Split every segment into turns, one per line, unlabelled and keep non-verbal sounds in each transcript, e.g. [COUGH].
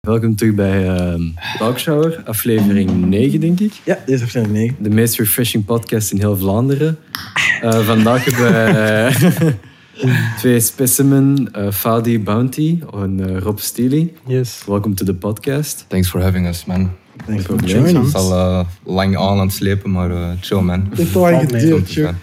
Welkom terug bij ehm Talkshower, aflevering 9, denk ik.
Ja, dit is aflevering 9.
De meest refreshing podcast in heel Vlaanderen. Eh, vandaag hebben we [LAUGHS] eh, twee specimen, eh, Fadi Bounty en eh, Rob Steely.
Yes.
Welkom to the podcast.
Thanks for having us, man.
Thanks for
Thanks.
joining
Het is
us.
al eh, lang aan aan het slepen, maar eh, chill, man.
Het heeft al lang geduurd, joh.
Ja.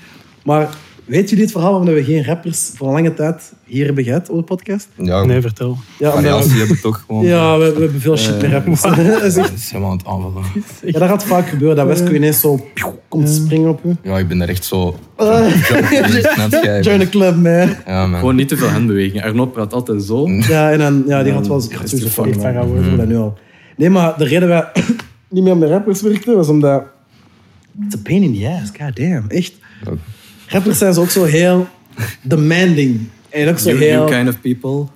Maar weet jullie het verhaal waarom we geen rappers voor een lange tijd hier hebben gehad op de podcast?
Ja, Eh,
Nee, vertel.
Ja, omdat-
variatie hebben we toch gewoon.
ja we, we hebben veel shit met [LAUGHS] rappers. Dat is echt-
Dat is helemaal aan het aanvallen.
ja, dat gaat vaak gebeuren, dat Wesco ineens zo pioe, komt springen op je.
Ja, ik ben er echt
[LAUGHS]
zo... Net
Join
jij,
the
man.
club, man.
Ja, man.
Gewoon niet te veel handbewegingen. Arno praat altijd zo.
Ja, en dan, ja, die
Ja,
gaat wel eens
dat is
sowieso
te vangen,
verliefd van
man.
gaan worden. voel dat nu al. Nee, maar de reden dat wij [COUGHS] niet meer met rappers werkten, was omdat... It's a pain in the ass, god damn. Echt.
Ook.
Rappers zijn zo ook zo heel demanding. En ook zo
New,
heel...
new kind of people.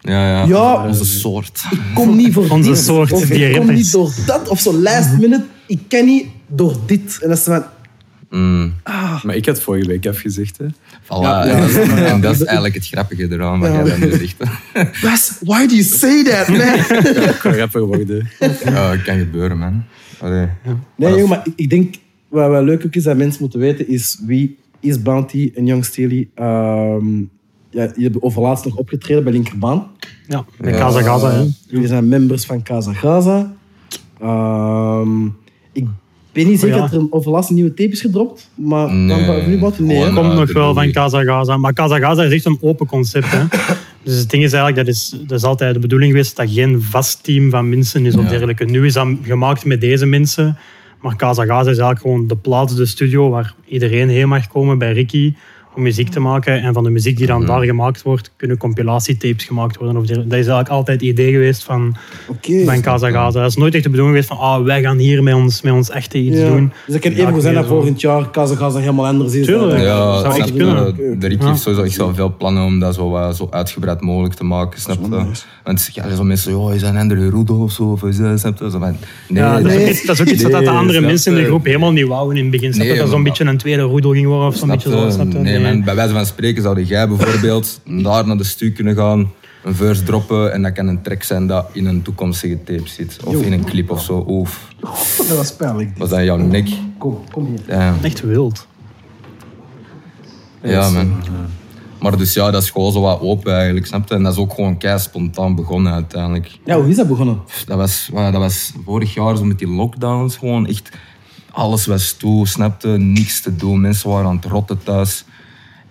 Ja, ja.
Ja.
Onze soort.
kom niet voor
Onze
dit.
soort,
Of
die
ik kom
rappers.
niet door dat. Of zo last minute. Ik ken niet door dit. En dat is van...
Mm.
Maar ik had vorige week afgezegd, hè.
Voilà, ja. En dat is eigenlijk het grappige eraan, wat jij dan nu zegt.
Wes, why do you say that, man?
Ik ga rapper worden.
Ja, het kan gebeuren, man. Allee.
nee, jongen, maar ik, ik denk... Wat wel leuk ook is dat mensen moeten weten, is wie is Bounty en Young Steely. Ehm, ja, je hebt overlaatst nog opgetreden bij Linkerbaan.
Ja, de Casa Gaza, hè.
Jullie zijn members van Casa Gaza. Ehm, ik ben niet zeker
Oh, ja.
dat er een overlaatst nieuwe tape is gedropt, maar dan van jullie Bounty? Nee,
Gewoon,
hè?
Komt
eh,
nog
de
wel van
movie.
Casa Gaza. Maar Casa Gaza is echt een open concept, hè. Dus het ding is eigenlijk, dat is, dat is altijd de bedoeling geweest dat geen vast team van mensen is of
Ja.
dergelijke. Nu is dat gemaakt met deze mensen. Maar Casa Gaza is eigenlijk gewoon de plaats, de studio waar iedereen heen mag komen bij Ricky om muziek te maken. En van de muziek die dan daar gemaakt wordt, kunnen compilatietapes gemaakt worden. Of dergelijke. dat is eigenlijk altijd het idee geweest van,
Oké.
van Casa Gaza. Dat is nooit echt de bedoeling geweest van ah, wij gaan hier met ons, met ons echte iets
Ja.
doen.
Dus dat kan
Ja,
even
ik
goed zijn
weet
dat
wel.
volgend jaar Casa Gaza helemaal anders is.
Tuurlijk.
dan-
Ja,
Zou
snap je?
echt kunnen.
De Rick heeft sowieso echt wel veel plannen om dat zo, wat- zo uitgebreid mogelijk te maken, snap je? Want ja, er zijn mensen, ja, is dat een andere Rudo of zo, of is dat, snap je? Zo van, nee,
Ja, dat,
nee.
is ook iets, dat is ook iets wat dat de
Nee,
andere
snap
mensen in de
je?
groep helemaal niet wouden in het begin. Snap je?
Nee,
dat dat zo'n
maar-
beetje een tweede roedel ging worden of zo'n
Snap
beetje zo.
je?
Snap je?
Nee,
Nee.
man, bij wijze van spreken zou
[LAUGHS]
jij bijvoorbeeld daar naar de stuur kunnen gaan, een verse droppen en dat kan een track zijn dat in een toekomstige tape zit. Of in een clip of zo. Oef,
Dat was pijnlijk.
was dat jouw nek?
Kom, kom hier.
Damn.
Echt wild.
Ja, man. Maar dus ja, dat is gewoon zo wat open eigenlijk, snap je? En dat is ook gewoon kei spontaan begonnen uiteindelijk.
Ja, hoe is dat begonnen?
dat was, ja, dat was vorig jaar zo met die lockdowns gewoon echt. Alles was toe, snapte, niks te doen. Mensen waren aan het rotten thuis.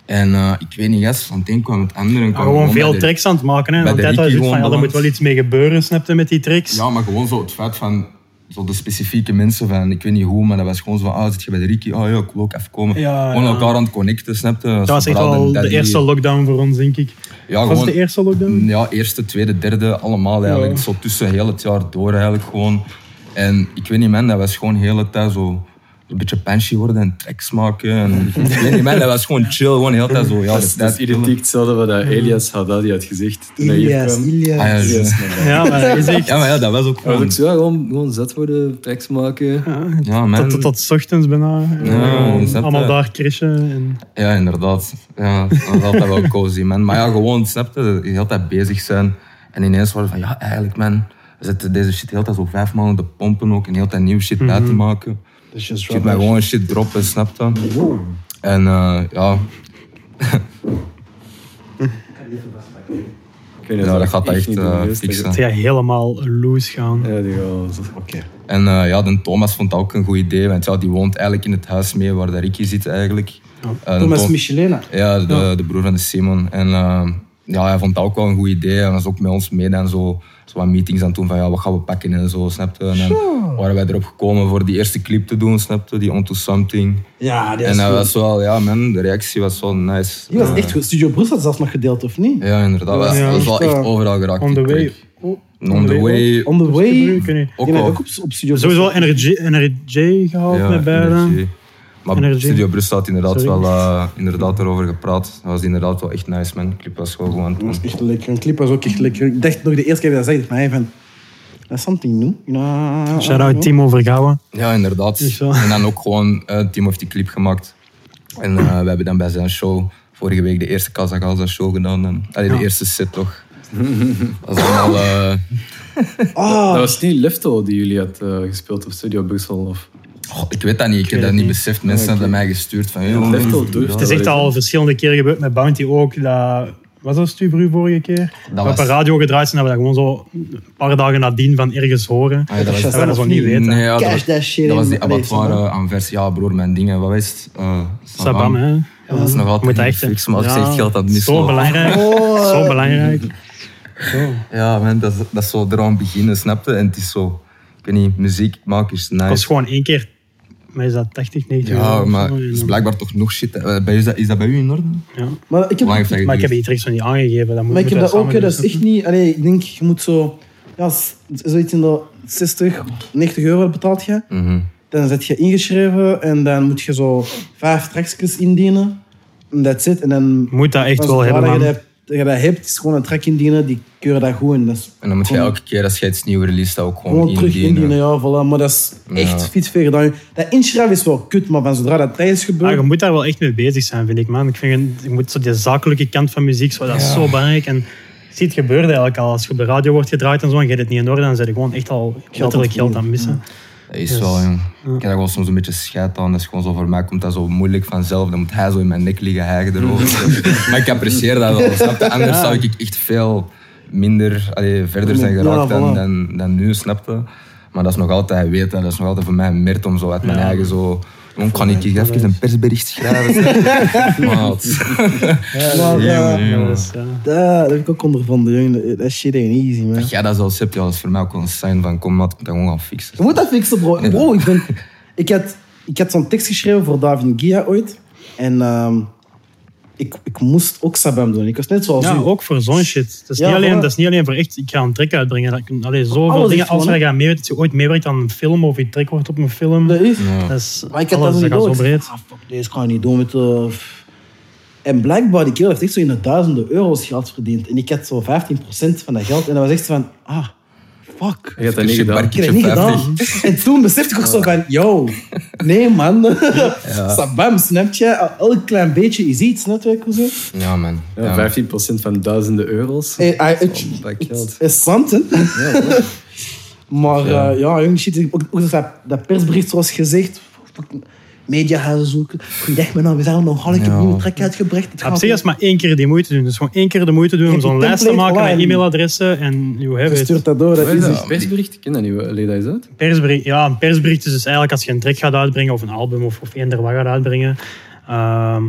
En eh, ik weet niet, gast, van het een kwam het andere. en kwam
gewoon
bij
veel
de-
tracks aan het maken. Hè.
bij
Want
de
dat
Ricky
was iets
gewoon
van, ja, er
beland.
moet wel iets mee gebeuren, snap je, met die tracks.
Ja, maar gewoon zo het feit van zo de specifieke mensen van, ik weet niet hoe, maar dat was gewoon zo van, ah, zit je bij de Ricky? Ah ja, ik wil ook even komen.
Ja,
gewoon
ja.
elkaar aan het connecten, snapte.
dat was echt wel de eerste lockdown voor ons, denk ik.
Ja,
was
gewoon-
het de eerste lockdown?
Mm. Ja, eerste, tweede, derde, allemaal eigenlijk. Zo tussen heel het jaar door eigenlijk gewoon. En ik weet niet, man, dat was gewoon de hele tijd zo een beetje pansy worden en tracks maken. En, ik weet niet, man, dat was gewoon chill, gewoon de hele tijd zo. Ja,
Dat is, [LAUGHS] dus Mm. dat is identiek hetzelfde wat dat Elias Haddadi had gezegd toen hij hier
Ilias,
kwam.
Ilias.
Ah, ja, juist.
Ja, maar dat
[LAUGHS]
is echt...
ja, maar ja, dat was ook
Maar
gewoon...
ook zo, ja, gewoon, gewoon zat worden, tekst maken.
Ja, man.
Tot, tot, tot 's ochtends bijna.
Ja, snap je.
allemaal daar crashen. En...
Ja, inderdaad. Ja, dat was altijd wel cozy, man. Maar ja, gewoon, snap je, heel de tijd bezig zijn. En ineens worden van, ja, eigenlijk, man, we zitten deze shit heel de tijd zo vijf maanden te pompen ook. En heel de tijd nieuw shit bij te maken.
Dus just
Ik mij
rubbish.
gewoon shit droppen, snap je? En eh, ja,
Ik weet niet,
Ja, dat gaat echt,
niet
eh,
serieus
fixen.
zeggen.
Het gaat helemaal loose gaan.
Ja, die gaat...
Oké.
en eh, ja, de Thomas vond dat ook een goed idee, want ja, die woont eigenlijk in het huis mee waar de Ricky zit eigenlijk. Eh, de
Thomas
Tom-
Michelena.
Ja, de, de broer van de Simon. En eh, ja, hij vond dat ook wel een goed idee. En was ook met ons mee en zo, zo wat meetings aan het doen van ja, wat gaan we pakken en zo, snap je? En dan waren wij erop gekomen voor die eerste clip te doen, snap je? Die Onto Something.
Ja, die
en
was,
dat
goed.
was wel, ja man, de reactie was wel nice.
die was echt goed. Studio Brussel had zelfs nog gedeeld, of niet?
Ja, inderdaad. Dat
Ja.
was wel
Echt,
echt
eh,
overal geraakt.
On the
die
way.
track.
Oh,
On the way.
On the way.
Ik weet niet.
Ook
die hebben
al.
ook op, op Studio Brussel.
Sowieso NRJ, NRJ gehaald
Ja,
met beide.
energie. Maar
Energie.
Studio Brussel had inderdaad
Sorry.
wel eh, inderdaad erover gepraat. Dat was inderdaad wel echt nice, man. De clip was wel gewoon...
Dat was echt lekker. Een clip was ook echt lekker. Ik dacht nog de eerste keer dat ik dat zei, ik dacht van... That's something new. Ja,
Shout-out Timo Vergouwen.
Ja, inderdaad.
Is zo.
En dan ook gewoon, eh Tim heeft die clip gemaakt. En eh, we hebben dan bij zijn show vorige week de eerste Casa Gaza show gedaan. En, allee, de eerste set toch. Dat is allemaal... eh,
Ah.
Dat was niet Lifto die jullie had eh, gespeeld op Studio Brussel. Of...
Goh, ik weet dat niet, ik heb
weet
dat
het
niet
niet.
beseft. Mensen hebben mij gestuurd van... joh,
Lifto durft
Het is echt al verschillende keren gebeurd met Bounty ook. Dat, was dat Stubru vorige keer? Dat we
was-
op een radio gedraaid zijn, hebben we dat gewoon zo een paar dagen nadien van ergens horen.
Ah, ja, dat was-
dat we dat zo niet weten.
Nee, ja, dat
Cash
was-
that shit
Dat was
in.
die
Allee,
abattoir aan vers. Ja, broer, mijn dingen. Wat is het? Eh,
Sabam, hè?
Ja, dat is nog
Moet
altijd
echt.
niet
hè.
fix, maar als ik
Ja,
zeg geld, dat Oh. mis
Zo belangrijk. Zo belangrijk.
Ja, man, dat, is- dat is zo eraan beginnen, snapte? En het is zo... Ik weet niet, muziek maken is nice.
Dat was gewoon één keer. Maar is dat 80, 90
Ja,
euro?
maar
Zo,
het
en
is
dan-
blijkbaar toch nog shit. Eh, bij- Is dat, is dat bij u in orde?
Maar
ja.
ik heb,
Lang
maar
heeft dat
Maar ik heb
geduurd?
die tricks nog niet aangegeven. Dat moet,
ik heb
moeten
dat
we
ook, hè,
samen
dat is
doen.
echt niet... Allee, ik denk, je moet zo... Ja, z- zoiets in de 60, 90 euro betaalt je.
Mhm.
Dan zet je ingeschreven en dan moet je zo vijf trackjes indienen. En that's it. En dan...
Moet dat echt
Als
wel
het waar
hebben, man.
dat je dat- dat je dat hebt, is gewoon een track indienen, die keuren dat goed in. Dat is
En dan moet je
gewoon-
elke keer als je iets nieuw release dat ook gewoon,
Gewoon Oh, terug indienen,
indienen.
ja, voilà. Maar dat is echt
Ja.
fiets verder dan je... Dat inschrijven is wel kut, maar van zodra dat tijd is
Maar Ah, je
gebeurd...
moet daar wel echt mee bezig zijn, vind ik, man. Ik vind, je moet zo die zakelijke kant van muziek, zo, dat is zo belangrijk. En je ziet het gebeurde eigenlijk al. Als je op de radio wordt gedraaid en zo, en je hebt het niet in orde, dan zit je gewoon echt al letterlijk geld aan het missen.
Dat is wel, jong. Ik heb daar wel soms een beetje scheid aan. Dat is gewoon zo, voor mij komt dat zo moeilijk vanzelf. Dan moet hij zo in mijn nek liggen
[LAUGHS]
hijgen erover. maar ik apprecieer dat wel, snap je? Anders zou ik echt veel minder, allee, verder zijn
Ja,
geraakt dan,
voilà.
dan, dan nu, snap je? Maar dat is nog altijd weten. Dat is nog altijd voor mij een merit om zo uit mijn eigen zo... Jong, kan ik hier even een persbericht
[LAUGHS]
schrijven? zeg? Maat.
Maar, ja,
Jong, jong.
Dus, ja.
dat heb ik ook ondervonden, jongen. Dat shit ain't easy, man.
Ja, dat zelfs heb je als voor mij ook wel een sign van kom, maat, ik moet dat gewoon gaan fixen.
Je moet dat fixen, bro. Bro, ik ben... Ik had, ik had zo'n tekst geschreven voor David Gia ooit. En ehm, ik, ik moest ook Sabam doen. Ik was net zoals
eh, Ja,
u.
ook voor zo'n shit. Dat is,
Ja,
niet alleen,
voilà.
dat is niet alleen voor echt, ik ga een track uitbrengen. Dat, kun- allee, zoveel
Alles is
dingen. Als
gewoon,
je, gaat meewerken, dat je ooit meewerkt aan een film of je track wordt op een film.
Dat is...
Ja.
Dat is
Maar ik had
alles,
dat niet
dat gaat
door.
zo
Ik
breed.
dacht, ah, fuck, deze kan ik niet doen met... eh, pff. En blijkbaar, die kerel heeft echt zo in de duizenden euro's geld verdiend. En ik had zo 15% van dat geld. En dat was echt zo van... Ah, fuck.
Je hebt dat niet gedaan.
Ik heb het niet gedaan. En toen besefte ik ook zo van, yo, nee man. [LAUGHS] Sabam, snap je? Elk klein beetje is iets, snap je? hoe zo?
Ja, man. Ja.
Ja, 15% van duizenden euro's.
Eh, ah, Het
dat
het
geld.
is zand, hè? [LAUGHS] Maar ja, ja jongen, shit, ook, ook dat, dat persbericht zoals gezegd, fucking media gaan zoeken. nou, Goeiedag, mijn naam is Arno Hall, ik heb
Ja.
een nieuwe track uitgebracht. Het
Ja,
gaat
Op zich is maar één keer die moeite doen. Dus gewoon één keer de moeite doen om
Heb Ah, je
zo'n lijst te
template
maken met
online?
e-mailadressen en you have
Je
it.
stuurt dat door, dat
Wat is
is
dat?
het.
Een persbericht? Ik ken dat niet. Wat- Leed dat eens uit?
Persbericht, ja, een persbericht is dus eigenlijk als je een track gaat uitbrengen of een album of, of eender wat gaat uitbrengen. ehm,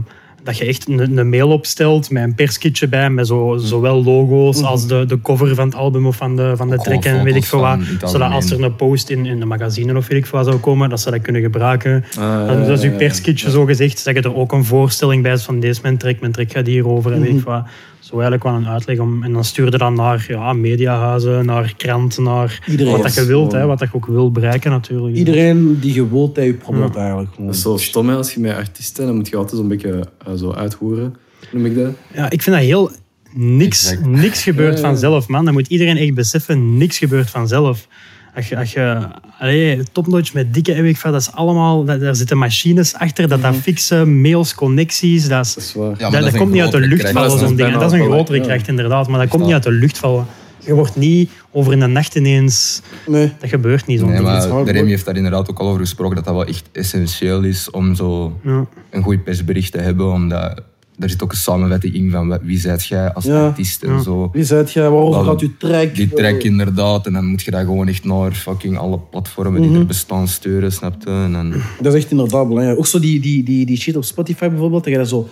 dat je echt een, een mail opstelt met een perskitje bij, met zo, zowel logo's als de, de cover van het album of van de, van de
Ook
track
gewoon
en weet ik
foto's
veel wat.
van in het
Zodat als
algemeen.
er een post in, in de magazine of weet ik veel wat zou komen, dat ze dat kunnen gebruiken.
Ah,
En dat is
ja,
uw
ja,
perskitje zo gezegd, dat je er ook een voorstelling bij is van deze is mijn track, mijn track gaat hierover en weet ik wat. Zo eigenlijk wel een uitleg om, en dan stuurde dat naar ja, mediahuizen, naar kranten, naar
Iedereen.
wat dat je wilt,
Oh.
hè, wat dat je ook wil bereiken natuurlijk.
Iedereen die je wilt, dat je probeert eigenlijk. gewoon.
Dat is zo stom, hè. Als je met artiesten, dan moet je altijd zo'n beetje eh, zo uithoeren. Noem ik dat?
Ja, ik vind dat heel... Niks,
Exact.
niks gebeurt vanzelf, man. Dat moet iedereen echt beseffen. Niks gebeurt vanzelf. Als je, als je allee, topnotch met dikke en weet ik veel, dat is allemaal... Dat, daar zitten machines achter, dat dat fixen, mails, connecties, dat
Dat
is...
is waar.
Ja, maar
dat, dat
is een
komt niet uit de
grotere
lucht
krijg.
vallen,
dat is
zo'n ding.
bijna
Dat is een
wel
grotere
gelijk, ja.
kracht, inderdaad. Maar dat komt niet uit de lucht vallen. Je wordt niet over in de nacht ineens...
Nee.
Dat gebeurt niet, zo'n
Nee,
ding.
maar de
hard,
Remy
hoor.
heeft daar inderdaad ook al over gesproken dat dat wel echt essentieel is om zo
Ja.
een goed persbericht te hebben, omdat er zit ook een samenwetting in van wat- wie zijt jij als
Ja.
artiest en zo.
Wie zei jij, waarover
Wel,
gaat je track?
Die track inderdaad, en dan moet je dat gewoon echt naar fucking alle platformen die er bestaan sturen, snap je? En dan,
Dat is echt inderdaad belangrijk. Ook zo die, die, die, die shit op Spotify bijvoorbeeld, dat je dat zo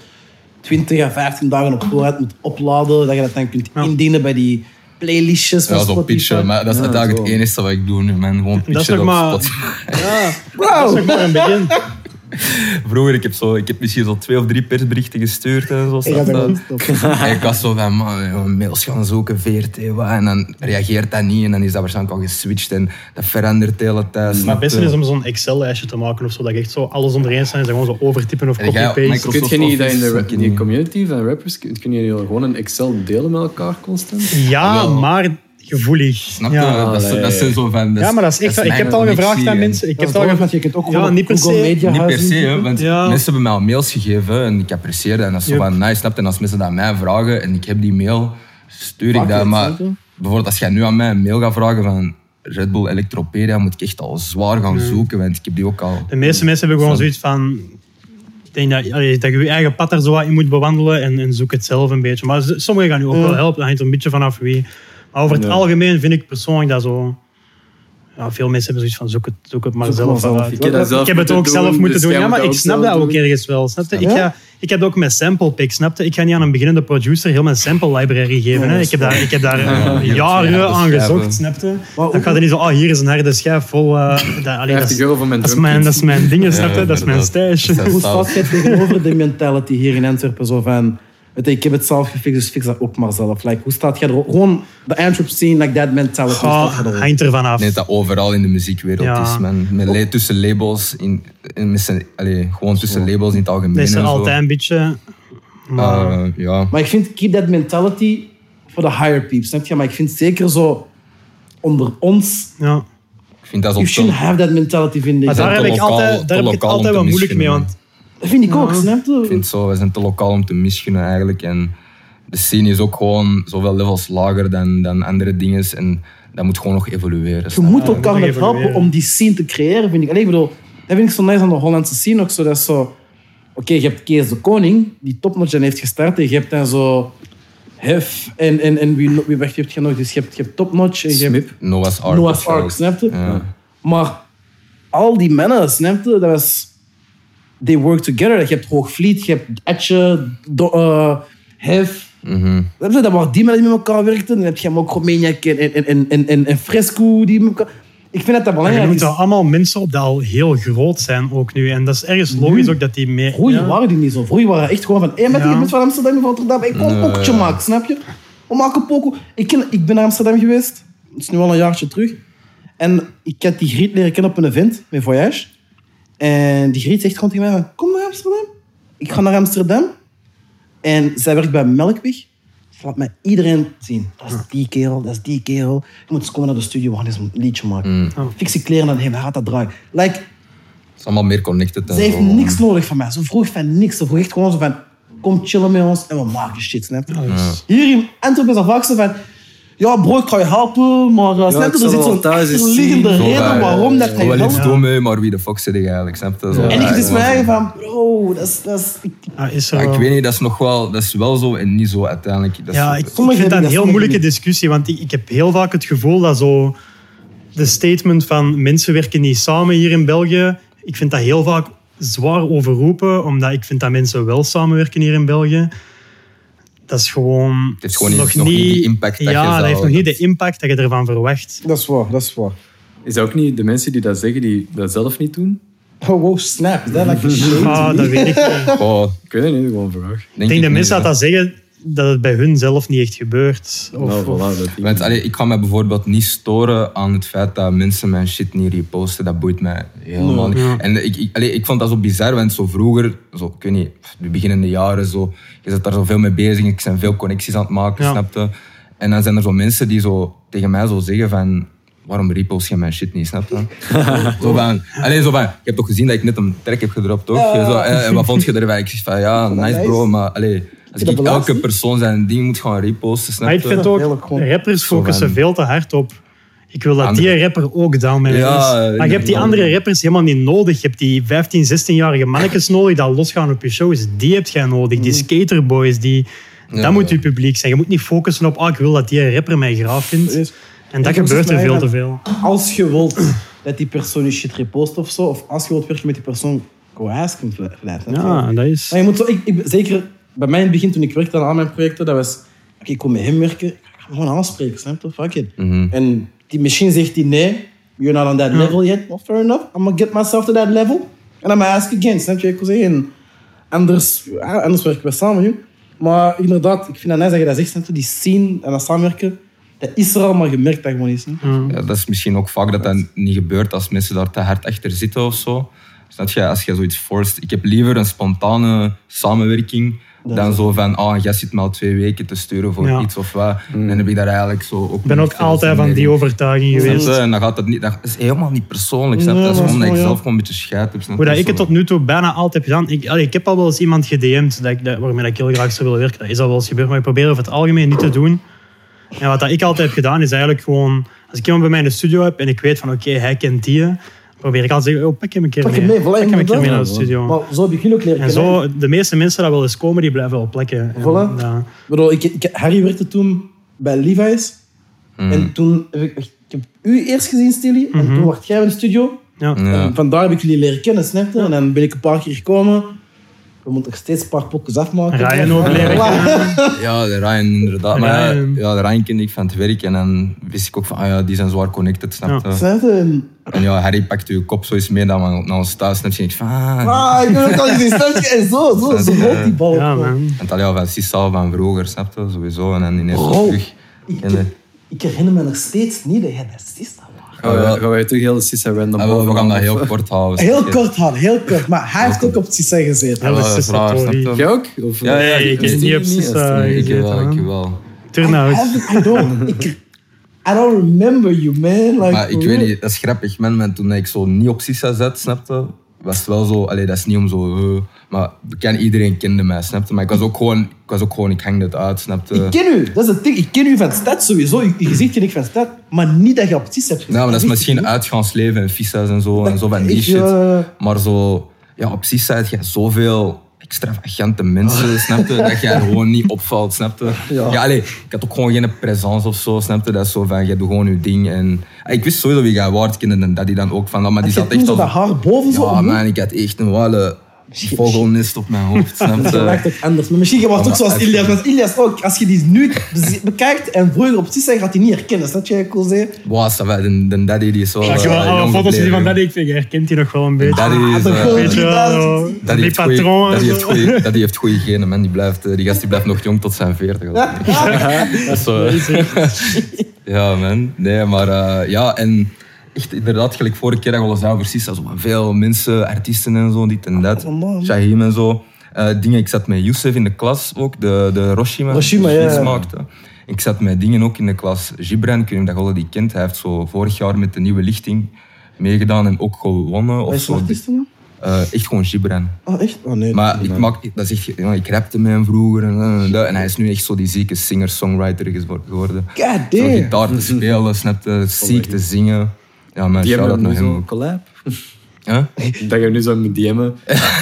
20 à 15 dagen op voorraad moet opladen, dat je dat dan kunt indienen bij die playlistjes van
ja, zo
Spotify.
pitchen, maar dat is
Ja,
eigenlijk
zo.
het enige wat ik doe nu, man. Gewoon
Dat is
pitchen
toch
op
maar-
Spotify.
Dat is ook maar een begin.
Vroeger, ik heb, zo, ik heb misschien zo twee of drie persberichten gestuurd en zo.
Ik ga
snap
dat
je?
gewoon stoppen.
[LAUGHS] En ik was zo van, man, we gaan mails gaan zoeken, VRT, wat? En dan reageert dat niet en dan is dat waarschijnlijk al geswitcht en dat verandert de hele tijd.
Maar
snap
het
je?
beste is
eh,
om zo'n Excel-lijstje te maken of zo, dat je echt zo alles onder eens zijn en gewoon zo overtypen of
En jij op
copy-paste.
Microsoft-
Kun je niet dat in de
Office,
ra- in die community van rappers, kun kun je gewoon een Excel delen met elkaar constant?
Ja,
Wel.
maar gevoelig.
Snap je?
Ja.
dat, is, dat zijn zo van...
ja, maar dat is echt...
dat
ik heb het al
mijn
gevraagd
connectie
aan
en-
mensen. Ik
Dat
heb
is
het al
belangrijk, want
gevraagd.
je kunt ook
Ja,
gewoon op
niet per
Google
se.
Media
Niet per
Huis
se, hè,
inzetten.
want
Ja.
mensen hebben mij al mails gegeven en ik apprecieer dat. En dat is zo
Yep.
van, nice, snap je? En als mensen dat aan mij vragen en ik heb die mail, stuur ik
Pak je
dat.
het,
Maar
snap je?
bijvoorbeeld als jij nu aan mij een mail gaat vragen van Red Bull Electropedia, moet ik echt al zwaar gaan zoeken, want ik heb die ook al.
De meeste mensen hebben gewoon zoiets van. Ik denk dat, allee, dat je je eigen pad er zo wat in moet bewandelen en, en zoek het zelf een beetje. Maar z- sommigen gaan je ook wel helpen, dat hangt er een beetje vanaf wie. Maar over het
Ja.
algemeen vind ik persoonlijk dat zo. Ja, veel mensen hebben zoiets van zoek het, zoek het maar
Zoek
zelf
maar zelf.
uit.
Ik
heb dat zelf
Ik heb het
moeten
ook
doen,
zelf moeten
dus
doen.
jij
Ja,
moet
maar
dat
ik
ook
snap
zelf
dat ook
doen.
ergens wel. Snap je? Ik,
Ja.
ga, ik heb dat ook met sample picks. Snap je? Ik ga niet aan een beginnende producer heel mijn sample library geven. Hè? Ik heb daar, ik heb daar eh, jaren aan
schrijven.
gezocht. Snap je?
Maar
Dan
ook-
gaat er niet zo, oh, hier is een harde schijf vol. eh, dat, allee, dat
50
is-
euro voor mijn
dat is
drumkit.
mijn, dat is mijn ding, snap je?
ja,
dat is mijn
inderdaad.
stage.
Dat is
Hoe
dat.
staat jij tegenover de mentality hier in Antwerpen? Zo van, weet je, ik heb het zelf gefixt, dus fix dat ook maar zelf. Like, hoe staat jij er Gewoon de Antwerp scene, like that mentality. hoe staat
Oh,
jij erop?
hangt ervan af.
Ik denk dat overal in de muziekwereld
Ja.
is. Man. Met le- tussen labels, in, in, met z'n- allee, gewoon tussen labels in het algemeen.
Dat is er
en zo.
altijd een beetje. Maar
Eh, ja.
Maar ik vind, keep that mentality voor de higher peeps, snap je? Maar ik vind zeker zo onder ons,
ja.
Ik vind dat
you
is ook
shouldn't have that mentality, vind ik.
Maar daar
te
heb ik
lokaal-
altijd,
te
daar heb ik het
lokaal om
altijd
te
wel moeilijk mee.
misgunnen,
Want
Dat vind ik ook, snap je?
Ik vind zo, we zijn te lokaal om te misgunnen eigenlijk. En de scene is ook gewoon zoveel levels lager dan, dan andere dingen. En dat moet gewoon nog evolueren.
Je
snap
moet elkaar
moet
net
even
helpen
leren.
om die scene te creëren, vind ik. Allee, ik bedoel, dat vind ik zo nice aan de Hollandse scene ook. Zo, dat is zo... Oké, je hebt Kees de Koning, die topnotch en heeft gestart. En je hebt dan zo... Hef en, en, en wie, no- wie wacht, je hebt je nog? Dus je hebt, je hebt topnotch en je hebt
Smip.
Noah's Ark.
Noah's Ark,
bijvoorbeeld.
snap je?
Ja.
Maar al die mannen, snap je? Dat was... They work together. Je hebt Hoogvliet, je hebt Etje, Do- eh, Hef...
Mhm.
Snap je? Dat waren die mannen die met elkaar werkten. Dan heb je hem ook Romaniac en, en, en, en, en, en Fresco die met elkaar... Ik vind dat dat
je
belangrijk
noemt
is.
wel allemaal mensen op die al heel groot zijn ook nu. En dat is ergens logisch ook dat die meer...
Vroeger
Ja.
waren die niet zo. Vroeger waren echt gewoon van... Hé, met
Ja.
je bent van Amsterdam of Rotterdam. Ik kom een pokertje maken, snap je? We maken een pokoe. Ik, ken- ik ben naar Amsterdam geweest. Dat is nu al een jaartje terug. En ik had die Griet leren kennen op een event, met Voyage. En die Griet zegt gewoon tegen mij van... Kom naar Amsterdam. Ik ga naar Amsterdam. En zij werkt bij Melkweg. Ze laat mij iedereen zien. Dat is die kerel, dat is die kerel. Je moet eens komen naar de studio, we gaan eens een liedje maken.
Mm.
Fix je kleren aan hem, hij gaat dat draaien. Like,
Het is allemaal meer connected. En
ze heeft
zo.
Oh.
niks nodig van mij. Ze vroeg van niks. Ze vroeg echt gewoon zo van... Kom chillen met ons en we maken shit, snap je? Hier in Antwerpen is dat vaak zo van... Ja, bro, ik ga je helpen, maar... eh, snap
ik
je,
zal
er zit
wel
zo'n
thuis eens
achterliggende
zien. Oh,
Zo,
reden
ja,
waarom dat
ja,
hij
Wel iets
helpt.
doen mee, maar wie de fuck zit ik eigenlijk? Snap je? Zo,
En ik dus
eigenlijk.
mijn eigen van... Bro, dat is... Dat is ik,
Ja, Ah, is er
Ja,
wel.
ik weet niet, dat is nog wel, dat is wel zo en niet zo uiteindelijk. Dat is-
Ja, ik, ik
Sommigen
vind dat een
hebben dat,
heel
sommigen
moeilijke
niet.
discussie, want ik, ik heb heel vaak het gevoel dat zo de statement van mensen werken niet samen hier in België, ik vind dat heel vaak zwaar overroepen, omdat ik vind dat mensen wel samenwerken hier in België. Dat is gewoon,
Het heeft gewoon niet- nog niet die impact dat je
ja, dat
zou-
heeft nog niet
dat-
de impact dat je ervan verwacht.
dat is waar, dat [LAUGHS] is waar.
Is dat ook niet de mensen die dat zeggen, die dat zelf niet doen?
Oh, wow, snap. Dat lijkt me
[LAUGHS]
Ah, dat weet ik niet.
Oh,
Ik weet het niet, gewoon een vraag.
Ik
denk
denk dat
niet,
mensen
ja.
dat, dat zeggen, dat het bij hun zelf niet echt gebeurt. Of,
nou,
of-
voilà, dat
Want, allee, ik ga mij bijvoorbeeld niet storen aan het feit dat mensen mijn shit niet reposten. Dat boeit mij helemaal niet. En ik, ik, allee, ik vond dat zo bizar, want zo vroeger, zo, ik weet niet, de beginnende jaren, zo, je zit daar zoveel mee bezig. Ik ben veel connecties aan het maken,
Ja.
snapte. En dan zijn er zo mensen die zo tegen mij zo zeggen van... Waarom repost je mijn shit niet, snap je? [LAUGHS] zo van, allee, zo van, je hebt toch gezien dat ik net een track heb gedropt, toch? Zo, eh, en wat vond je ervan? Ik zeg van, ja, nice bro, maar allee, als
dat
ik
belangrijk?
elke persoon zijn ding moet gaan reposten, snap
Maar
je?
ik vind
Heel erg
ook,
gewoon-
rappers focussen
van-
veel te hard op. Ik wil dat
Andere-
die rapper ook down met me
Ja,
is. Maar je hebt die
inderdaad.
andere rappers helemaal niet nodig. Je hebt die 15, 16-jarige
[LAUGHS]
mannetjes nodig dat losgaan op je shows. Die heb jij nodig. Die skaterboys, die...
Mm. Ja.
dat moet je publiek zijn. Je moet niet focussen op, ah, ik wil dat die rapper mij graaf vindt.
Yes.
En dat
Ik heb
gebeurt
precies
er veel
mijn
te veel.
Als je wilt dat die persoon je shit repost of zo, of als je wilt werken met die persoon, go ask him for that.
Ja, dat is...
Maar je moet zo, ik, ik- zeker bij mij in het begin, toen ik werkte aan al mijn projecten, dat was... Oké, ik kom met hem werken, ik ga hem gewoon aanspreken, snap je? Fuck it. En die, misschien zegt hij nee, you're not on that level yet. Well, fair enough, I'm gonna get myself to that level. En I'm gonna ask again, snap je? Ik wil zeggen, anders, ja, anders werken we samen, joh. Maar inderdaad, ik vind dat nice dat je dat zegt, snap je? Die scene en dat samenwerken, dat is er al, maar je merkt dat gewoon niet. hè?
Hm.
Ja, dat is misschien ook vaak dat dat niet gebeurt als mensen daar te hard achter zitten of zo. Snap je, als je zoiets forst. Ik heb liever een spontane samenwerking dan zo van, ah, jij zit me al twee weken te sturen voor
Ja. Hm.
iets of wat. En dan heb ik daar eigenlijk zo ook...
Ik ben ook altijd van die overtuiging geweest.
En dan gaat dat niet... Dat is helemaal niet persoonlijk, snap je?
Nee,
Dat is
dat is
gewoon omdat ik
wel, ja.
zelf gewoon een beetje scheid heb. snap
Hoe
je?
dat ik het
Zo.
tot nu toe bijna altijd heb gedaan. Ik, allee, ik heb al wel eens iemand gedM'd dat ik, dat, waarmee ik heel graag zou willen werken. Dat is al wel eens gebeurd. Maar ik probeer over het algemeen niet te doen. En wat dat ik altijd heb gedaan, is eigenlijk gewoon... Als ik iemand bij mij in de studio heb en ik weet van, oké, hij kent die, dan probeer ik altijd te zeggen, oh, pak hem een keer
Pak
mee.
hem mee, voilà,
pak hem een keer
inderdaad.
mee naar de studio.
Maar zo heb ik jullie ook leren
En
kennen.
zo, de meeste mensen dat wel eens komen, die blijven wel plekken. En, eh,
Voilà.
ja.
Ik bedoel, ik, ik- Harry werkte toen bij Levi's. En toen heb ik, ik heb u eerst gezien, Stilly. En
Mhm.
toen werd jij in de studio.
Ja.
Ja.
En vandaar heb ik jullie leren kennen, snap je? En dan ben ik een paar keer gekomen. We moeten nog steeds een paar pokjes afmaken.
Ryan ook leren kennen.
Ja, de Ryan inderdaad. Maar ja,
Ryan.
ja, de Ryan kende ik van het werk en dan wist ik ook van, ah ja, die zijn zwaar connected, snap je?
[LAUGHS] Snap je? En-
En ja, Harry pakt uw kop zo eens mee naar, naar ons thuis, snap je? En ik van, ah,
Ah, ik ben ook al gezien, snap je? En zo, zo, zo rolt die bal.
Ja,
op, man.
man.
En dat ja, van Sissal van vroeger, snap je? Sowieso. En dan ineens
Bro,
terug.
Ik,
En, eh,
ik herinner me nog steeds niet dat jij narcist was.
Gaan wij- gaan wij terug heel de Sissa random
en we, we gaan dat
overgaan?
heel kort houden. snap
Heel
je?
kort, Han, heel kort. Maar hij heeft ook op het CC gezeten.
Ja, dat
Ja,
is
dat is raar, snap je?
Jij ook? Of, eh,
Ja, ja,
Nee, ik heb eh, niet op Sissa
Nee, Ik
gezeten.
wel, ik
man.
wel.
I,
Turnhout.
haven't- I [LAUGHS] don't, ik, I don't remember you, man. Like,
Maar ik weet niet, dat is grappig, man. maar toen ik zo niet op Sissa zat, snapte, was het wel zo, allee, dat is niet om zo, eh, maar ken, iedereen kende mij, snapte. Maar ik was ook gewoon, ik was ook gewoon, ik hang dat uit, snapte.
Ik ken u, dat is het ding. Ik ken u van stad sowieso. Je, je ziet je niet van stad, maar niet dat je op het CC hebt.
Nou, maar dat
gezeten.
is misschien uitgaansleven en vissa's en zo, en zo van die
Ik,
shit.
eh,
Maar zo, ja, op Sissa heb je zoveel extravagante mensen, snapte, dat jij gewoon niet opvalt, snapte. Ja, allee, ik had ook gewoon geen presence of zo, snapte. Dat is zo van, jij doet gewoon je ding en... ah, Ik wist sowieso wie jij waard kende en dat die dan ook van, dat, maar die
had
zat
je toen
echt
zo dat
als...
haar boven zo
Ja,
omhoog?
man, ik had echt een wale vogelnest op mijn hoofd. Snap
Dat
je?
werkt ook anders. Maar misschien je wordt
Ja,
ook zoals
maar-
Ilias. Want Ilias ook, als je die nu bezi- bekijkt en vroeger op CC gaat hij niet herkennen. Snap je, wat ik wil zeggen?
Wow, ça va, de, de daddy die is wel...
Als je wel
eh,
alle
jong
foto's ziet
gebleven.
van Daddy, ik vind, je herkent die nog wel een beetje.
Daddy
Ah,
is...
de
eh,
goal.
Weet je wel,
die
die
Daddy heeft goeie-
patroon. en
Daddy heeft
zo. [LAUGHS]
goeie- Daddy heeft goede genen, man. Die, blijft, eh, die gast die blijft nog jong tot zijn
[LAUGHS]
40. [LAUGHS] Dat is zo, eh. Ja, man. Nee, maar eh, ja, en echt inderdaad, gelijk vorige keer dat we al zei, precies, dat zo van veel mensen, artiesten en zo, dit en dat.
Oh, man.
Shahim en zo. Eh, dingen, ik zat met Youssef in de klas ook, de, de Hiroshima.
Hiroshima,
die
ja, ja.
fiets maakte. Ik zat met dingen ook in de klas. Gibran, ik weet niet of dat je die kent, hij heeft zo vorig jaar met de nieuwe lichting meegedaan en ook gewonnen. Of
Wat is
zo.
het artiest dan?
Eh, echt gewoon Gibran.
Oh, echt? Oh, nee.
Maar ik, maak, ik- dat is echt, ja, ik rapte met hem vroeger en, eh, en, en dat. En hij is nu echt zo die zieke singer-songwriter gewo- geworden.
God
Zo
damn.
gitaar te spelen, snap je, ziek te zingen. Ja, man,
Die
shout
hebben
out
nu
naar hem
zo'n
ook.
collab.
Huh?
Dat je nu zo met
[LAUGHS]
DM'en.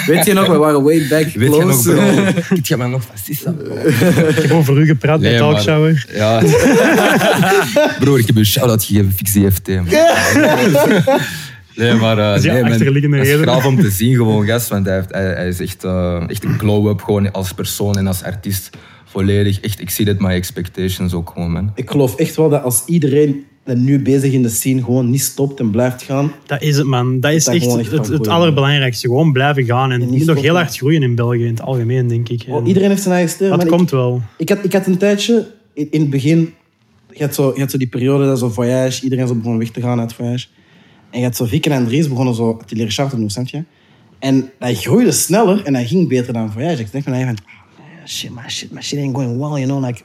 Weet je nog, we waren way back
Weet je nog,
close. eh.
bro? Weet je mij nog fascist?
Ik heb over u gepraat bij Talkshower.
[LAUGHS] Ja. Broer, ik heb een shout-out gegeven, fix die FT. man. [LAUGHS] Nee, maar... eh,
is die
nee, man,
achterliggende
dat is
reden.
graaf om te zien, gewoon, gast. Want hij, heeft, hij, hij is echt, eh, echt een glow-up, gewoon als persoon en als artiest. Volledig, echt, ik zie dit my expectations ook gewoon, man.
Ik geloof echt wel dat als iedereen dat nu bezig in de scene gewoon niet stopt en blijft gaan.
Dat is het, man. Dat is
Dat
echt
gewoon echt
het,
van
het
goeie.
allerbelangrijkste. Gewoon blijven gaan. En
niet
niet nog heel
stoppen.
hard groeien in België in het algemeen, denk ik.
Oh,
En
iedereen heeft zijn eigen ster.
dat
man.
komt wel.
Ik, ik, had, ik had een tijdje, in, in het begin, je had, zo, je had zo die periode dat zo voyage, iedereen zo begon weg te gaan uit voyage. En je had zo Vic en Andries begonnen zo te leren charten doen, snap je? En hij groeide sneller en hij ging beter dan voyage. Ik denk van, hij van, ah, shit, my shit, my shit ain't going well, you know, like...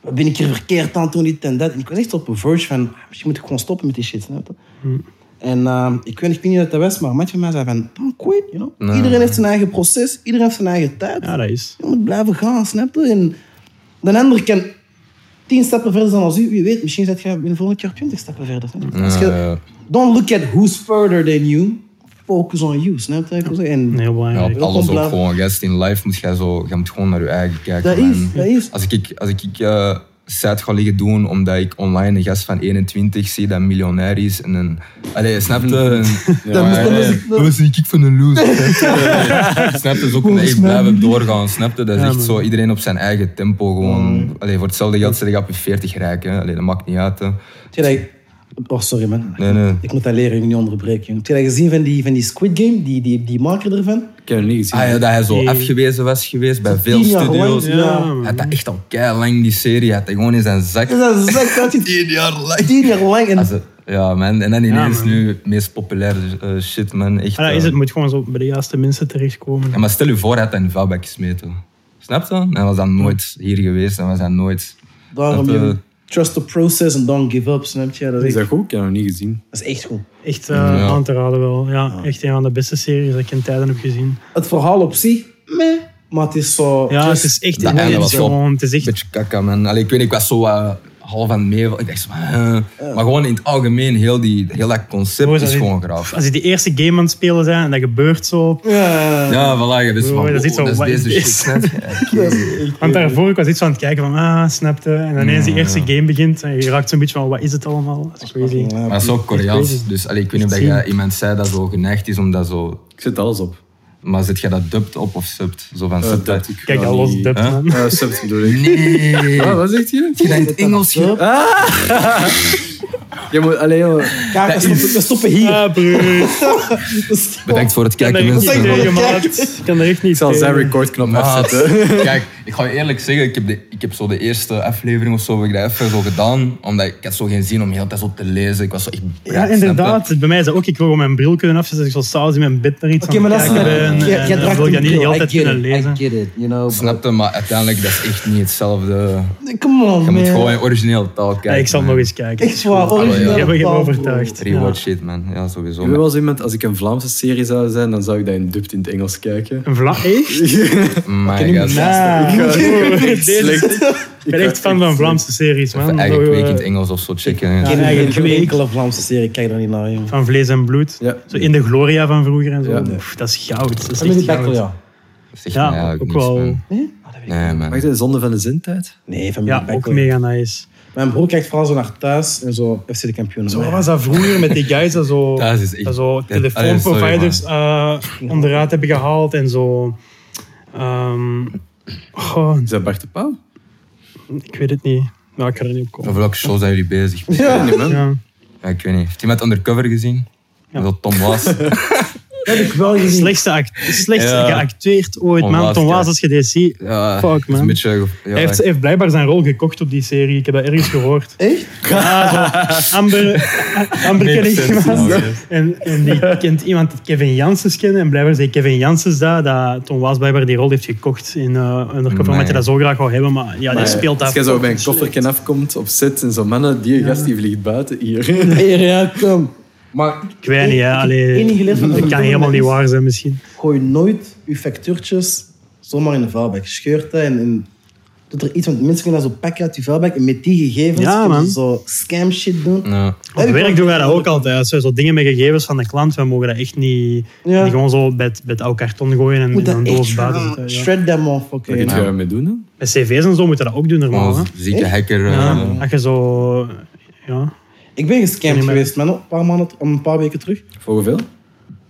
Wat ben ik hier verkeerd aan toen dit en dat. En ik was echt op een verge van, ah, misschien moet ik gewoon stoppen met die shit. Snap je?
Mm.
En ehm, ik weet ik weet niet wat dat was, maar een maatje van mij zei van, don't quit, you know. Iedereen heeft zijn eigen proces, iedereen heeft zijn eigen tijd.
Ja, dat is.
Je moet blijven gaan, snap je? En de ander kan tien stappen verder zijn als u. Wie weet, misschien zet je binnen volgend jaar twintig stappen verder. Snap je? Als je-
Ja, ja.
Don't look at who's further than you. Focus on you, snap je? wat ik wil zeggen? En
Heel
Ja,
belangrijk.
op alles ook
blijven.
gewoon. Gast, in live moet jij zo, je moet gewoon naar je eigen kijken.
Dat is,
man.
dat is.
Als ik, als ik eh site ga liggen doen omdat ik online een gast van 21 zie dat miljonair is en een... Allee, snap
[LAUGHS]
je? Een-
Dat
Ja,
moest- dat
ja,
moest
ja.
ik-
Dat was een kick van een loser.
[LAUGHS]
Snap je? Dus ook een echt blijven doorgaan. Snap je? Dat is echt zo, iedereen op zijn eigen tempo gewoon. Allee, voor hetzelfde geld zit ik op je 40 rijk. Hè. Allee, dat maakt niet uit. Hè.
Heb je dat- Oh, sorry man.
Nee, nee.
Ik moet dat leren, jullie niet onderbreken. jongen. Heb je dat gezien van die, van die Squid Game, die, die, die maker ervan?
Ik heb hem niet gezien.
Ah, ja, dat hij zo
Die-
afgewezen was geweest bij veel
tien jaar
studios.
lang, ja.
Hij had dat echt al lang die serie. Hij had dat gewoon in zijn zak.
Dus dat is echt dat
[LAUGHS]
je
Tien jaar lang.
tien jaar lang... En,
Als het- Ja, man. En dan ineens
man.
nu het meest populaire eh, shit, man. Echt,
Maar dat is
eh.
het. moet gewoon zo bij de juiste mensen terechtkomen.
Ja, maar stel je voor, hij had dat in de vuilbak gesmeten. Snap je? Dan was dan nooit hier geweest. en was dan nooit...
daarom,
dat, eh,
jongen, trust the process and don't give up, snap je? Dat is
Is
echt,
dat goed? Ik heb hem niet gezien.
dat is echt goed.
Echt eh, aan te raden wel. Ja, echt een van de beste series dat ik in tijden heb gezien.
Het verhaal op zich, meh, maar het is zo...
Ja,
just-
het is echt
Dat einde
intens
was wel
gewoon. Het is
Een
echt
beetje kakka, man. Allee, ik weet niet, ik was zo wat half aan het meevallen. Ik dacht, zo, huh. maar gewoon in het algemeen, heel, die, heel dat concept
Broer,
is
dat is-
gewoon graaf.
Als je die eerste game aan het spelen bent en dat gebeurt zo.
Ja,
Ja, voilà, je wist
Broer,
van,
dat is
wow,
iets zo,
dat is
wat
deze
is
shit.
dit?
snap je?
dat is echt-
Want daarvoor ik was iets aan het kijken van, ah, snapte. En ineens die eerste game begint en je raakt zo'n beetje van, wat is het allemaal? Dat is crazy.
Maar dat is ook Koreaans, dus allee, ik weet niet of dat
Zien.
je iemand zei dat zo geneigd is om dat zo...
Ik zet alles op.
Maar zit jij dat dubbed op of subbed? Zo van
Eh,
subbed.
dat ik
Kijk,
wel
al los
niet-
dub,
Huh?
[LAUGHS]
man.
Eh, subs bedoel ik.
[LAUGHS] Nee!
[LAUGHS]
Ah, wat zegt
[LAUGHS]
je?
Je denkt Engels, je-
Zo.
Je moet, allee, joh.
Kijk, we stoppen, we stoppen hier.
Ah, [LAUGHS] broer. Ik
Bedankt voor het
kan
kijken,
daar echt
mensen.
niet
mensen.
tegen, maat. Ik kan daar echt niet
Ik zal zijn
tegen.
recordknop
Maat,
afzetten.
Kijk, ik ga je eerlijk zeggen, ik heb, de, ik heb zo de eerste aflevering of zo, heb ik dat even zo gedaan, omdat ik had zo geen zin om heel tijd zo te lezen. Ik was zo echt
Ja,
braak, snap
inderdaad. Bij mij is dat ook. Ik wil gewoon mijn bril kunnen afzetten. dus Ik zal s'avonds in mijn bed naar iets
Oké,
aan
maar
het
dat is-
kijken
eh,
ben.
jij-
en
jij
dan
draagt
wil ik
een
dat niet
bril,
heel
I
tijd
get
kunnen
it,
lezen.
I get it, you know.
je? Snap je? Maar uiteindelijk, dat is echt niet hetzelfde.
Come on,
Je
man.
moet gewoon in origineel taal kijken.
Ja, ik zal
man.
nog eens kijken.
Echt waar,
ja.
origineel.
Je hebt
Paul,
me
bro.
overtuigd. Ja.
Rewatch shit, man. Ja, sowieso.
Ik ben wel zo iemand, als ik een Vlaamse serie zou zijn, dan zou ik dat in dubbed in het Engels kijken.
Een vla- Echt?
My god.
Nah.
Ik ga-
Broer, deze-
Slecht.
Ik ben echt fan van Vlaamse series, man.
Even eigen
Zo,
kweek
eh,
in het Engels of zo checken. hè.
Ik ken
Ja,
geen- geen
eigenlijk
enkele Vlaamse serie, ik kijk daar niet naar, jongen.
Van vlees en bloed.
Ja.
Zo in de gloria van vroeger en zo.
Ja.
Oef, dat is goud. Dat is
Family
echt
Back,
goud.
ja.
Dat zegt
Ja,
mij eigenlijk
ook
niks,
wel.
man.
Nee?
Nee,
Mag
man.
je de zonde van de zintijd?
Nee, Family
Ja,
Back,
ook
hoor.
mega nice.
Mijn broer kijkt vooral zo naar thuis en zo FC de kampioenen.
Zo wat was dat vroeger met die guys dat
[LAUGHS]
zo,
Dat is echt-
dat zo
dat-
telefoonproviders [LAUGHS] eh, onderuit hebben gehaald en zo. Ehm, goh,
Is dat Bart de Pauw?
ik weet het niet. Nou, ik kan er niet op komen.
Over welke show zijn jullie bezig?
Ja, nee, man.
Ja.
Ja, ik weet niet. Heeft iemand Undercover gezien?
Ja.
Dat Tom was.
Dat heb ik wel gezien.
Slechtste, act, slechtste
Ja.
geacteerd ooit,
Tom
man.
Waas,
Tom
ja.
Waas, als je dit ziet.
Ja,
Fuck,
is
man.
Een beetje, ja,
Hij heeft, hij heeft blijkbaar zijn rol gekocht op die serie. Ik heb dat ergens gehoord.
Echt?
Ja, zo.
[LAUGHS]
Amber, Amber ken ik
Makes sense now,
iemand.
yes.
En, en die kent iemand dat Kevin Janssens kent. En blijkbaar zei Kevin Janssens dat, dat Tom Waas blijkbaar die rol heeft gekocht in eh Undercover. Omdat je
Nee.
dat zo graag wou hebben. Maar ja, die speelt
Als
dat.
je zo bij een kofferken afkomt op set en zo mannen, die gast die vliegt buiten hier. [LAUGHS]
[LAUGHS] Hey, ja, kom. Maar
Ik weet niet, hè. Allee,
Eén ding geleerd van
dat kan
Undercover
helemaal niet
is-
waar zijn misschien.
gooi nooit je factuurtjes zomaar in de vuilbak. Scheurt dat en, en doet er iets, want mensen kunnen dat zo pakken uit die vuilbak en met die gegevens
Ja,
kunnen
man. Mm.
ze zo scam shit doen.
Ja.
Op
Heb ik
werk
wel-
doen wij dat ook altijd. Als we zo dingen met gegevens van de klant, we mogen dat echt niet...
Ja.
niet gewoon zo bij het, bij het oude karton gooien en
Moet
in een
dat echt
doos buiten
shred,
zetten. ja.
shred that
Wat
motherfucker. you
ga
know.
je daarmee doen? hè?
Met cv's en zo moeten we dat ook doen normaal. hè.
Gewoon een zieke hacker. eh,
Ja, als je zo... Ja.
Ik ben gescamd
Niet meer.
geweest, man, een paar, maanden, een paar weken terug.
Voor hoeveel?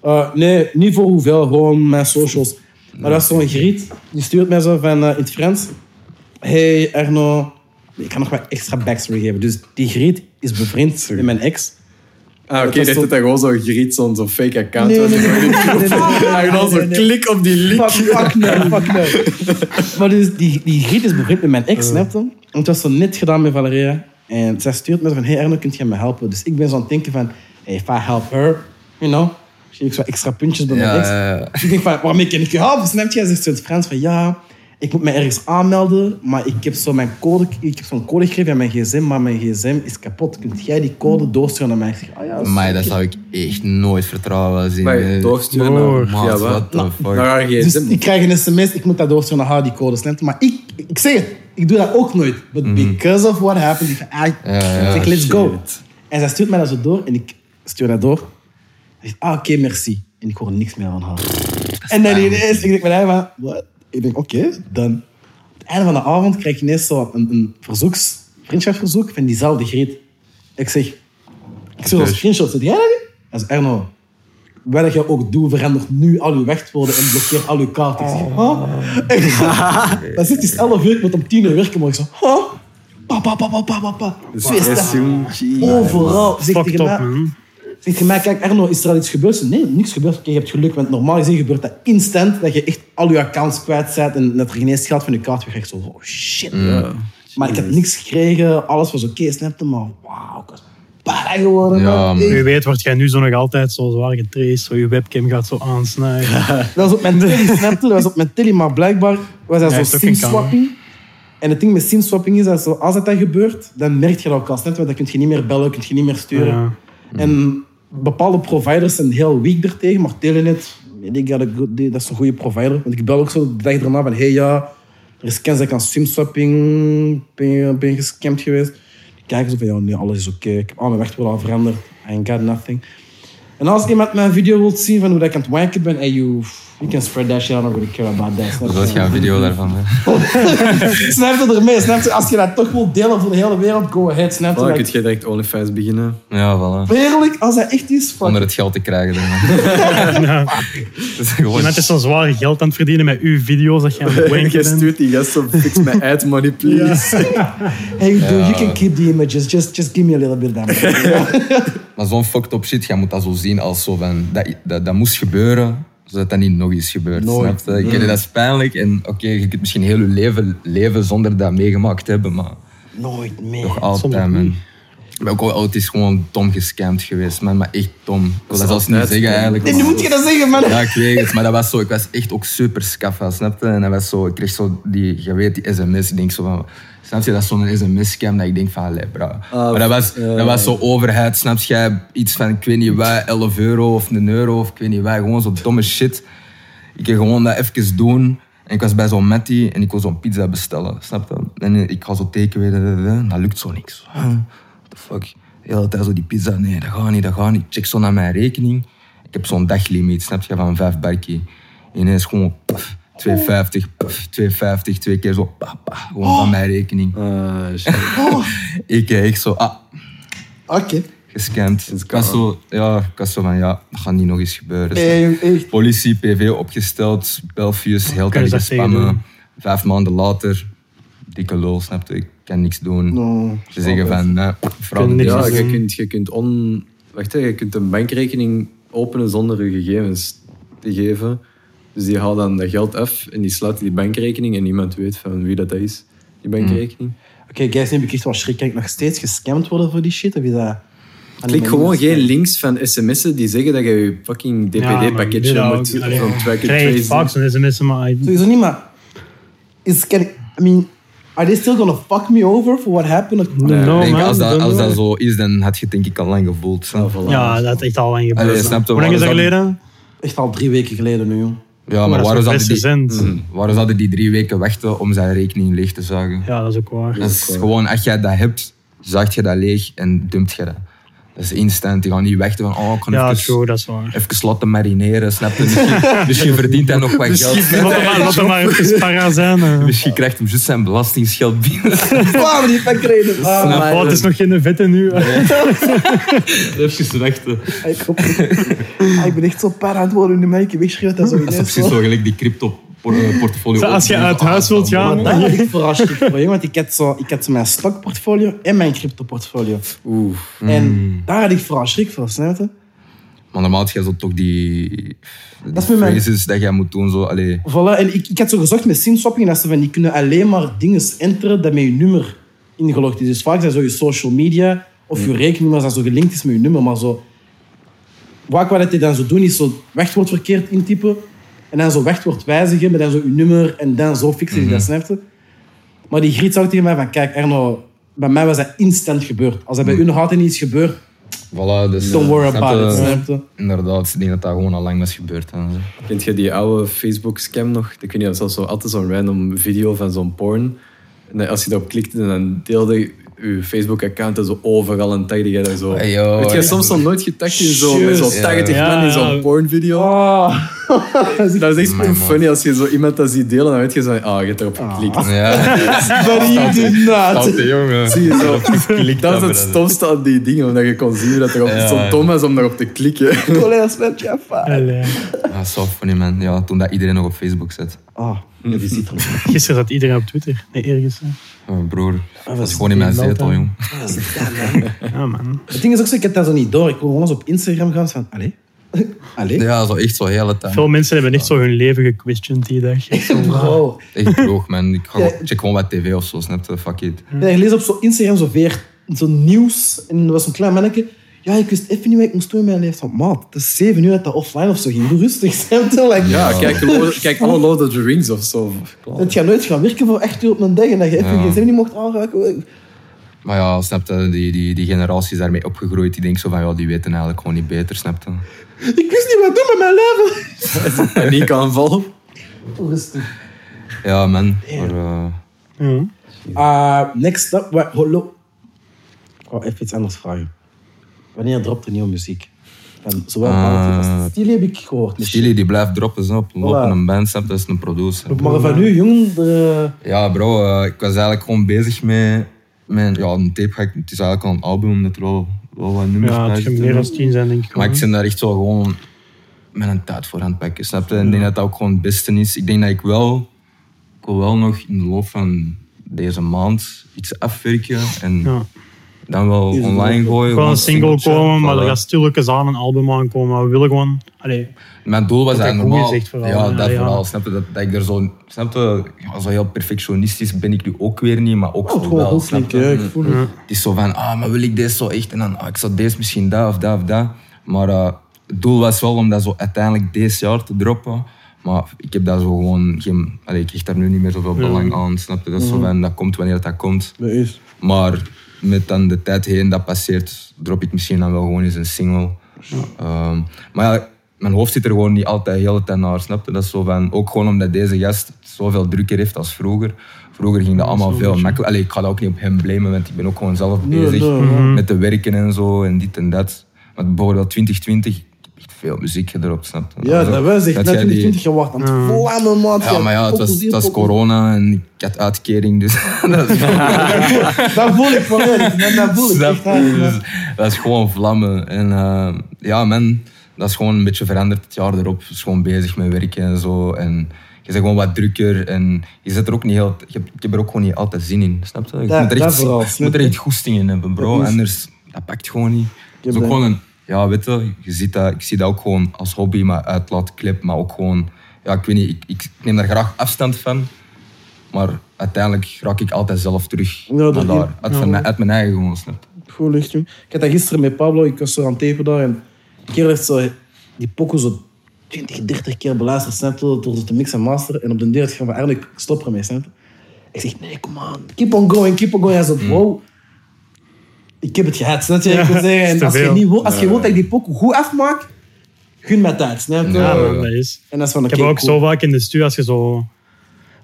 Eh, nee, niet voor hoeveel, gewoon mijn socials. Maar dat is zo'n griet, die stuurt mij zo van eh, in het Frans. Hey Arno, ik kan nog wat extra backstory geven. Dus die griet is bevriend met mijn ex.
Ah, oké,
Dat was
dat dit
zo-
dat gewoon zo'n griet, zo'n zo'n fake account.
Nee,
was. [LAUGHS]
nee, nee, nee, nee, nee, nee,
En dan
nee,
zo'n
nee.
klik op die link.
Fuck, fuck no, fuck no. [LAUGHS] Eh. Maar dus die, die griet is bevriend met mijn ex, snap je? Want het was zo net gedaan met Valeria. En zij stuurt me zo van, hey Arno, kunt jij me helpen? Dus ik ben zo aan het denken van, hey, if I help her, you know, zie ik zo extra puntjes bij mijn
Ja,
ex.
ja, ja.
Dus [LAUGHS] ik denk van, waarmee kan ik je Dus helpen? Snap je? Hij zegt zo in het Frans van, ja, ik moet me ergens aanmelden, maar ik heb zo mijn code, ik heb zo'n code gegeven aan mijn gsm, maar mijn gsm is kapot. Kunt jij die code doorsturen naar mij? Ik zeg, ah ja,
eh, Maar dat zou ik echt nooit vertrouwen als in.
Maar
eh,
doorsturen
Broer.
naar...
maat,
Ja,
what
wat?
the fuck.
Naar haar
Dus
gsm.
ik krijg een sms, ik moet dat doorsturen naar haar, die code, snap je? Maar ik, ik zeg het, ik doe dat ook nooit. But because of what happened, ik, I,
Mm. ja,
zeg, let's go.
shit.
En zij stuurt mij dat zo door en ik stuur dat door. Ik zeg, ah, oké, merci. En ik hoor niks meer van haar. En dan ineens, ik denk bij mij, maar wat? Ik denk, oké, dan. Op het einde van de avond krijg ik ineens zo een, een verzoeks, vriendschapsverzoek van diezelfde Griet. Ik zeg, ik stuur een
Dus.
screenshot, zit jij dat niet? Hij zegt, Erno, wat je ook doet, verandert nu al je wachtwoorden en blokkeer al je kaarten. Ik zeg, huh? Ik zeg, [LAUGHS] Dan zit hij 11 uur, ik moet om 10 uur werken, maar ik zeg, huh? Pa, pa, pa, pa, pa, pa, pa. Twee stappen.
Seizoen, gee.
Overal. Zeg
Fucked
tegen
up,
mij,
man.
zeg tegen mij, kijk Erno, is er al iets gebeurd? Ik zeg, Nee, niks gebeurd. Oké, je hebt geluk, want normaal gezien gebeurt dat instant, dat je echt al je accounts kwijt bent en dat er geen eens geld van je kaart weer krijgt. Zo, oh shit. Maar ik heb niks gekregen, alles was oké, snapte, maar wauw, ik was para geworden.
Ja,
man.
man.
Wie weet wordt jij nu zo nog altijd zo zwaar getraced. Zo je webcam gaat zo aansnijden.
Dat was op mijn telly,
[LAUGHS]
snap je? Dat was op mijn telly, maar blijkbaar was dat
Hij heeft
zo
ook geen
sim-swapping. En het ding met sim-swapping is dat zo, als dat dan gebeurt, dan merk je dat ook al snel, want dan kun je niet meer bellen, kun je niet meer sturen.
Ja.
En bepaalde providers zijn heel weak daartegen, maar Telenet, weet ik, ja, dat dat is een goede provider. Want ik bel ook zo de dag erna van, hey ja, er is kans dat ik aan sim-swapping ben, ben gescamd geweest. kijken. Zo van, ja, nee, alles is oké. Ik heb al mijn werk wel al veranderd. I ain't got nothing. En als iemand mijn video wilt zien van hoe dat ik aan het wanken ben, hey, you, you can spread that shit. I don't really care about that. Snap
Dat
je? [LAUGHS]
was een video daarvan. Hè.
Snap je ermee? Snap je? Als je dat toch wilt delen voor de hele wereld, go ahead. Snap je?
Dan
dat
kun je direct OnlyFans beginnen.
Ja, voilà.
Eerlijk, als dat echt is, fuck.
Onder het geld te krijgen. Dan.
Ja.
Dat is gewoon
Iemand is zo zwaar geld aan het verdienen met uw video's dat je aan het
[LAUGHS] [LAUGHS] Je
wanken bent.
stuurt die gast op fix my ad money, please.
Hey, dude, you can keep the images. Just, just give me a little bit of that.
Maar zo'n fucked up shit, jij moet dat zo zien als zo van... Dat, dat, dat moest gebeuren, zodat dat niet nog eens gebeurt.
Nooit. Mm.
Snap je? Ik weet dat is pijnlijk en oké, je kunt misschien heel je leven leven zonder dat meegemaakt te hebben, maar
Nooit
nog
meer.
altijd,
soms
man.
niet.
Ik ben ook wel oud, het is gewoon dom gescamd geweest, man. Maar echt dom. Ik wil
is
dat zelfs niet
altijd
zeggen,
dom.
eigenlijk.
Nee, [LAUGHS] nu moet je dat zeggen, man.
Ja, ik weet het, maar dat was zo. Ik was echt ook super scaffa, snap je? En dat was zo, ik kreeg zo die, je weet, die sms. Ik denk zo van, snap je, dat is zo'n sms-scam dat ik denk van, allee, bro. maar dat was, dat was zo overheid, snap je? Iets van, ik weet niet wat, 11 euro of een euro of ik weet niet wat. Gewoon zo domme shit. Ik ging gewoon dat even doen. En ik was bij zo'n Matty en ik wil zo'n pizza bestellen, snap je? En ik ga zo tekenen, da, da, da, en eh, dat lukt zo niks. Huh? What the fuck? De hele tijd zo die pizza, nee, dat gaat niet, dat gaat niet. Ik check zo naar mijn rekening. Ik heb zo'n daglimiet, snap je, van vijf barkie. Ineens gewoon, paf, 2,50, paf, 2,50, twee keer zo, pa, pa, gewoon van mijn rekening.
Ah, shit.
Ik eh, echt zo, ah,
Oké.
gescamd. Ik was zo, ja, ik was zo van, ja, dat gaat niet nog eens gebeuren.
Hey, jong, echt.
Politie, PV opgesteld, Belfius, heel tijd
Kunnen ze dat tegen
spammen.
doen?
Vijf maanden later, dikke lol, snapte ik, kan niks doen.
No.
Ze zeggen van, nee, fraude.
Kunnen niks
Ja,
Ja,
aan
je
doen.
kunt, je kunt on... Wacht, hè, je kunt een bankrekening openen zonder je gegevens te geven. Dus die haalt dan dat geld af en die sluit die bankrekening en niemand weet van wie dat is, die bankrekening.
Oké, guys, nu heb ik echt wel schrik. Kan ik nog steeds gescamd worden voor die shit? Of is dat...
Klik gewoon geen links van sms'en die zeggen dat je je fucking DPD-pakketje
Ja, maar
moet
doe dat ook.
van
Ik
track and
krijg
trace.
vaak
doen.
zo'n sms, maar ik-
Sowieso niet, maar... Is, can, I mean, are they still gonna fuck me over for what happened? Of-
no,
ik denk,
man,
als, dat,
don't
als
do
dat
it.
zo is, dan had je het denk ik al lang gevoeld. snap je?
voilà.
Ja, dat is echt al lang
Allee,
gebeurd.
snap je,
Hoe lang is dat
maar dat-
geleden?
Echt al drie weken geleden nu, jong.
Ja, maar
Maar dat
waarom
is nog
zouden,
best
die, Mm.
recent.
waarom zouden die drie weken wachten om zijn rekening leeg te zuigen?
Ja, dat is ook waar.
Dat is gewoon, als jij dat hebt, zuigt je dat leeg en dumpt je dat. Dat is instant. Je gaat niet wachten van, oh, ik kan
Ja,
even,
true, dat is
[LAUGHS]
waar.
even laten marineren, snap je? Misschien, [LAUGHS] misschien verdient hij nog wat geld.
Laat hem maar, laat hem maar even para zijn. hè.
Misschien krijgt hem juist zijn belastingsgeld binnen.
Waarom die [LAUGHS] fuck reden? Ah,
Maar Oh, het is nog geen vette nu.
[LAUGHS] Even wachten.
ik, hoop het. Ah, ik ben echt zo para aan het worden nu, man. Ik heb echt schrik dat dat zo
Dat is
ineens
precies
zo...
zo gelijk die crypto por- eh, portfolio.
Zo, [LAUGHS] als je
opnemen.
uit huis
Ah,
wilt
dan-
gaan.
Maar daar ben ik verrast voor, jong, want ik had, zo, ik had zo mijn stockportfolio en mijn cryptoportfolio.
Oeh.
En daar had ik vooral schrik van, snap je?
Maar normaal had jij zo toch die, die
Dat is met mij.
phrases dat jij moet doen. Zo, allee.
Voilà, en ik, ik had zo gezocht met simswapping dat ze van die kunnen alleen maar dingen enteren dat met je nummer ingelogd is. Dus vaak zijn zo je social media of je rekeningnummer dat zo gelinkt is met je nummer, maar zo... Wat ik wou dat die dan zo doen, is zo wachtwoord verkeerd intypen en dan zo wachtwoord wijzigen, maar dan zo je nummer en dan zo fixen je dat, snap je? Maar die Griet zou tegen mij van, kijk Erno, bij mij was dat instant gebeurd. Als dat bij u nog altijd niet is gebeurd,
Voilà, dus,
don't worry
snap
about it,
je?
snap je?
Inderdaad, ik denk dat dat gewoon al lang was gebeurd. hè.
Kent je die oude Facebook-scam nog? Ik weet niet, dat was zo, altijd zo'n random video van zo'n porn. En dan als je daarop klikte, dan deelde je je Facebook-account en zo overal en tagde jij dat zo.
Hey, yo,
Weet je,
ja.
soms nog nooit getagd in zo'n met zo'n
Juist.
80
Ja.
man in zo'n
Ja.
pornvideo.
Ah.
Dat is echt
Mijn man.
funny als je zo iemand dat ziet delen, dan weet je zo, ah, je hebt erop geklikt.
[LAUGHS] Ja,
But you did not.
altijd jongen. [LAUGHS]
Zie je zo.
Geklikt
Dat is
hebben,
het stomste aan die dingen, omdat je kon zien dat er op
Ja.
zo dom is om daarop te klikken.
Collega, snap je? Fuck.
Allee.
Ja, so Ah, funny man. Ja, toen dat iedereen nog op Facebook zat.
Ah, ja, die ziet er nog.
Gisteren zat iedereen op Twitter. Nee, eergisteren.
Mijn Oh, broer, dat
was
is gewoon in mijn
die
zetel,
meltdown?
jong.
Ah, zie dat, man.
Ja, man.
Het ding is ook zo, ik heb dat zo niet door. Ik wil gewoon eens op Instagram gaan van, allee? [LAUGHS] Allee?
Ja, zo echt zo hele tijd.
Veel mensen hebben echt zo hun leven gequestioned die dag. Echt zo,
Bro.
Echt droog, man. Ik ga gewoon- check gewoon wat tv of zo, snap je? Fuck it.
Ja, ik lees op zo Instagram zo weer zo'n nieuws. En er was een klein manneke. Ja, ik wist even niet wat ik moest doen in mijn leven. Van, maat, het is zeven uur dat dat offline of zo ging. Doe rustig, [LAUGHS] snap je? Like,
[LAUGHS] Ja, kijk, Lo- kijk alle Lord of the Rings of zo.
Het gaat nooit gaan werken voor echt uur op een dag. En dat je even
Ja.
geen zin niet mocht aanraken.
Maar ja, snap je? Die, die, die generaties daarmee opgegroeid, die denken zo van, ja, die weten eigenlijk gewoon niet beter, snap je?
Ik wist niet wat ik doen met mijn leven.
Paniekaanval.
Rustig.
Ja, man. Maar, eh,
Ja.
Eh, Ah, next up. Wat, hallo. Ik wou even iets anders vragen. Wanneer dropt er nieuwe muziek? Van zowel
Ah.
Bounty als Stili heb ik gehoord. Dus
Chili die blijft droppen zo, op
Voilà.
lopende een band, snap je? dat is een producer.
Maar van nu, jongen, de-
Ja, bro, eh, ik was eigenlijk gewoon bezig met. met ja, een tape ga ik. Het is eigenlijk al een album met er wel, wel wat nummers
Ja,
bij
het gaan
zitten.
meer dan tien zijn, denk ik.
Maar
wel.
ik ben daar echt zo gewoon met een tijd voor aan het pakken, snap je? En ik denk dat dat ook gewoon het beste is. Ik denk dat ik wel. Ik wil wel nog in de loop van deze maand iets afwerken en
Ja.
dan wel
Is het
online
wel-
gooien.
Er kan
gewoon
een single
singeltje,
komen, maar
voilà.
er gaat stilletjes aan een album aankomen. Maar we willen gewoon... Allee,
Mijn doel was
Dat hij
eigenlijk
goeie
normaal.
zegt vooral,
ja,
ja,
dat
ja.
vooral. Snap je? Dat, dat ik er zo. Snap je? Ja, zo heel perfectionistisch ben ik nu ook weer niet, maar ook
Oh,
zo
het gewoon
wel.
goed
Snap Mm.
klinken,
je?
ja, ik voel het.
Het is zo van, ah, maar wil ik deze zo echt? En dan, ah, ik zou deze misschien dat of dat of dat. Maar eh, het doel was wel om dat zo uiteindelijk deze jaar te droppen. Maar ik heb daar zo gewoon geen... Allee, ik hecht daar nu niet meer zoveel belang aan, snap je? Dat is zo van, dat komt wanneer dat komt.
Dat is.
Maar met dan de tijd heen dat passeert, drop ik misschien dan wel gewoon eens een single. Ehm, maar ja, mijn hoofd zit er gewoon niet altijd de hele tijd naar, snap je? Dat is zo van, ook gewoon omdat deze gast het zoveel drukker heeft als vroeger. Vroeger ging dat allemaal veel makkelijker. Allee, ik ga dat ook niet op hem blamen, want ik ben ook gewoon zelf
Nee,
bezig
nee,
met te werken en zo en dit en dat. Maar bijvoorbeeld 2020, ik heb echt veel muziek gedropt, snap je?
Ja,
is
dat
ook-
was echt.
dat
Na
jij die-
2020 gewacht aan het vlammen, man.
Ja, maar ja, het was, het was corona en ik had uitkering, dus [LAUGHS] dat is
Dat voel ik van
[LAUGHS]
hè. Dat voel ik echt.
Snap
hè.
je? Dus dat is gewoon vlammen. En eh, ja, man, dat is gewoon een beetje veranderd het jaar erop. Is gewoon bezig met werken en zo. En je bent gewoon wat drukker en je zit er ook niet heel... Je hebt, ik heb er ook gewoon niet altijd zin in, snap je? Je
Dat-
moet er
dat
echt,
vooral,
je
snap
moet er
je?
echt goesting in hebben, bro.
Dat is-
Anders, dat pakt gewoon niet. Het is
heb
ook
dat.
gewoon een... Ja, weet je, je ziet dat, ik zie dat ook gewoon als hobby, maar uitlaatklep, maar ook gewoon... Ja, ik weet niet, ik, ik neem daar graag afstand van. Maar uiteindelijk raak ik altijd zelf terug
Ja, Nou, dat
naar
hier-
daar. Uit, van mijn, uit mijn eigen gewoon, snap je?
Goed licht, jong. Ik had dat gisteren met Pablo, ik was zo aan het tapen daar. En de kerel heeft zo die pokoe zo 20, 30 keer beluisterd, snap je, door ze te mixen en masteren. En op de deur van, van eigenlijk ik stop ermee, snap je. Ik zeg, nee, come on, keep on going, keep on going. Hij
Hmm.
zegt, wow, ik heb het gehad, snap je. Ik
[LAUGHS]
wil zeggen,
is
en
te
als je,
veel.
niet wil, als je wilt dat ik die pokoe goed afmaak, gun mij tijd, snap je.
Ja,
ja, man,
ja.
dat is...
En dat is van,
Ik
oké,
heb ook
cool.
zo vaak in de studio, als je zo...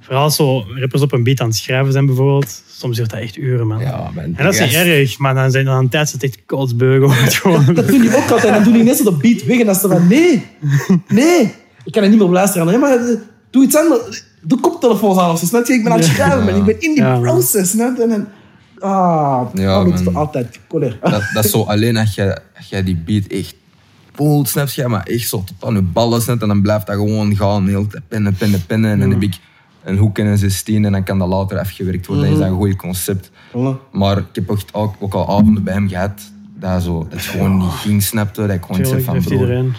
Vooral als zo rappers op een beat aan het schrijven zijn bijvoorbeeld. Soms duurt dat echt uren, man.
Ja, man.
En dat is niet
Yes.
erg, maar dan zijn dan een tijd zit het echt kotsbeugen. [LAUGHS] gewoon.
Dat doen die ook altijd. Dan doen die net zo de beat weg. En dan is het van, nee. Nee. Ik kan er niet meer op luisteren. Nee, maar eh, doe iets anders. Doe koptelefoons aan of zo. Snap je? Ik ben aan het schrijven, man. Ik ben in die
Ja, man.
process. Net. En, en, ah,
Ja,
ja, doet het
man.
altijd. Colère.
Dat, dat is zo alleen als jij, als jij die beat echt voelt, snap je? Maar echt zo tot aan je ballen snap je? En dan blijft dat gewoon gaan, heel te pinnen, pinnen, pinnen. En dan heb ik een hoek en een 16 en dan kan dat later afgewerkt worden. Dan is dat een goed concept.
Voilà.
Maar ik heb echt ook, ook al avonden bij hem gehad dat, zo, dat het gewoon niet ging, snapte. Dat ik gewoon zei
Tuurlijk,
van,
heeft
bro,
iedereen.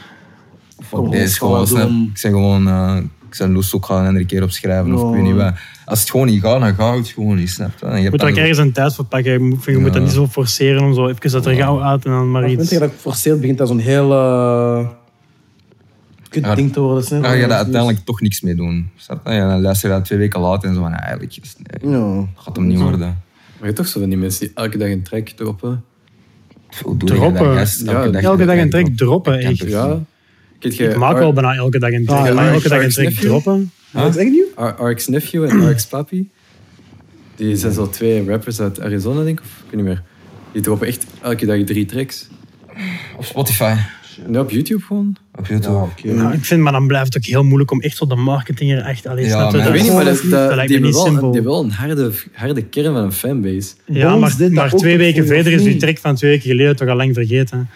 Fuck deze gewoon, snap. Ik zeg gewoon, eh, ik zou Loes ook gaan een andere keer opschrijven of ik weet niet wat. Als het gewoon niet gaat, dan gaat het gewoon niet, snap je? En je
Je
hebt
moet
dan
er ook
zo-
ergens een tijd voor pakken. Je moet, je moet dat niet zo forceren om zo even dat er gauw uit en dan maar
Weet
iets.
je dat ik forceerd begint dat zo'n heel... eh, kut
Oh, Ja,
ding te worden. Snap Dus-
Dan ga je
dus-
daar uiteindelijk toch niks mee doen. Snap je? Ja, dan luister je dat twee weken later en zo van, "Ah, eigenlijk is het- nee,
Ja.
gaat hem niet worden.
Maar je hebt toch zo van die mensen die elke dag een track droppen?
Hoe doe je
Droppen.
dat? gast?
Ja,
elke dag een
trek
track droppen,
Dat kan
echt.
toch Dus niet?
Ja. Kijk, jij
Ik maak
R-
wel bijna elke dag een track.
Ah,
maar
ja,
elke dag een
Sharks
track
Nephew.
droppen.
Wat zeg je nu?
R- RX Nephew en RX Papi. Die zijn zo twee rappers uit Arizona, denk ik. Of ik weet niet meer. Die droppen echt elke dag drie tracks.
Op Spotify,
En op YouTube gewoon.
op YouTube.
Nou, ik vind, maar dan blijft het ook heel moeilijk om echt zo de marketing er echt alleen
Ja,
snap
maar
je?
Ik
Dat
weet
is-
niet, maar dat, dat,
dat,
die
lijkt me
hebben
niet
wel, die
simpel.
hebben wel een harde, harde kern van een fanbase.
ja,
Bones
maar,
deed dat
maar
ook
twee
op
weken
Voice
verder is
of
die
Me.
track van twee weken geleden toch al lang vergeten.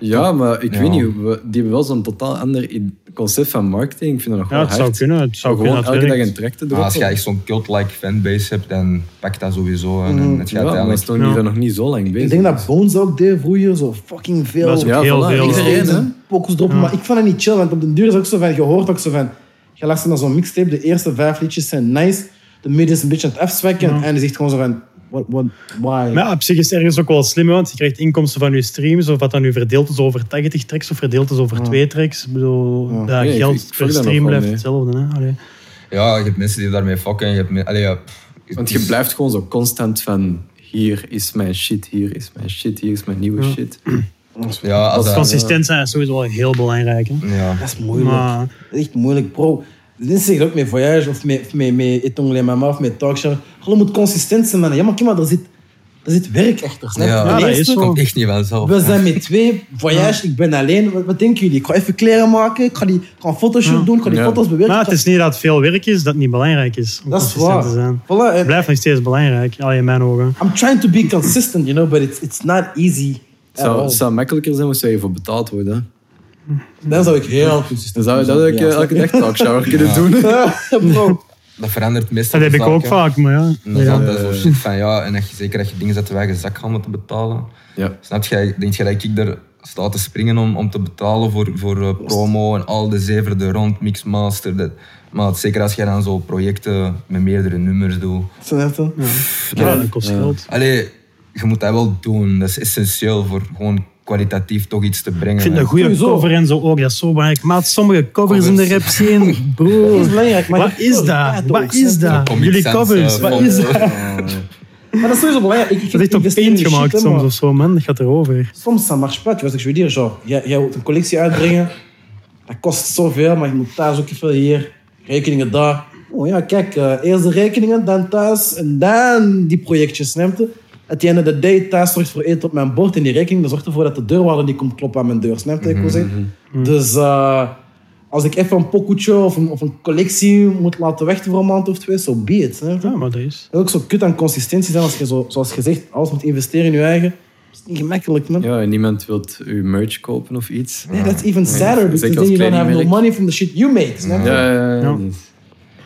Ja, maar ik
Ja.
weet niet. hoe we- Die hebben wel zo'n totaal ander i- concept van marketing. Ik vind dat nog
Ja,
wel
het zou
hard.
kunnen. Het zou
Om gewoon
kunnen dat
elke dag een
werkt.
track te
Maar
droppen.
Ah, als je echt zo'n cult-like fanbase hebt, dan pak dat sowieso. En, en het
Mm, ja, maar
gaat
dat is
uiteindelijk...
toch niet,
Ja.
nog niet zo lang bezig.
Ik denk dat Bones ook deed vroeger zo fucking veel.
Dat is ook
Ja,
heel
voilà.
veel.
Iedereen, hè?
pokus droppen. Maar ik vond het niet chill, want op de duur is ook zo van... Je hoort ook zo van... Je luistert naar zo'n mixtape, de eerste vijf liedjes zijn nice. De midden is een beetje aan het afzwekken. En hij zegt gewoon zo van... What, what, why?
Maar ja, op zich is het ergens ook wel slim, want je krijgt inkomsten van je streams, of wat dan nu verdeeld is over 80 tracks of verdeeld is over twee tracks. Ik bedoel, dat
Nee, ik- ik
geld
volg
per
dat nog
stream
wel
blijft
mee.
hetzelfde. Hè? Allee.
Ja, je hebt mensen die daarmee fokken. Je hebt... me- Allee, ja, pff, het
Want je
Dus-
is-
blijft gewoon zo constant van... Hier is mijn shit, hier is mijn shit, hier is mijn nieuwe shit.
Ja, als dat-
Consistent zijn is sowieso wel heel belangrijk. Hè?
Ja.
Dat is moeilijk.
Maar-
Dat is echt moeilijk, bro. Mensen zeggen ook met Voyage of met, met, met Etongole Mama of met Talkshow. Gewoon moet consistent zijn, man. Ja, maar kijk maar, er zit... Er zit werk achter, snap je?
Ja.
De
Ja,
dat is
eerste-
zo.
Komt echt niet vanzelf.
we zijn met twee, voyage, ik ben alleen. Wat, wat denken jullie? Ik ga even kleren maken, ik ga, die, ik ga een fotoshoot doen, ik ga die
Ja.
foto's bewerken.
Maar het is niet dat het veel werk is, dat het niet belangrijk is. om
dat is
consistent
waar.
Te zijn.
Voilà,
Het
en-
blijft nog steeds belangrijk, al in mijn ogen.
I'm trying to be consistent, you know, but it's, it's not easy.
Het
at
zou,
all.
het zou makkelijker zijn als je voor betaald worden. hè.
Dan zou ik heel consistent [LAUGHS]
Dan zou je dat ook
zijn.
eh, elke dag
[LAUGHS]
talkshower kunnen doen.
Ja, bro.
Dat verandert meestal.
Dat heb ik
snap
ook
je?
vaak, maar ja.
En dan
Ja.
zat dat zo shit van ja, en dat je zeker dat je dingen zet waar je zakhandel te betalen.
Ja.
Snap je, denk je dat ik daar sta te springen om, om te betalen voor, voor eh, promo en al de zeverden rond, mixmaster. Dat, maar zeker als jij dan zo projecten met meerdere nummers doet.
Snap je?
Ja, dat kost geld.
Allee, je moet dat wel doen. Dat is essentieel voor gewoon kwalitatief toch iets te brengen.
Ik vind een goede
Sowieso.
cover en zo ook, dat is zo belangrijk. Maat, sommige covers in de rap zien, bro.
Dat is belangrijk, maar
Wat is dat? Wat is dat?
Comic
Jullie
Sans,
covers,
eh,
wat
van-
is [LAUGHS] dat?
Maar dat is sowieso belangrijk. Ik, ik,
Dat is echt op
investeer in
paint
die
gemaakt
shit, hè,
soms
man.
of zo, man. Dat gaat erover.
Soms dat marche pas, tu vois ce que je veux dire. Genre, jij, jij wilt een collectie uitbrengen, dat kost zoveel, maar je moet thuis ook even hier, rekeningen daar. Oh ja, kijk, eh, eerst de rekeningen, dan thuis en dan die projectjes, neemt je? At the end of the day, thuis zorgt voor eten op mijn bord en die rekening dat zorgt ervoor dat de deurwaarder niet komt kloppen aan mijn deur, snap je? Ik wil zeggen. Dus eh, als ik even een pokoetje of een, of een collectie moet laten wachten voor een maand of twee, zo so be it, snap je?
Ja, maar dat is.
Dat is ook zo kut aan consistentie zijn als je, zo, zoals gezegd, alles moet investeren in je eigen. Dat is niet gemakkelijk, man.
ja, en niemand wilt je merch kopen of iets.
Nee, that's even sadder dus
Zeker
because then
als
you don't
kleine
have no
merk.
money from the shit you made. snap je?
Ja, ja, ja.
Ja.
Dus-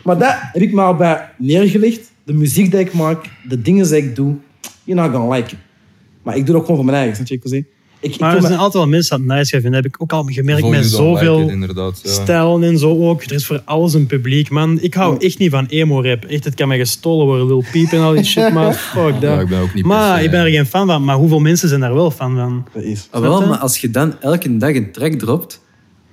Maar dat heb ik me al bij neergelegd. De muziek die ik maak, de dingen die ik doe, you're not gonna like it. Maar ik doe dat gewoon voor mijn eigen, snap je wat ik wil zeggen? Ik, ik
Maar
doe
er zijn
mijn-
altijd wel mensen dat het nice vinden. Dat heb ik ook al gemerkt
Voor
met
je dan lijkt
zoveel
het inderdaad, ja.
stijlen en zo ook. Er is voor alles een publiek, man. Ik hou echt niet van emo-rap. Echt, het kan mij gestolen worden. Lil Peep en al die shit, maar fuck
Ja,
dat.
ik ben ook niet per
Maar
se-
ik ben er geen fan van. Maar hoeveel mensen zijn daar wel fan van?
Dat is.
Ah, wel,
Snap je?
maar als je dan elke dag een track dropt,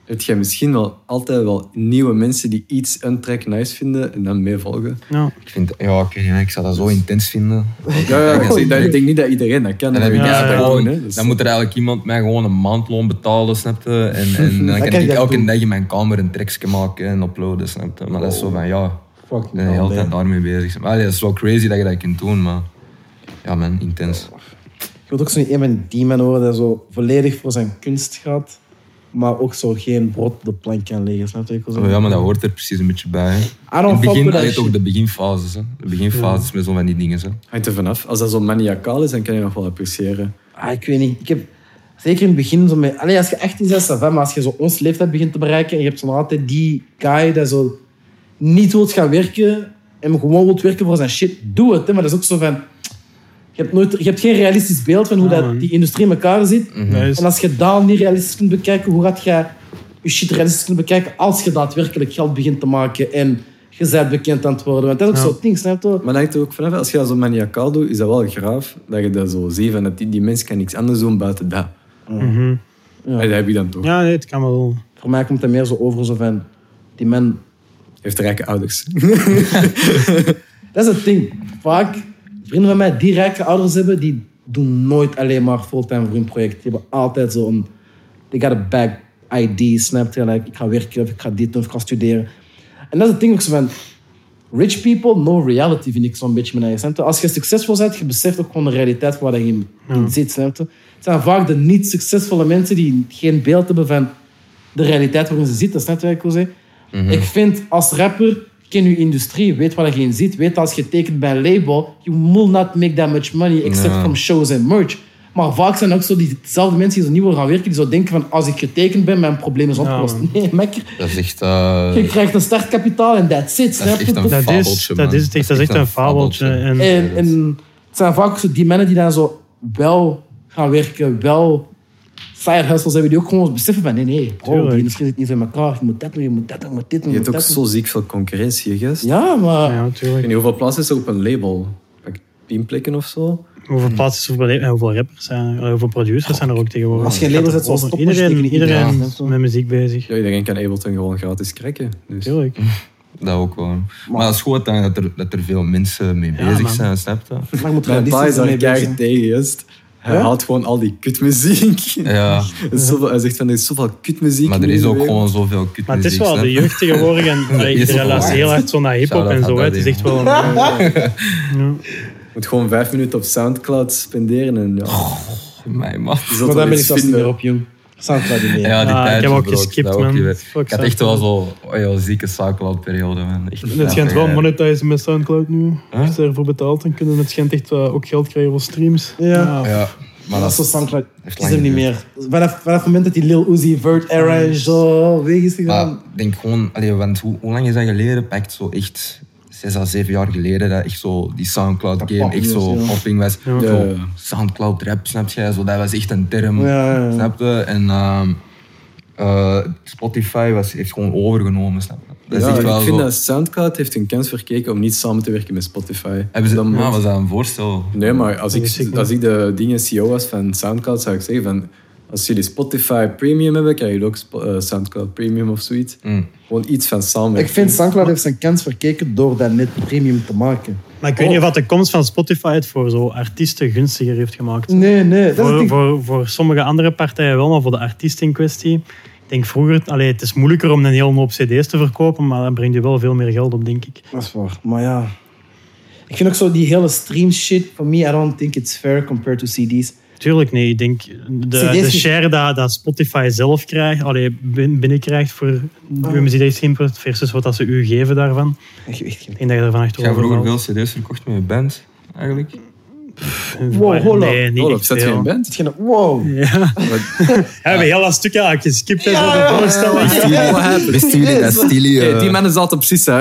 heb je misschien wel altijd wel nieuwe mensen die iets een track nice vinden en dan meevolgen.
Ja.
Ik vind, ja, ik, weet niet, ik zou dat zo
Dus-
intens vinden.
[LAUGHS]
Ja, ja,
Oh,
ik, zeg dat, ik denk niet dat iedereen dat kan.
En dan, heb ik
maar
ja,
dat
eigenlijk
kan
gewoon-
doen, hè. Dus-
dan moet er eigenlijk iemand mij gewoon een maandloon betalen, snap je? En, en dan kan
kan
ik
je
elke
doen.
dag in mijn kamer een trackje maken en uploaden, snap je? Maar dat is zo van, ja,
Fuck, oh,
ik ben de
man,
hele
man.
tijd daarmee bezig. Maar allee, dat is wel crazy dat je dat kunt doen, maar... Ja man, intens.
Ik wil ook zo niet iemand die man horen dat zo volledig voor zijn kunst gaat, maar ook zo geen brood op de plank kan leggen, snap je wat ik wil
Oh
zeggen?
ja, maar dat hoort er precies een beetje bij. Hè.
I don't
In het
fuck
begin,
with that
allee, toch
shit.
de beginfases. Hè. De beginfases met zo van die dingen. Hè.
Hangt er vanaf. Als dat zo maniacaal is, dan kan je nog wel appreciëren.
Ah, ik weet niet. Ik heb zeker in het begin zo met. Allee, als je 18 bent, ça va, maar als je zo ons leeftijd begint te bereiken en je hebt zo nog altijd die guy dat zo niet wilt gaan werken en gewoon wilt werken voor zijn shit, doe het. Hè. Maar dat is ook zo van. Je hebt, nooit, je hebt geen realistisch beeld van hoe
Ja, Ah, man.
dat die industrie in elkaar zit.
Dat is-
En als je dat niet realistisch kunt bekijken, hoe gaat je je shit realistisch kunnen bekijken als je daadwerkelijk geld begint te maken en je bent bekend aan het worden? Want dat is ook
Ja.
zo'n ding, snap je? wel?
Maar dat hangt er ook vanaf. Als je dat zo maniacaal doet, is dat wel graaf dat je dat zo ziet. En dat die, die mens kan niks anders doen buiten dat.
Mhm.
En dat heb je dan toch.
Ja, nee, het kan wel.
Voor mij komt het meer zo over zo van. Die man
Heeft rijke ouders. [LAUGHS]
Dat is het ding. Vaak, vrienden van mij die rijke ouders hebben, die doen nooit alleen maar fulltime voor hun project. Die hebben altijd zo'n... They got a bag ID, snap je? Like, ik ga werken, of ik ga dit doen, of ik ga studeren. En dat is het ding ook zo van... Rich people, no reality, vind ik zo'n beetje mijn eigen. snap je? Als je succesvol bent, je beseft ook gewoon de realiteit waar je in, in zit, snap je? Het zijn vaak de niet succesvolle mensen die geen beeld hebben van de realiteit waarin ze zitten, snap je wat ik wil zeggen?
Mhm.
Ik vind als rapper, ken je industrie, weet waar je in zit, weet als je tekent bij een label, you will not make that much money except
Ja.
from shows and merch. Maar vaak zijn ook zo diezelfde mensen die zo nieuw willen gaan werken, die zo denken van als ik getekend ben, mijn probleem is opgelost.
man.
nee, mekker.
Dat is echt... eh,
Je krijgt een startkapitaal en that's it.
dat
Snap
is echt
je?
een
Dat is,
fabeltje, man.
dat is, het echt, dat is echt een fabeltje. En,
En, en het zijn vaak ook zo die mannen die dan zo wel gaan werken, wel side hustles hebben, die ook gewoon beseffen van nee, nee, bro,
Tuurlijk.
die industrie zit niet zo in elkaar. Je moet dat doen, je moet dat doen, je moet dit doen,
Je
je
hebt
moet
ook
dat doen.
zo ziek veel concurrentie, gast.
Ja, maar...
ja,
Ik
natuurlijk.
weet niet hoeveel plaats is er op een label. Like tien plekken of zo.
Hm.
Hoeveel plaatsen, hoeveel, en hoeveel rappers zijn er, eh, hoeveel producers zijn er ook tegenwoordig.
Als je een
Het
label
gaat
zet zoals
erover.
Stoppers,
Iedereen,
tekenen iedereen
iedereen
aan,
is
hè, zo.
met muziek bezig.
Ja, iedereen kan Ableton gewoon gratis cracken. Dus.
Tuurlijk.
Dat ook wel. Maar, dat is goed dat dat er, dat er veel mensen mee
Ja,
bezig
man.
zijn, snap je?
Maar je moet
Mijn pa is
realistisch
daar
ermee bezig
keihard
zijn.
tegen, gast. Hij
Ja?
haalt gewoon al die kutmuziek. [LAUGHS]
Ja,
Er is zoveel, hij zegt van, er is zoveel kutmuziek.
maar
nu
er
in
is
de
ook
wereld.
gewoon zoveel kutmuziek,
Maar het is wel
snap
de
je? [LAUGHS]
jeugd tegenwoordig en
is
ik
wel
relatie
waar.
heel hard zo naar hip-hop
Shout-out
en zo.
aan
hè. Het is
Daddy.
echt wel een. Ja.
moet gewoon vijf minuten op Soundcloud spenderen en ja,
Mij, man.
je zult
Maar
wel
daar ben ik
iets
zelfs niet
vinden.
meer op, jong. Soundcloud niet meer.
Ja, die
Ja, ik
tijd.
heb ook geskipt, man. Fuck
Ik had echt wel
Soundcloud.
zo oh, ja, zieke Soundcloud-periode, man. Echt,
Het schijnt wel
ja.
monetizen met Soundcloud nu.
Huh?
Als je daarvoor betaalt, dan kunnen het schijnt echt eh, ook geld krijgen voor streams.
Ja.
Ja, maar
Maar
dat
dat is zo
is...
Soundcloud.
heeft
Het is
lang
hem niet meer. Vanaf, vanaf het moment dat die Lil Uzi Vert era en zo weg is
Maar
gegaan.
ik denk gewoon, allee, want hoe, hoe lang is dat geleden? Pakt zo echt zes à zeven jaar geleden dat echt zo die
Dat
Soundcloud-game echt zo
popping was, ja.
popping was.
Ja.
Zo,
Ja, ja.
Soundcloud-rap, snap je? Zo, dat was echt een term,
Ja, ja, ja.
snap je? En ehm, eh, Spotify was, heeft gewoon overgenomen, snap je? Dat is
Ja,
echt wel
ik vind
zo.
dat Soundcloud heeft een kans verkeken om niet samen te werken met Spotify.
Hebben ze, Ah,
Dan
ja,
moet-
was dat een voorstel?
Nee, maar als
Dat is
ik,
zeker.
als ik de dingen CEO was van Soundcloud, zou ik zeggen van... Als jullie Spotify Premium hebben, krijgen jullie ook Spo- eh, Soundcloud Premium of zoiets.
Mm.
Gewoon iets van
ik
samenwerking.
vind Soundcloud heeft zijn kans verkeken door dat net premium te maken.
Maar ik weet niet of dat de komst van Spotify het voor zo artiesten gunstiger heeft gemaakt.
Nee, nee. Dat is het
Voor,
ding.
voor, voor sommige andere partijen wel, maar voor de artiest in kwestie. Ik denk vroeger, allee, het is moeilijker om een hele hoop CD's te verkopen, maar dat brengt je wel veel meer geld op, denk ik.
Dat is waar. Maar ja. Ik vind ook zo die hele stream shit. For me, I don't think it's fair compared to CD's.
Tuurlijk, nee. Ik denk de,
CD's
de
is-
share dat, dat Spotify zelf krijgt, allee, bin- binnenkrijgt voor
Ah.
uw muziekdienst versus wat dat ze u geven daarvan.
Ik weet geen-
Ik denk dat je daarvan
Jij
achterover
vroeger
valt.
veel cd's verkocht met je band, [LAUGHS] eigenlijk?
Wow, hola.
Nee, niet
Olaf,
echt
zet je
veel.
een band?
Het ging- Wow.
Ja, we heel dat stuk ja, geskipt en zo de voorstelling.
Wisten jullie dat Stili...
Hey,
eh,
die man is altijd precies, hè.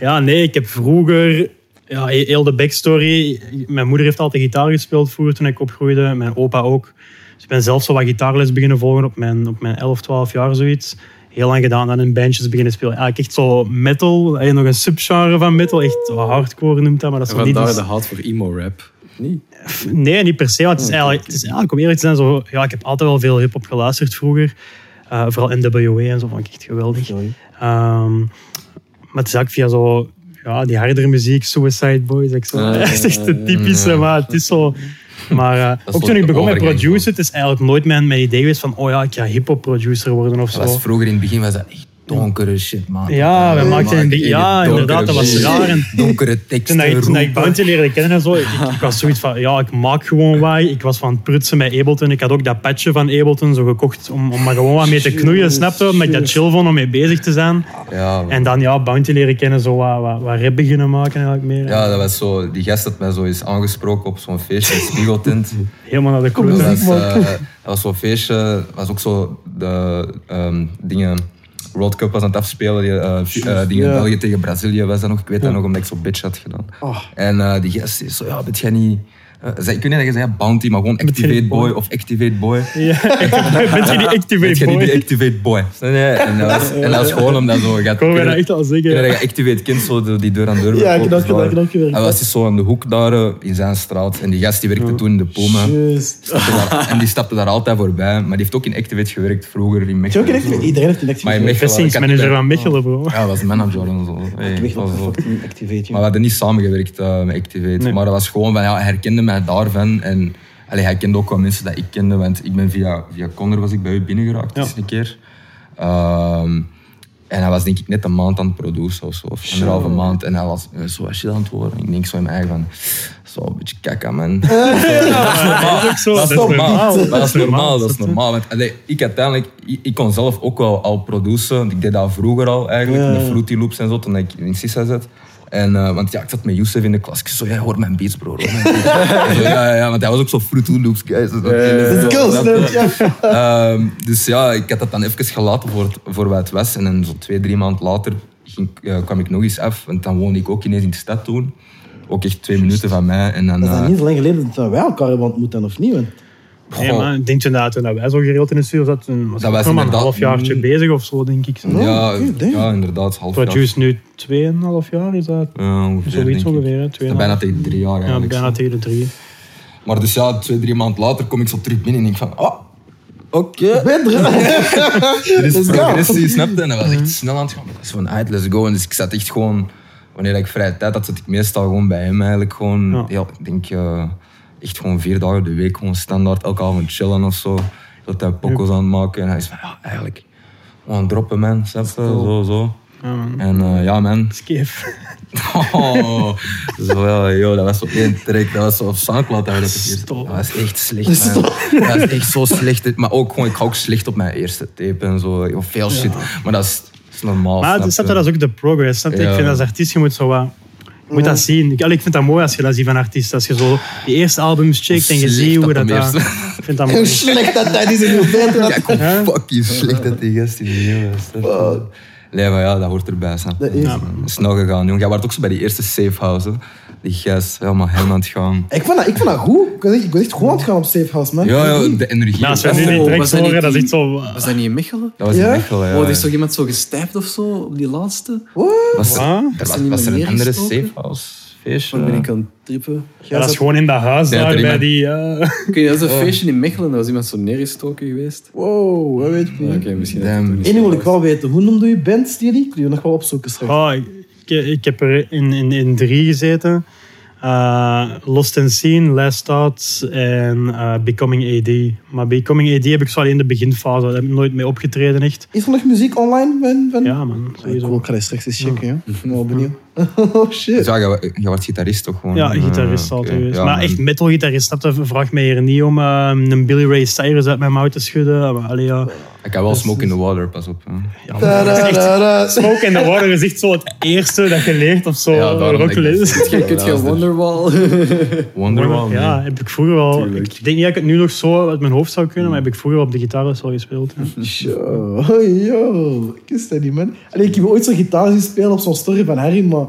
Ja, nee, ik heb vroeger... Ja, he- heel de backstory. Mijn moeder heeft altijd gitaar gespeeld vroeger toen ik opgroeide. Mijn opa ook. Dus ik ben zelf zo wat gitaarles beginnen volgen op mijn, op mijn 11, 12 jaar zoiets. Heel lang gedaan aan in bandjes beginnen spelen. Eigenlijk echt zo metal. eh, Nog een subgenre van metal. Echt hardcore noemt dat, maar dat is zo niet...
Vandaar
iets-
de haat voor emo-rap. Nee.
Nee, niet per se.
Oh,
Want het is eigenlijk, het is eigenlijk om eerlijk te zijn, zo, ja, ik heb altijd wel veel hip-hop geluisterd vroeger. Eh, vooral NWA en zo vond ik echt geweldig.
Sorry.
Ehm, maar het is ook via zo, ja, die hardere muziek, Suicide Boys. Ik zo,
Ah,
dat is [LAUGHS] echt de typische, maar het is zo. Maar eh,
is
ook
zo
toen ik
de
begon met
overgang,
produceren, het is eigenlijk nooit mijn, mijn idee geweest van, oh ja, ik ga hip-hop producer worden of zo.
Dat was vroeger in het begin was dat echt donkere shit, man.
Ja, wij
we
maakten in die-
echt
ja,
donkere
inderdaad, dat was
shit.
raar en-
Donkere
[LAUGHS] Toen
teksten,
dat ik, toen dat ik
roepen.
Bounty leerde kennen en zo, ik, ik was zoiets van, ja, ik maak gewoon waai. Ik was van het prutsen met Ableton. Ik had ook dat patchje van Ableton zo gekocht om, om maar gewoon wat mee te knoeien, snap je? Omdat ik dat chill vond om mee bezig te zijn.
Ja, man.
En dan, ja, Bounty leren kennen, zo wat, wat, wat rap beginnen maken eigenlijk meer.
ja, dat was zo... Die gast had mij zo eens aangesproken op zo'n feestje, een spiegeltint. [LAUGHS]
Helemaal naar de
Dat
kloot.
was, eh, dat was zo'n feestje, was ook zo de ehm, dingen... World Cup was aan het afspelen, die, eh, fi- eh, dingen
ja.
België tegen Brazilië was dat nog. Ik weet dat nog, omdat ik zo bitch had gedaan.
Oh.
En eh, die gast is zo, ja, weet jij niet... eh, zei- ik weet niet dat je zei, ja, Bounty, maar gewoon
Weet je
Activate
niet,
Boy of Activate Boy.
Ja, [LAUGHS] bent je die
Weet
activate
je niet die
boy?
Activate Boy? Nee, nee. En dat was, en dat was gewoon omdat zo... Gaat,
Kon mij dat echt al zeggen.
Kun je dat Activate Kind zo door die deur aan deur
Ja, ik heb dat gedaan, ik
open
heb dat
draaien?
gewerkt.
Hij was dus zo aan de hoek daar eh, in zijn straat. En die gast die werkte toen in de Poma.
Juist.
Stapte daar- En die stapte daar altijd voorbij. Maar die heeft ook in Activate gewerkt vroeger in
Heb je
Mechelen.
ook een activate? Iedereen heeft een
Maar in
activate.
Mechelen...
Vestigingsmanager
ik had-
van Mechelen, bro.
Ja, dat was manager en zo. Hey,
Ik weet
dat
wat
was
de
zo.
fuck niet activate,
Oh, Maar
joh.
we hadden niet samengewerkt eh, met Activate. Maar dat was gewoon van, ja, hij herkende mij daarvan. En allee, hij kende ook wel mensen dat ik kende. Want ik ben via, via Connor was ik bij u binnengeraakt eens een keer. Ehm, en hij was denk ik net een maand aan het produceren of zo. Of anderhalve maand. En hij was eh, zo was je aan het worden. Ik denk zo in mijn eigen van, zo een beetje kakka man.
dat is ook
Ah,
zo.
Dat is normaal. Maar dat is normaal, dat is
snap je?
normaal. Want allee, ik uiteindelijk, ik, ik kon zelf ook wel al produceren. want Ik deed dat vroeger al eigenlijk,
Ja,
met
ja.
Fruity Loops en zo, toen ik in Sissa zat. En, eh, want ja, ik zat met Youssef in de klas. Ik zei, jij hoort mijn beats, bro. hoor mijn beats. En zo, ja, ja, ja, want hij was ook zo Fruity Loops, guys. Dus dat-
Let's go, snap
dat-
je?
Ehm, dus ja, ik had dat dan even gelaten voor, het- voor wat het was. En dan zo twee, drie maanden later ging, ik- eh, kwam ik nog eens af. Want dan woonde ik ook ineens in de stad toen. Ook echt twee minuten van mij. En dan,
Dat is
eh,
dan niet zo lang geleden dat wij elkaar hebben ontmoet, dan, of niet? Want
Nee,
goh,
maar ik denk toen dat, toen dat wij zo gereeld in de studio zaten, toen was
Dat
ik
was
nog maar een
inderdaad Mm.
half jaartje bezig of zo, denk ik.
Oh,
ja,
oké, damn.
ja, inderdaad. Half jaar.
Produce nu 2,5 jaar is dat.
Ja, ongeveer,
Zoiets
denk ik.
ongeveer, hè,
Dat is bijna
2,5.
tegen drie jaar
Ja,
eigenlijk.
bijna tegen de drie.
Maar dus ja, twee, drie maanden later kom ik zo terug binnen en ik van, oh, oké.
[LAUGHS]
Dit is
Let's go.
progressie, snap je? En dat was
Mhm.
echt snel aan het gaan. Ik was van, uit, let's go. En dus ik zat echt gewoon, wanneer ik vrije tijd had, zat ik meestal gewoon bij hem eigenlijk. Gewoon,
Ja.
heel, ik denk, eh, echt gewoon vier dagen de week, gewoon standaard, elke avond chillen of zo. Heel de tijd pokkels aan het maken. En hij is van, ja, eigenlijk, gewoon droppen man, snap je? Zo, zo.
Ja, man.
En eh, ja, man.
Skeef.
Oh, zo, ja, joh, dat was op één trek. Dat was op Soundcloud. Dat, we dat, verkeerd-
Stop.
dat was echt slecht, man. Dat was echt zo slecht. Maar ook gewoon, ik ga ook slecht op mijn eerste tape en zo. Joh, veel shit. Maar dat is, dat is normaal.
Maar
snap
dat, snap
je?
je, dat is dus ook de progress. Snap je?
Ja.
Ik vind als artiest, je moet zo wat... Je moet dat zien. Ik, allee, ik vind dat mooi als je dat ziet van artiest. Als je zo die eerste albums checkt en je
Slecht
ziet hoe
op
dat...
de
dat
eerste.
ik vind dat
Hoe
mooi.
slecht dat dat is in de verte.
Kijk hoe fucking slecht dat die gast in de Nee, maar ja, dat hoort erbij. Snap. je?
Dat is-
Ja, man. Dat is snel gegaan, jong. Jij was ook zo bij die eerste safe house. hè. Die gast, helemaal hem aan het gaan.
Ik vond dat, ik vond dat goed. Ik was echt, ik was echt goed aan het gaan op Safe House, man.
Ja, ja, de energie.
Maar als we
was
nu
er.
niet
was
direct
dat niet
horen, dat is
die-
echt zo...
Was dat niet in Mechelen?
Dat was in
Ja?
Mechelen, ja.
Oh, er is toch iemand zo gestijfd of zo op die laatste?
Was er,
Wat?
er was,
er niet
was er
meer
een andere
gestoken?
safe house feestje?
Waar ben ik aan het trippen?
Ja, dat is gewoon in dat huis
Ja,
daar,
drie
bij
man.
die... eh, [LAUGHS]
Oké, dat is een feestje in Mechelen. Daar was iemand zo neergestoken geweest.
Wow, dat weet ik
Ja,
niet.
Oké, misschien. dat
Damn.
het niet
Eén ding wil
zo
ik wel weten. Hoe noemde je band, Stevie? Ik wil je nog wel opzoeken straks.
Oh, ik, ik heb er in, in, in drie gezeten. Eh, Lost in Scene, Last Thoughts en eh, Becoming AD. Maar Becoming AD heb ik zo alleen de beginfase. Daar heb ik nooit mee opgetreden echt.
Is er nog muziek online? Ben, ben?
Ja man,
Ik
sowieso.
wil- ik ga dat straks eens checken, ja. Ik ben wel benieuwd. [LAUGHS] Oh, shit.
Dus ja, jij wa- jij wordt gitarist toch gewoon?
Ja, gitarist
Ah, oké.
altijd geweest.
Ja,
maar
man.
echt metalgitarist, snap je? Vraag mij hier niet om eh, een Billy Ray Cyrus uit mijn mouw te schudden. Maar, allee, ja.
Ik heb wel smoke in the water, pas op. hè.
Ja,
Da,
dat
da,
is echt-
da, da.
Smoke in the Water is echt zo het eerste dat je leert of zo.
Ja, daarom denk ik
Rockles.
dat het-
is. Kijk, Kunt [LAUGHS] je
Ja, dat is de-
Wonderwall?
Wonderwall, nee.
Ja, heb ik vroeger al.
Tuurlijk.
Ik denk niet dat ik het nu nog zo uit mijn hoofd zou kunnen, maar heb ik vroeger op de gitaar dus al gespeeld. ja.
Yo, yo. Ik wist dat niet, man. Allee, ik heb ooit zo'n gitaar zien spelen op zo'n story van Harry, maar...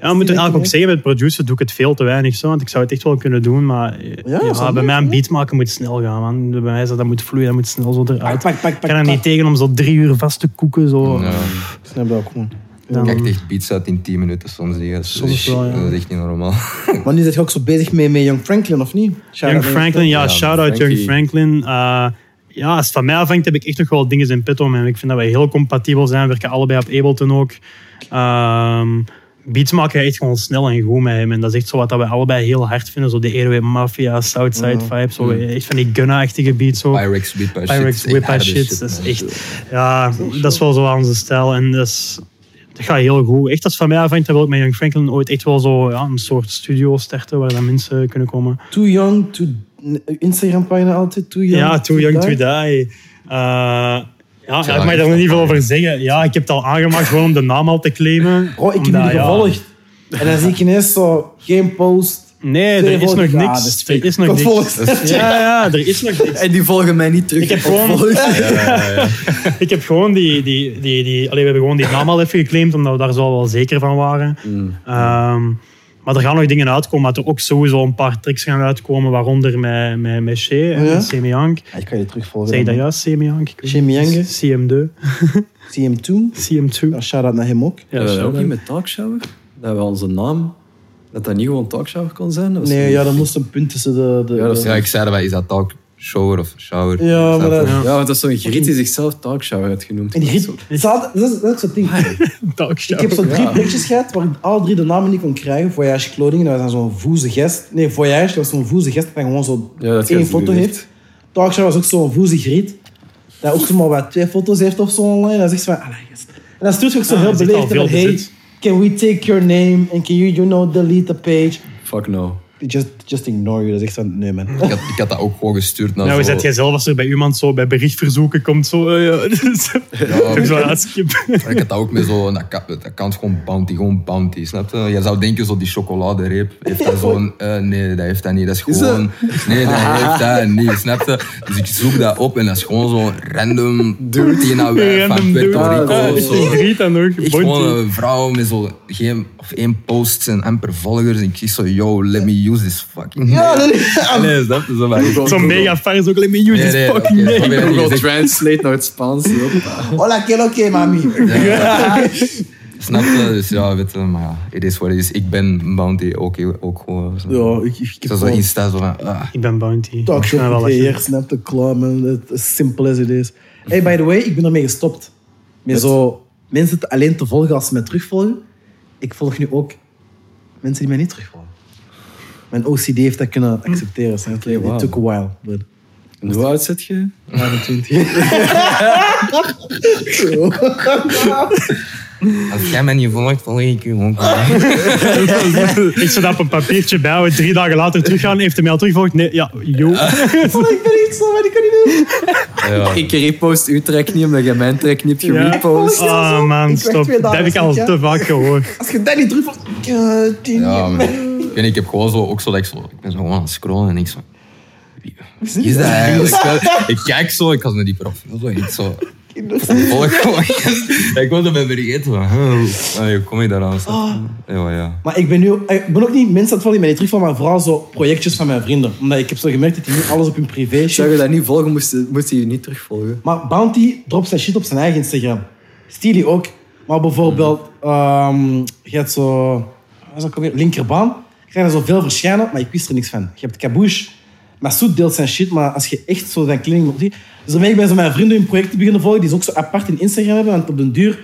Ja, ik moet er eigenlijk ook zeggen, met producer doe ik het veel te weinig zo, want ik zou het echt wel kunnen doen, maar eh,
Ja,
ja,
dat is wel
bij
leuk,
mij een
hè?
beat maken moet snel gaan, man. Bij mij is dat, dat moet vloeien, dat moet snel zo
Pak,
eruit.
pak, pak,
ik
pak.
kan er
pak.
niet tegen om zo drie uur vast te koeken, zo.
Ja.
Ik snap dat ook gewoon.
Dan-
Kijk, echt beats uit in 10 minuten soms. Die gast.
Soms
Dat is-
wel, ja.
Dat is echt niet
[LAUGHS]
normaal.
Maar nu zit je ook zo bezig mee met Young Franklin, of niet? Shout-out
Young
naar
Franklin, ja,
Ja,
shout-out Young
Frankie.
Franklin. Eh, ja, als het van mij afhangt, heb ik echt nog wel dingen in petto. Man. Ik vind dat wij heel compatibel zijn. We werken allebei op Ableton ook. Ehm, beats maken echt gewoon snel en goed met hem. En dat is echt zo wat dat wij allebei heel hard vinden. Zo de Airway Mafia, Southside Vibe. Zo echt van die gunna-achtige beats. Zo.
Pyrex, Whip Out
Pyrex,
Shit.
Whip Out
Harde
Shit. Dat
man.
is echt... Ja, dat is wel zo aan onze stijl. En dat, is, dat gaat heel goed. Echt, als het van mij afhangt, dan wil ik met Young Franklin ooit echt wel zo ja, een soort studio starten waar dan mensen kunnen komen.
Too Young, too... Instagram-pagina altijd, Too Young.
Ja, Too Young To
Die.
Die. Eh, ja, ja, ik
lang
mag
is
daar
dat
nog niet veel
al?
over zeggen. Ja, ik heb het al aangemaakt gewoon om de naam al te claimen.
Bro, Oh, ik heb
Omdat,
jullie
ja.
gevolgd. En dan zie ik ineens zo... Geen post.
Nee, er is nog
dus
niks. Er is nog niks. [LAUGHS] Ja, ja, er is nog niks.
[LAUGHS] En die volgen mij niet terug.
Ik heb
op [LAUGHS]
gewoon-
volg.
Ik heb gewoon die... die, die, die allee, we hebben gewoon die naam al even geclaimd, omdat we daar zo wel zeker van waren.
Mm.
Ehm, maar er gaan nog dingen uitkomen, maar er ook sowieso een paar tricks gaan uitkomen, waaronder met, met, met Shea en
Ja.
met Semi Hank.
Ik kan je terugvolgen.
Zeg je dat juist, Semi Hank? Ik weet
Semi
niet.
Hank, hè?
CM2.
Zie hem toen.
CM2.
Ja, shout-out naar hem ook.
Ja,
Hebben we dat
shout-out.
ook niet met Talkshower? Dat we onze naam... Dat dat niet gewoon Talkshower kon zijn? Dat was
Nee,
niet-
ja, dan moest een punt tussen de... de
Ja, dat is-
Ja, ik zei daarbij, is dat talk shower of shower?
Ja, maar dat-
Ja, want dat is zo'n griet die zichzelf Talkshower had genoemd.
En die rit... Ze hadden- Dat is, dat is het ding.
Ah,
Ik
Talkshow.
heb zo'n drie plekjes gehad waar ik al drie de namen niet kon krijgen. Voyage Clothing, dat was dan zo'n voeze gest. Nee, Voyage, dat was zo'n voeze gest dat gewoon zo
Ja, dat
één
gast
foto
die
heeft. Talkshow was ook zo'n voeze griet. Dat ook zomaar wat twee foto's heeft of zo online. Dat is echt van, allee, gast. En dan stuurt je ook zo
Ah,
heel
er zit al
beleefd.
veel
van, Hey,
bezit.
can we take your name and can you, you know, delete the page?
Fuck no.
They Just, just ignore you. Dat is echt van, nee man.
Ik had, ik had dat ook gewoon gestuurd naar
Nou,
zo...
zet jij zelf als er bij iemand zo bij berichtverzoeken komt, zo. eh, [LAUGHS] ja, dus, doe zo aan skip.
Maar ik had dat ook met zo'n account, het account gewoon bounty, gewoon bounty, snap je? Je zou denken, zo die chocoladereep, heeft dat zo'n... eh, nee, dat heeft dat niet, dat is gewoon... Nee, dat heeft dat niet, snap je? Dus ik zoek dat op en dat is gewoon zo'n random Tina wijf van
[LAUGHS] Random dude.
Puerto
Ah,
Rico of
is
zo.
die griet dan nog.
Echt gewoon eh,
Bounty.
een vrouw met zo geen, of één post en amper volgers. En ik zie zo, yo, let me use this fucking...
Ja, nee, nee.
nee, snap je? Zo, maar
[LAUGHS]
echt-
Zo'n mega fans ook. Let me use
Nee,
this
nee,
fucking
oké,
name.
probeer dat niet
Google
gezegd.
[LAUGHS] Translate naar het Spaans. hoppa.
[LAUGHS] Hola, quiero que mami.
Snap je? Dus ja, weet je, maar ja, it is what it is. Ik ben Bounty ook, ook gewoon. Zo.
Ja, ik, ik, ik heb
zo, zo
wel-
Insta, zo van, ah.
Ik ben Bounty.
Talk
Ik ben
shop
wel echt-
creëer, snap de klaar, man. Het is simpel as it is. Hey, by the way, ik ben ermee gestopt. Met zo mensen te- alleen te volgen als ze mij terugvolgen. Ik volg nu ook mensen die mij niet terugvolgen. Mijn OCD heeft dat kunnen accepteren. Snap je? It
wauw.
took a while, but [LAUGHS]
En hoe oud zit je?
25.
Als jij mij niet volgt, volg ik je gewoon.
[LAUGHS]
[LAUGHS] Ik zet op een papiertje bij, we drie dagen later teruggaan, heeft hij mij al teruggevolgd. Nee, ja, yo.
Van, ik ben iets, maar ik kan niet doen.
Ja.
Ik repost uw track niet, omdat jij mijn track niet hebt
Ja.
gerepost.
Ja,
Ah
zo. Ik
man,
werd
stop.
twee
Dat
dagen
heb ik al
ziek, hè.
te vaak gehoord.
Als je dat niet terug... eh,
Ja,
Ja,
man. Ik weet niet, ik heb gewoon zo, ook zo, dat ik zo, ik ben zo gewoon aan het scrollen en ik zo, wie is dat eigenlijk? Wel, ik kijk zo, ik had naar die profiel zo en ik zo, volg gewoon. [LAUGHS] Ja, ik was dat bij vergeten van, huh, allee, hoe kom je daar aan?
Ah.
Ja, ja.
Maar ik ben nu eh, ik ben ook niet mensen aan het vallen in mijn terug van, maar vooral zo projectjes van mijn vrienden. Omdat ik heb zo gemerkt dat die nu alles op hun privé
Zou
shit.
je dat niet volgen, moest, moest je je niet terugvolgen.
Maar Bounty dropt zijn shit op zijn eigen Instagram. Steely ook. Maar bijvoorbeeld, ehm, je hebt zo... wat is dat ook alweer? Linkerbaan. Ik krijg er zoveel verschijnen, maar ik wist er niks van. Je hebt Kaboosh. Massoud deelt zijn shit, maar als je echt zo zijn kleding op ziet... Dus daarmee ik ben zo mijn vrienden hun projecten beginnen volgen, die ze ook zo apart in Instagram hebben, want op den duur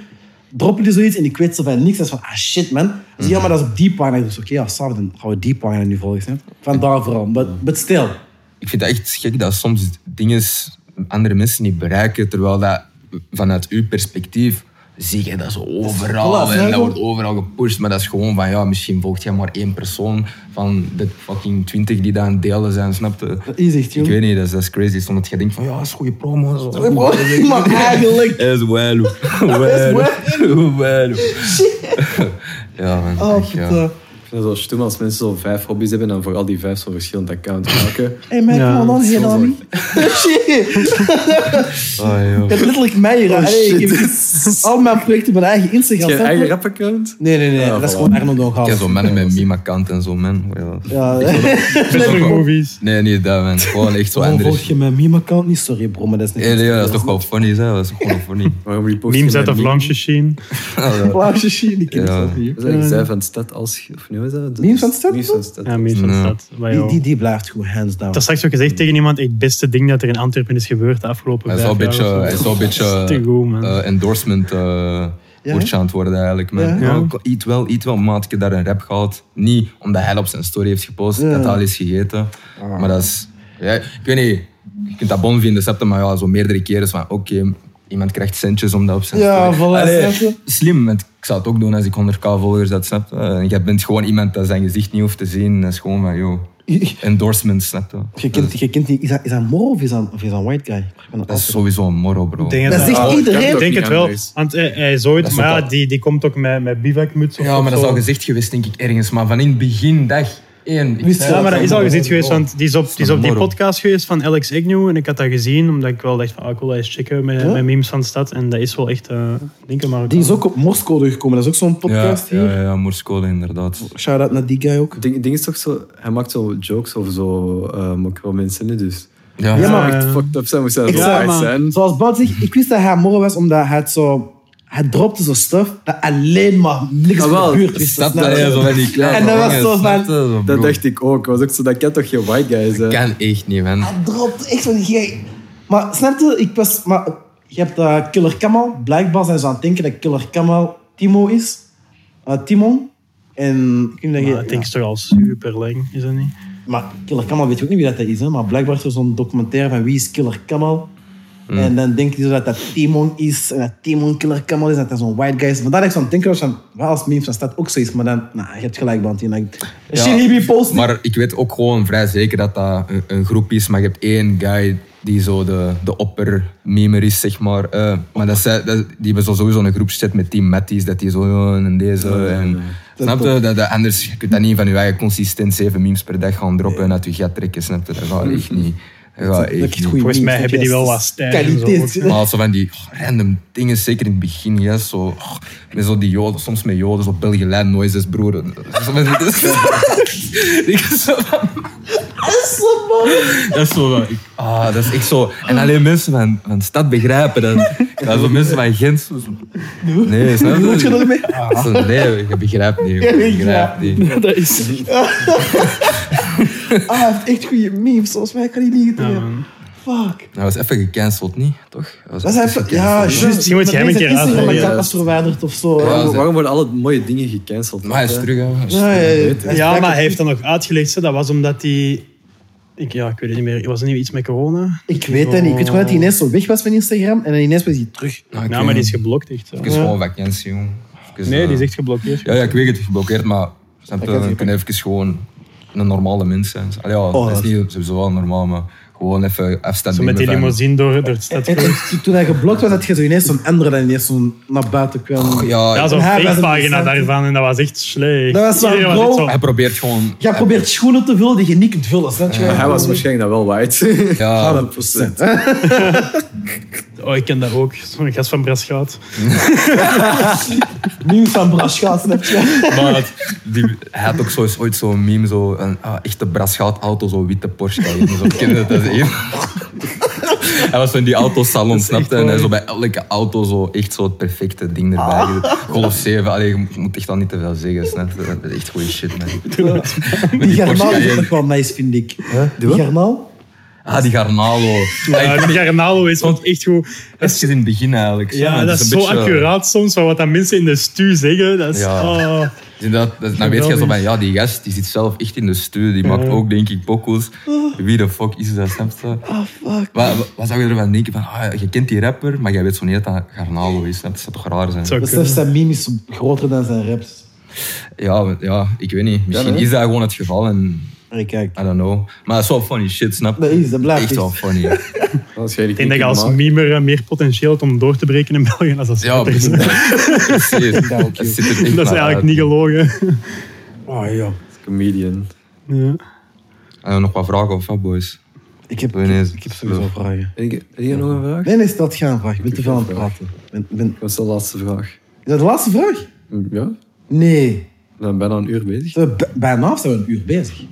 droppen die zoiets en ik weet zo van niks. Dat is van, ah shit man. Dus ja, maar dat is op die pagina. Dus oké, ja, samen dan gaan we die pagina nu volgen. hè. Vandaar vooral. But, but still.
Ik vind het echt gek dat soms dingen andere mensen niet bereiken, terwijl dat vanuit uw perspectief zie je dat zo overal
Voilà,
en
snap
dat
je?
wordt overal gepusht, maar dat is gewoon van ja, misschien volgt jij maar één persoon van de fucking twintig die daar aan het delen zijn, snap je?
Dat is echt, joh.
Ik weet niet, dat is, dat is crazy. Soms dat je denkt van ja, dat is goede promo. Zo.
[LAUGHS] Maar eigenlijk...
Dat is
[LAUGHS]
wel. Wel. [LAUGHS] Wel. Ja, man.
Oh,
echt, ja.
putain.
Ik vind het wel stoem als mensen zo vijf hobby's hebben en voor al die vijf zo'n verschillend account maken.
Hé, mij
Ja,
kom dan hier [LAUGHS]
dat is
dan. Shit.
Ah, joh.
Ik heb letterlijk mij hier aan.
[LAUGHS]
Hey, ik heb al mijn projecten op mijn eigen Instagram.
Je
snap je?
eigen rap-account?
Nee, nee, nee.
Ja,
dat is
voilà.
gewoon Arno Donkhaal.
Ik heb zo'n mannen met meme-account en zo, man. Ja.
Ja,
movies.
Nee, niet dat, man. Gewoon echt zo
Waarom
andere
volg
shit.
je mijn meme-account niet? Sorry bro, maar dat is niet...
Hey, ja, dat is toch wel funny, hè? Dat is toch gewoon
[LAUGHS]
funny.
Waarom repost je
Memes
mijn
uit of
meme?
Lunch Machine.
Vlaamse shit, die ken ik
Ja.
zelf niet. Eh,
Dat is eigenlijk zij van de stad als... Of nee, wat is dat?
Memes van de stad,
Memes
toch?
van de stad.
Ja, memes van de
Ja.
stad. Maar
Die,
joh.
die, die blijft goed, hands down.
Ik had straks ook gezegd tegen iemand, het beste ding dat er in Antwerpen is gebeurd de afgelopen
Hij
vijf
is wel
jaar.
een beetje,
of zo.
hij is wel een beetje
Dat is te goed, man.
eh, endorsement eh
Ja?
woordje aan het worden eigenlijk. Man.
Ja.
Ja. eet wel, eet wel, maat. Ik heb daar een rap gehad. Niet omdat hij dat op zijn story heeft gepost,
Ja. Ah.
dat hij al is gegeten. Maar dat is... Ja, ik weet niet, je kunt dat bon vinden, snap je, maar ja, zo meerdere keren is van oké, iemand krijgt centjes om dat op zijn
Ja,
story...
voilà,
Allee,
snap
Slim, want ik zou het ook doen als ik 100k volgers had, snap je. En jij bent gewoon iemand dat zijn gezicht niet hoeft te zien. Dat is gewoon van,
[LAUGHS]
joh, endorsement, snap je.
Je kent, je kent die... Is dat, is dat moro of is dat, of is dat een white guy? Ik ben
Dat is
altijd-
sowieso een morro, bro.
Ik denk
Dat
dat-
zegt
Oh,
iedereen.
dat
Ik
is
denk
ook
het wel,
anders.
want hij, hij is ooit,
Dat is
maar ja,
ook al-
die, die komt ook met, met bivakmuts op.
Ja,
of
maar dat
zo.
is al gezegd geweest, denk ik, ergens. Maar van in het begin, dag één. Ik
Wist
zei
je-
Ja, maar dat is al gezien geweest, want die is op, die, is op die
Morrow.
podcast geweest van Alex Agnew. En ik had dat gezien, omdat ik wel dacht van, ah, ik wil dat eens checken met,
Ja?
met memes van de stad. En dat is wel echt, eh denk ik maar.
Die is ook op Morsecode gekomen. Dat is ook zo'n
Ja,
podcast
ja,
hier.
ja, Morsecode, inderdaad.
Shout-out naar die guy ook.
Het ding, het ding is toch zo... Hij maakt zo jokes over zo... ehm ook wel mensen, hè, dus...
Ja,
Ja,
ja,
maar
Ja,
echt
ja.
fucked up zijn, moest hij
Ik
zo
zei,
wijs
man.
zijn.
Zoals Bout zegt, ik wist dat hij morgen was omdat hij het zo... Hij dropte zo stuff dat alleen maar niks van
Jawel,
de buurt wist.
Ah, snap
snap
dat
je? nou?
je zo van die kleine
En dat was zo van-
Oh,
Dat dacht ik ook. Was ook zo, dat kan toch geen white guy zijn?
Kan echt niet, man.
Hij dropt echt van jij. Maar snap je, ik was. Maar je hebt eh, Killer Kamal. Blijkbaar zijn ze aan het denken dat Killer Kamal Timo is. Eh, Timon. En ik weet niet
Maar
dat
het
je.
is toch al super lang, is dat niet?
Maar Killer Kamal weet je ook niet wie dat is, hè? Maar blijkbaar is er zo'n documentaire van wie is Killer Kamal. En dan denkt hij zo dat dat Timon is. En dat Timon Killer Kamal is. En dat dat zo'n white guy is. Maar daar ik zo aan het denken was van. Wel als memes van staat ook zoiets. Maar dan. Nou, je hebt gelijk, Banty. En dan-
Ja,
Shit, hippie post.
Maar ik weet ook gewoon vrij zeker dat dat een, een groep is. Maar je hebt één guy die zo de, de opper-memer is, zeg maar. Eh, maar dat zij, dat, die hebben zo sowieso een groepschat met Team Matties. Dat die zo ja, en deze. En, Snap je? Dat, dat, anders je kunt dat niet van je eigen consistent zeven memes per dag gaan droppen en uit je gat trekken. Snap je? [LAUGHS] Dat gaat echt niet. Dat gaat echt niet.
Volgens mij hebben die wel wat stijl en zo,
Kwaliteit.
hoor.
Maar als zo van die oh, random dingen, zeker in het begin, ja, zo, oh, met zo die joden, soms met joden, zo België Land noises, broer. [LAUGHS] Zo met- [LAUGHS] Ik zo van- dat is zo van, ik- ah, dat is echt zo. En alleen mensen van, van de stad begrijpen dan. Dat zo mensen van Gent. Zo, zo- nee, snap je?
Moet je dat mee?
Ah, zo, Nee, je begrijpt niet. joh. Je begrijpt niet.
dat is...
Ah, hij heeft echt goede memes. Volgens mij kan hij niet
Ja,
gedragen.
man.
Fuck.
Dat was even gecanceld, niet? Toch?
Dat is even... Ja, juist.
Misschien moet
Maar
je hem een
deze
keer
Instagram
uitleggen.
account
Ja.
was verwijderd of zo.
Ja,
Ja,
Waarom,
ze-
waarom worden alle mooie dingen gecanceld?
Maar hij is
hè?
terug, hè. Hij is
ja, ja,
terug.
ja. Hij
Ja,
sprak
maar
het-
hij heeft dat nog uitgelegd. hè. Dat was omdat hij... Ik, ja, ik weet het niet meer. Was het niet iets met corona?
Ik weet dat niet. Ik weet gewoon dat hij ineens zo weg was van Instagram en dan ineens was hij terug.
Nou, ik
Ja,
weet
maar die
niet.
is geblokt echt. zo.
Het is gewoon vakantie, jong. even...
Nee, die is
eh,
echt geblokkeerd.
Ja, ja, ik weet het, geblokkeerd, maar snap je,
kan
je
je
kan even gewoon een normale mens zijn. Allee, ja, dat is
Oh, dat
niet sowieso wel normaal, maar gewoon even afstand
Zo met die
nemen van-
limousine door, door de stad.
En, en toen hij geblokt was, had je zo ineens zo'n andere en ineens zo'n naar buiten kwam.
Ja,
Ja, zo'n
Ja, dat is
fake pagina
interessant.
daarvan. En dat was echt slecht.
Dat was wel
Iedereen echt
bro.
hij probeert gewoon...
Jij probeert schoenen te vullen die je niet kunt vullen, snap je?
Maar hij was waarschijnlijk dat wel [LAUGHS] white.
Ja,
100%.
Oh, ik ken dat ook. Zo'n gast van Brasgaat.
Nieuw van Brascha, snap je?
maar het- die, hij had ook zo, eens ooit zo'n meme, zo, een ah, echte brasgaat auto, zo'n witte Porsche Cayenne.
[LAUGHS]
Zo, ken je dat? Dat is heel- hij was zo in die autosalon, snapte En hij zo bij elke auto zo, echt zo het perfecte ding erbij.
Ah.
Golf 7, allee, je moet echt al niet te veel zeggen, snap je? Dat is echt goede shit,
[LAUGHS]
man. Met
Die garnaal
Porsche
is
Cayenne.
toch wel nice, vind ik. Die garnaal?
Ah, die Garnalo. Ja, ik
Ja, Eh, die Garnalo is ook echt goed.
heb het in het begin eigenlijk.
Ja,
het
dat is zo
een beetje-
accuraat soms, van wat dat mensen in de stu zeggen. Dat is,
Ja.
oh.
Dus inderdaad, dat- dan weet je zo van, ja, die gast die zit zelf echt in de studio, die maakt ook, denk ik, pokkels. Wie de fuck is dat, snap je?
Ah, fuck.
Wat, wat- wat zou je ervan denken? Van, ah, je kent die rapper, maar jij weet zo niet dat dat Garnalo is. snap je? Dat zou toch raar zijn?
Zou
Besef, zijn meme is groter dan zijn raps.
Ja, maar- ja, ik weet niet. Misschien
nee.
is dat gewoon het geval en
Allee, kijk.
I don't know. Maar dat is wel funny shit, snap je?
Dat is, dat blijft
Echt wel
iets.
funny.
Ik denk dat je als memer eh, meer potentieel hebt om door te breken in België dan als
Ja,
dat
[LAUGHS]
is.
precies. Precies. Dat zit er echt
Dat is
naar
eigenlijk
uit.
niet gelogen.
Oh, ja.
Comedian.
Ja.
Eh, Nog wat vragen of wat, boys?
Ik heb,
Doe ineens.
ik heb sowieso vragen.
Heb je- heb je nog een vraag?
Nee, nee, stel het geen vraag. Ik ben te veel aan het praten. Ben, ben...
Dat is de laatste vraag.
Is dat de laatste vraag?
Ja,
Nee.
we zijn bijna een uur bezig.
Zijn we Eh, b- Bijna of zijn we een uur bezig?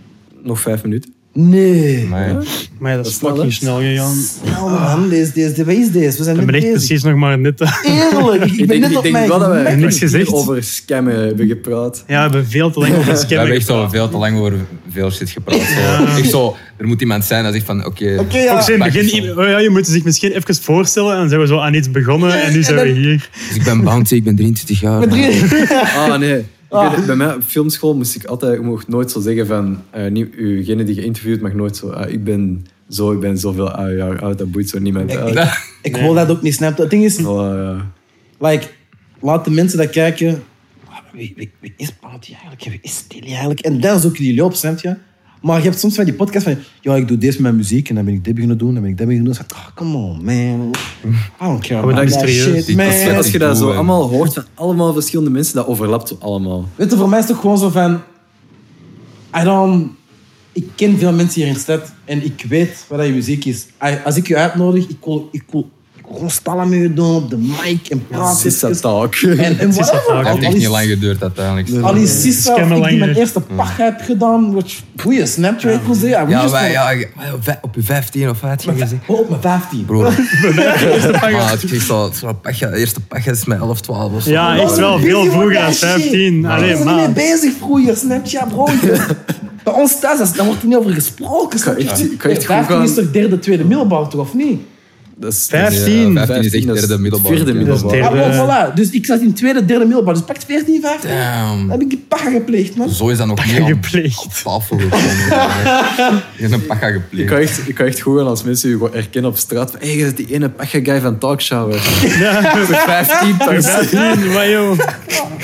Nog vijf minuten.
Nee.
Maar ja.
Maar ja, dat is
is wel
fucking
echt.
snel gegaan.
Snel, man. Deze, deze, deze, wat is deze? We zijn
Ik
net
ben echt
bezig.
precies nog maar net... eh,
Eerlijk. Ik, ben
denk,
net
ik
op
denk
mijn
wel dat we
gemak.
niks gezegd.
over scammen hebben gepraat.
Ja, we hebben veel te lang over
We hebben
scammen
echt al veel te lang over veel shit gepraat. Zo. Echt zo, er moet iemand zijn dat zegt van, oké...
Oké, ja.
Ook zo in het
Pak
begin,
het
oh ja, je moet zich misschien even voorstellen. En dan zijn we zo aan iets begonnen en nu zijn we hier.
Dus ik ben bounty, ik ben 23 jaar.
Met
[LAUGHS]
drie-
Ah, nee. Ik weet het, bij mij op filmschool moest ik altijd, ik mocht nooit zo zeggen van, eh niet, degene die geïnterviewd mag nooit zo, ah, ik ben zo, ik ben zoveel ah, jaar oud, dat boeit zo niemand uit.
Ik, ik hoor dat ook niet, snap je? Het ding is,
Voilà, ja.
like, laat de mensen dat kijken. Ah, Wie, wie, wie is Bounty eigenlijk? Wie is Tilly eigenlijk? En dan zoek je die loop, snap je? Maar je hebt soms van die podcast van... Ja, ik doe deze met mijn muziek en dan ben ik dit beginnen doen, dan ben ik dat beginnen doen. Ah, come on, man. I don't care
Oh, dat
about
is
that
serieus.
shit,
Die
Ja,
man.
concept-
als je dat
doe,
zo
hè.
allemaal hoort van allemaal verschillende mensen, dat overlapt zo allemaal.
Weet je, voor mij is het ook gewoon zo van... I don't... Ik ken veel mensen hier in de stad en ik weet wat dat je muziek is. I- Als ik je uitnodig, ik wil, ik wil, ik wil gewoon stallen met je doen op de mic en praten.
Sissa talk.
[LAUGHS] en, en
is dat
whatever.
vaak, hè?
Al-
Het heeft
al
echt
die-
niet lang geduurd uiteindelijk.
Al die sissen,
Scammen
of ik die
langer.
mijn eerste pach heb gedaan. Wat goeie Snapchat, ik wil zeggen. I
Ja,
wish
wij,
that-
ja, wij op vij- op je 15 of wat had je gezegd?
Oh, op mijn 15. [LAUGHS]
Bro, [LAUGHS]
[LAUGHS]
maar het is zo, zo pacha, de eerste pacha is met 11, 12 of zo.
Ja, echt wel
Busy
veel
with
vroeger
that
dan
shit.
15.
We
Allee,
zijn niet
man.
mee bezig vroeger, Snapchat, bro. [LAUGHS] Bij ons thuis, dat- daar wordt er niet over gesproken. snap je?
echt- ik kan echt goed
15 is
gaan.
toch derde, tweede middelbaar, toch, of niet?
[LAUGHS] Dat is
Ja, 15
15.
is echt
dat is
derde middelbaar.
Vierde
Ja.
Dat is
middelbaar.
derde.
Ja, maar voilà. Dus ik zat in tweede, derde middelbaar. Dus pakt 14, 15. Dan
Damn.
heb ik die pacha gepleegd, man.
Zo is dat nog niet aan
Gepleegd.
tafel
[LAUGHS]
gekomen. Je is een pacha
Ik
gepleegd.
kan, echt, ik kan echt goed gaan als mensen je gewoon herkennen op straat. Van, hey, je bent die ene pacha guy van [LAUGHS]
[LAUGHS]
Talkshower.
Ja,
Voor 15 pas.
15, maar joh.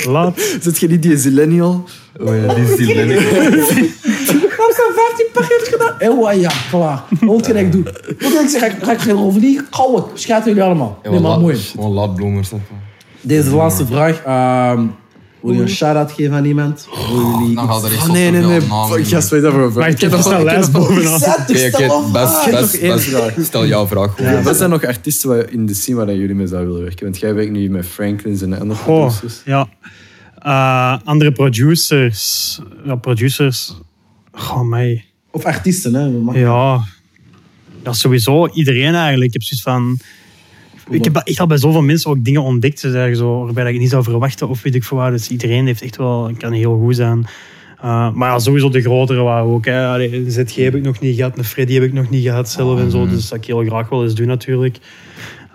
Laat.
Zit je niet die zillennial?
Oh ja, die is die lelijk.
Waarom zijn 15 pacha heeft gedaan? Hé, wa, ja, klaar. Wat wil je dat ik doe? Wat wil ik zeggen? Ga ik- Ga ik geen over die? Kauwen. Schaten jullie allemaal. Nee, maar mooi.
Gewoon laadbloemers. snap je?
Deze laatste vraag. ehm, wil je een shout-out geven aan iemand? Wil jullie...
Nou, gaat er echt
Oh,
zo
nee, nee,
zoveel
nee.
namen
Fuck,
in.
Gast, weet dat voor
Maar ik heb nog een lijst bovenaan.
Zet
Oké,
dus
oké,
dan
Bas,
heb
Bas,
nog één
Bas,
vraag.
stel jouw vraag. gewoon.
Wat zijn nog artiesten waar- in de scene waar jullie mee zouden willen werken? Want jij werkt nu met Franklins en andere
Goh,
producers.
Oh, ja. Eh, andere producers. Ja, producers. Goh, mij.
Of artiesten, hè. Maar-
Ja. Ja, sowieso. Iedereen eigenlijk. Ik heb zoiets van... Ik heb echt al bij zoveel mensen ook dingen ontdekt. Dus eigenlijk zo, waarbij ik niet zou verwachten of weet ik veel waar. Dus iedereen heeft echt wel... Kan heel goed zijn. Eh, maar ja, sowieso de grotere waren ook. Hè. Allee, ZG heb ik nog niet gehad. Een Freddy heb ik nog niet gehad zelf en zo. Dus dat zou ik heel graag wel eens doen natuurlijk.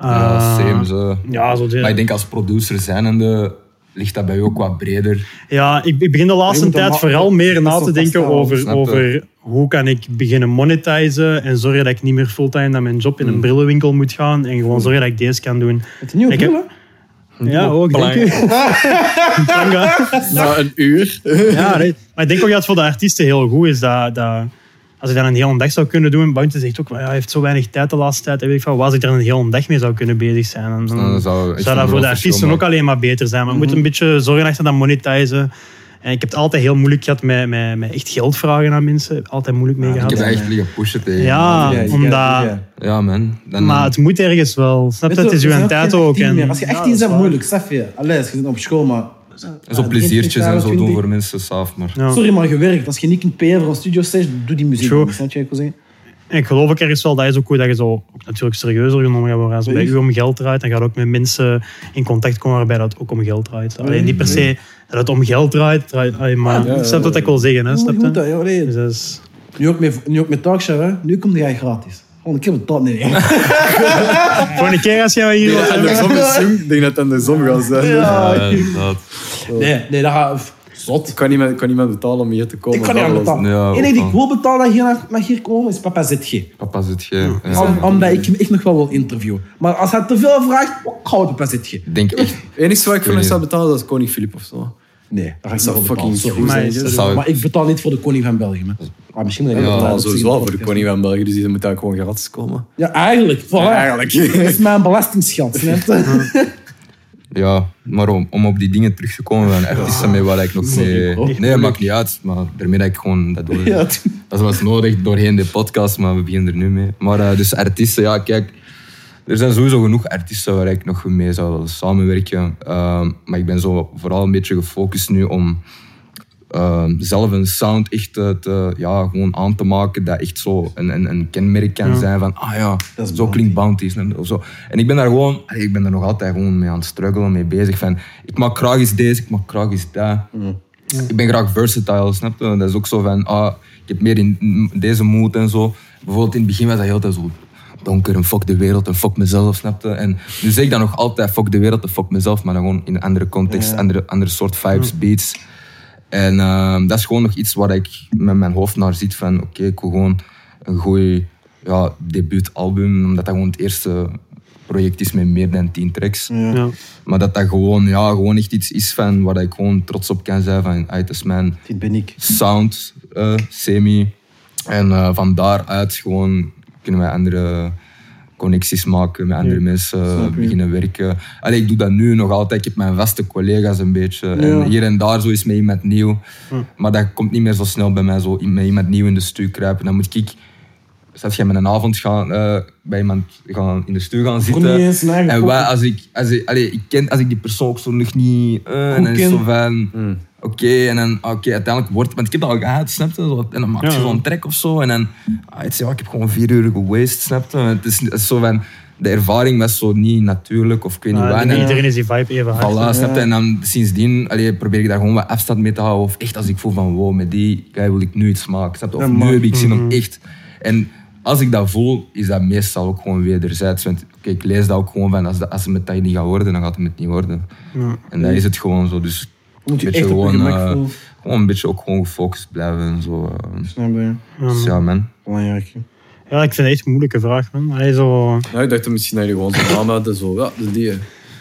Mhm. Ja,
Eh,
same, zo.
Ja, zo de-
Maar ik denk als producer zijnde ligt dat bij jou ook wat breder.
Ja, ik, ik begin de
Je
laatste
moet een
tijd
ma-
vooral meer
dat
na
is
te
wel
denken
vasthouden,
over,
snap je.
over hoe kan ik beginnen monetizen en zorgen dat ik niet meer fulltime naar mijn job in een brillenwinkel moet gaan en gewoon zorgen dat ik deze kan doen.
Met een nieuwe
Ik heb- Ah,
bril, hè?
Ja, ook, denk
Belangrijk.
ik. Tanga.
Na een uur.
[LAUGHS]
Ja, nee. Maar ik denk ook dat het voor de artiesten heel goed is dat, dat als ik dan een hele dag zou kunnen doen, Bounty zegt ook, ja, hij heeft zo weinig tijd de laatste tijd, en weet ik van, was ik er een hele dag mee zou kunnen bezig zijn. En dan
Nou, Dan zou
zou,
echt een
dat voor
groot
de
verschil
artiesten ook
maken. Mhm.
alleen maar beter zijn. Maar je moet een beetje zorgen achter dat monetizen. En ik heb het altijd heel moeilijk gehad met, met, met echt geld vragen aan mensen. Altijd moeilijk mee
Ik
gehad.
heb echt liggen pushen tegen.
eh, Ja,
Ja, je
omdat...
gaat- ja.
Ja, man. Dan, eh,
Maar het moet ergens wel. Snap
Weet
je, het is
we
uw
zijn
tijd
geen
ook.
18 meer.
En,
Als je 18 bent, moeilijk, snap je. Allee, je zit op school, maar...
en zo
Ja,
pleziertjes
20,
en zo doen
20.
voor mensen saaf, maar...
ja.
Sorry, maar gewerkt. Als je niet kunt payen voor een studio stage, doe die muziek.
True.
niet, Snap je wat ik wil zeggen?
En ik geloof ook ergens wel, dat is ook goed dat je zo ook natuurlijk serieuzer genomen gaat worden. Als het bij
Nee.
u om geld draait, dan gaat ook met mensen in contact komen waarbij dat ook om geld draait. Alleen niet per se dat het om geld draait, draait allee, maar
ja,
snap wat ik wil zeggen. Hè,
Je moet-
snap
je moet dat,
je?
ja, allee.
Dus dat is-
Nu ook met, nu ook met Talkshow, hè. Nu komt jij gratis. Gewoon een keer betaald. Nee, nee.
Volgende keer als jij hier
En de zon is zoom. Ik denk dat het aan de zon gaat zijn.
Ja, inderdaad.
Nee, nee, dat gaat... Zot.
Ik kan niemand, ik kan niemand betalen om hier te komen.
Ik kan niet aan
Dat was-
betalen.
Ja,
Het
ook
enige die ik
wel.
wil betalen dat hier naar- mag hier komen, is papa ZG.
Papa zit geen... Ja.
Om, omdat ik hem echt nog wel wil interviewen. Maar als hij te veel vraagt, oh, ik hou het papa ZG.
Ik denk echt...
Het enige wat ik voor hem zou betalen, dat is koning Filip of zo.
Nee, dat ga
Dat
ik
zou
zelf
fucking
betalen.
goed
Maar
zijn.
is
zeg.
dat-
zou-
Maar ik betaal niet voor de koning van België. hè. Ah, misschien moet ik wel
Ja,
betalen.
sowieso wel voor de koning van België, dus die moet daar gewoon gratis komen.
Ja, eigenlijk. Voilà.
Ja, eigenlijk.
[LAUGHS] Dat is mijn belastingsgeld. snap je?
Ja, maar om, om op die dingen terug te komen van artiesten mee waar ik nog mee...
bro.
Nee, maakt niet uit, maar daarmee dat ik gewoon dat doe.
[LAUGHS] Ja,
Dat is wat nodig doorheen de podcast, maar we beginnen er nu mee. Maar eh, dus artiesten, ja kijk, er zijn sowieso genoeg artiesten waar ik nog mee zou willen samenwerken. Ehm, maar ik ben zo vooral een beetje gefocust nu om ehm, zelf een sound echt eh, te, ja, gewoon aan te maken dat echt zo een, een, een kenmerk kan zijn van ah ja,
Dat is
zo klinkt Bounty snap je, of zo. En ik ben daar gewoon, allee, ik ben er nog altijd gewoon mee aan het struggelen, mee bezig van ik maak graag eens deze, ik maak graag eens dat. Ik ben graag versatile, snap je? Dat is ook zo van ah, ik heb meer in in deze mood en zo. Bijvoorbeeld in het begin was dat heel tijd zo donker en fuck de wereld en fuck mezelf, snap je? En nu zeg ik dan nog altijd fuck de wereld en fuck mezelf, maar dan gewoon in een andere context, andere, andere soort vibes, beats. En ehm, dat is gewoon nog iets waar ik met mijn hoofd naar zit van oké, ik wil gewoon een goeie ja, debuutalbum, omdat dat gewoon het eerste project is met meer dan 10 tracks.
Ja.
Maar dat dat gewoon, ja, gewoon echt iets is van waar ik gewoon trots op kan zijn van uit is mijn
Dit ben ik.
sound, eh, semi. En eh, van daaruit gewoon kunnen wij andere connecties maken, met andere mensen beginnen werken. Allee, ik doe dat nu nog altijd. Ik heb mijn vaste collega's een beetje. En hier en daar zo is met iemand nieuw.
Hm.
Maar dat komt niet meer zo snel bij mij, zo i- met iemand nieuw in de stuur kruipen. Dan moet ik... Zet jij met een avond gaan, eh, bij iemand gaan in de stuur gaan zitten.
niet eens een eigen
en
podcast.
wij, als ik, als ik, allee, ik ken, als ik die persoon ook zo nog niet... eh, en dan is het
ken.
zo van, oké, en dan, ah, oké, uiteindelijk wordt, want ik heb dat al gehad, snap je? Zo, En dan maak je
Ja.
zo'n trek of zo, en dan, ah, het is, ja, ik heb gewoon vier uur gewaste, snap je? Het is, het is zo van, de ervaring was zo niet natuurlijk, of ik weet niet
Maar
waar.
Ah, niet
En-
iedereen is die vibe even hard.
Voilà, snap je? En dan sindsdien allee, probeer ik daar gewoon wat afstand mee te houden. Of echt als ik voel van, wow, met die guy wil ik nu iets maken. Snap je? Of nu heb ik zin
Mhm.
om echt... En als ik dat voel, is dat meestal ook gewoon wederzijds. Want kijk, ik lees dat ook gewoon van, als, dat, als het met dat niet gaat worden, dan gaat het met niet worden. En dat is het gewoon zo. Dus
Moet je
een beetje
echt op je gemak
eh,
voelen.
gewoon een beetje ook gewoon gefocust blijven en zo. eh.
Snap je?
Dus ja, man.
Belangrijk. hè.
Ja, ik vind het echt een moeilijke vraag, man. Allee, zo...
Nou, ik dacht dat misschien dat je gewoon zo'n naam hadden. Zo, ja, dat is die.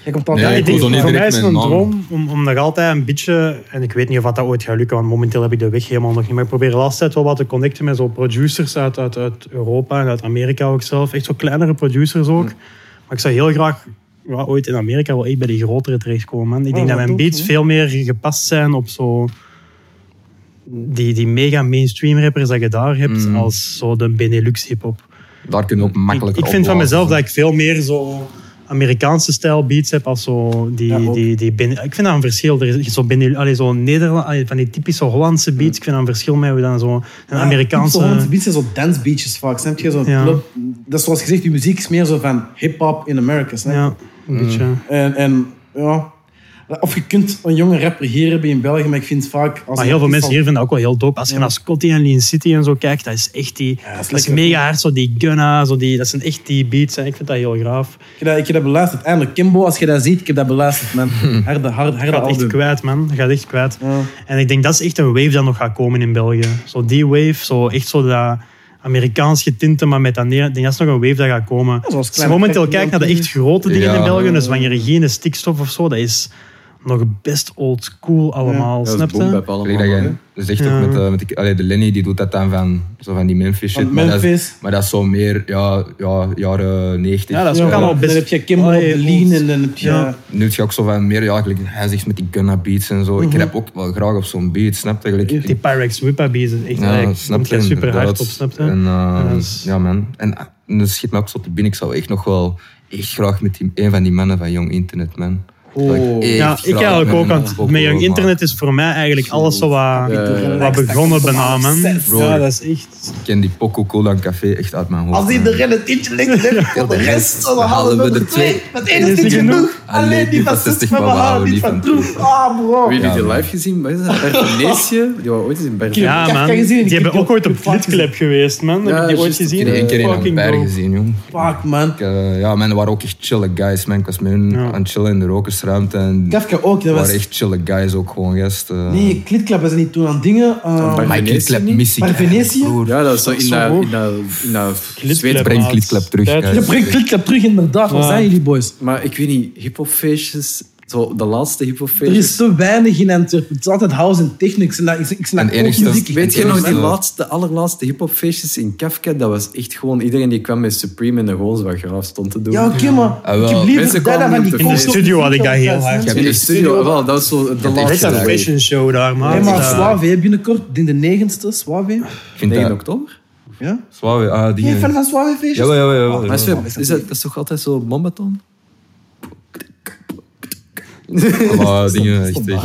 Jij komt altijd
Nee,
Ja,
ik
ik denk,
wil zo niet
voor mij
direct
is het
mijn
een
naam.
droom om, om nog altijd een beetje... En ik weet niet of dat ooit gaat lukken, want momenteel heb ik de weg helemaal nog niet. Maar ik probeer de laatste tijd wel wat te connecten met zo producers uit, uit, uit Europa en uit Amerika ook zelf. Echt zo kleinere producers ook. Maar ik zou heel graag ja, ooit in Amerika wel echt bij die grotere terechtkomen. Man. Ik denk
Oh,
dat
wat
mijn
tof,
beats
hè?
veel meer gepast zijn op zo... Die, die mega mainstream rappers dat je daar hebt, als zo de Benelux hip-hop.
Daar kun je ook
Ik,
makkelijker dus-
ik vind van
opblazen.
mezelf dat ik veel meer zo Amerikaanse stijl beats heb als zo die,
Ja, ook.
die, die ben- ik vind dat een verschil. Er is zo binnen, allee, zo Nederland, allee, van die typische Hollandse beats. Ik vind dat een verschil met hoe dan zo een Amerikaanse.
Zo Hmm. Hollandse beats zijn zo dance beaches vaak, snap je? Zo'n
Ja.
club. Dat is zoals gezegd, die muziek is meer zo van hip-hop in Amerika, snap je?
ja, een beetje.
En, en ja... Of je kunt een jonge rapper hier hebben in België, maar ik vind vaak... Als
Maar heel veel mensen hier vinden dat ook wel heel dope. Als je naar Scotty en Lean City en zo kijkt, dat is echt die.
dat is
dat is
lekker.
mega hard, zo die Gunna, zo die, dat zijn echt die beats. En ik vind dat heel graaf.
Ik heb dat, ik heb dat beluisterd. Eindelijk, Kimbo, als je dat ziet, ik heb dat beluisterd, man. Harde, harde, harde
gaat echt
album.
kwijt, man. Dat gaat echt kwijt.
Ja.
En ik denk dat is echt een wave dat nog gaat komen in België. Zo die wave, zo echt zo dat Amerikaans getinte, maar met dat neer. Ik denk dat is nog een wave dat gaat komen.
zoals
Als je
kleine
momenteel
Peter
kijkt naar de echt grote dingen
Ja.
in België, dus vangerigine, stikstof of zo, dat is nog best old cool allemaal.
dat
Snap
is boom
je?
bap allemaal.
Gelijk dat
hè.
jij zegt
Ja.
ook met, eh, met die- allee, de Lenny, die doet dat dan van, zo van die Memphis shit.
Van
maar, dat is,
Memphis.
maar dat is zo meer ja, ja, jaren 90.
Ja, dat is ook allemaal best-
Dan heb je Kimball op
Allee,
de lean
ons-
en dan heb je...
Ja.
Nu is je ook zo van meer, ja, gelijk, hij zegt met die Gunna beats en zo. Ik rap ook wel graag op zo'n beat, snap je? Gelijk,
Mhm. Die Pyrex Whippaby is echt
ja,
ja,
snap je,
super hard
inderdaad.
op, snap je?
En, eh,
Ja, dat is-
Ja, man. En eh, en dat schiet me ook zo te binnen. Ik zou echt nog wel echt graag met die, een van die mannen van Young Internet, man. Zou
Oh.
echt
Ja,
graag
ik eigenlijk
met
ook,
hem
want met
willen
Young
maken.
Internet is voor mij eigenlijk alles zo wat,
Eh,
wat begonnen benamen.
Bro.
Ja, dat is echt...
Ik ken die Poco Cola en Café echt uit mijn hoofd.
Als
man.
iedereen het tientje links heeft voor de rest, dan halen we er twee. Dat ene
Is
is niet
niet
genoeg.
genoeg.
Alleen die van 60, maar we halen niet van troep. Ah, bro.
Wie heeft die
Ja,
live gezien? Wat is dat? Bertinesië? Die was ooit eens in Bergen.
Ja,
heb- ik
man.
heb gezien, ik
Die hebben
heb
ook
die
ooit op
op plaat
Flitclap geweest, man. Heb
Ja,
je die ooit
juist,
Ik
gezien?
heb die één keer in
Fucking
Antwerpen
dope.
gezien, jong.
Fuck, man.
Ik, eh, ja, man, dat waren ook echt chille guys, man. Ik was met hun aan het chillen in de rokersruimte. En dat
Kafka ook, dat was...
waren echt chille guys ook gewoon, gast. eh.
Nee, klitklap was niet toen aan dingen. ehm,
Bij
Maar
Venetië
Klitklep
niet?
mis ik
Maar
eigenlijk,
Venetië?
broer.
Ja, dat is zo in
Zo
dat-
hoog.
in dat- in dat
Klitklap,
zweet.
breng
maat.
Klitklap terug,
Tijd-
guys.
Je brengt klitklap terug, inderdaad. Waar
Ja.
zijn jullie, boys?
Maar ik weet niet, hiphopfeestjes, zo de laatste
Er
hiphopfeestjes.
is zo weinig in Antwerpen. Het is altijd house en technics. En dat, ik, ik snap
En
ook
enigste-
muziek.
Weet je
Ik
nog
ken
die
het wel.
laatste, allerlaatste hiphopfeestjes in Kafka? Dat was echt gewoon iedereen die kwam met Supreme en de gewoon wat graaf stond te doen.
Ja, oké, maar
Ah, wel.
ik heb liever
Mensen
dat dan
kwamen niet
van die
op de
kost-
studio had ik dat heel hard.
Ik heb
in de
echt-
studio, wel, dat was zo de
heb
Dat is
laatste.
echt
een
Ja.
fashion show daar, man.
Hey, maar
Ja.
Suave, hè, binnenkort, in de negenste, Suave.
Ik vind
9
dat...
oktober?
Ja?
Zwaar, ah, die...
Ben je fan van Suave feestjes?
Jawel, jawel, jawel.
Maar is,
jawel.
is dat, dat is toch altijd zo bombaton?
Ah, dingen, echt, echt.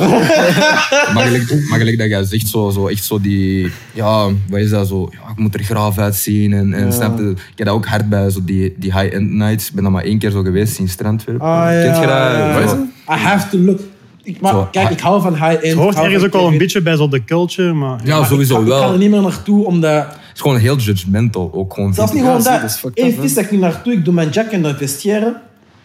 Maar gelijk- maar gelijk dat jij zegt, zo, zo, echt zo die... Ja, wat is dat zo? Ja, ik moet er graaf uitzien en, en snap je? Ik heb dat ook hard bij zo die, die high-end nights. Ik ben dat maar één keer zo geweest in Strandwerp.
Ah, ja.
Kent je dat?
Wat is
Zo-
dat?
I have to look. Ik, maar
Zo,
kijk,
hij-
ik hou van high-end.
Het
ik
hoort
hou
ergens
van
ook al een
high-end.
beetje bij zo de culture, maar...
Ja, sowieso
Ik ga- Ik ga
wel.
er niet meer naartoe, omdat...
Het is gewoon heel judgmental ook. Gewoon
Dat is niet
Ja,
gewoon
zie,
dat.
dat is fucked
Eén
up, hè.
vis dat ik niet naartoe, ik doe mijn jack en dan vestiaire.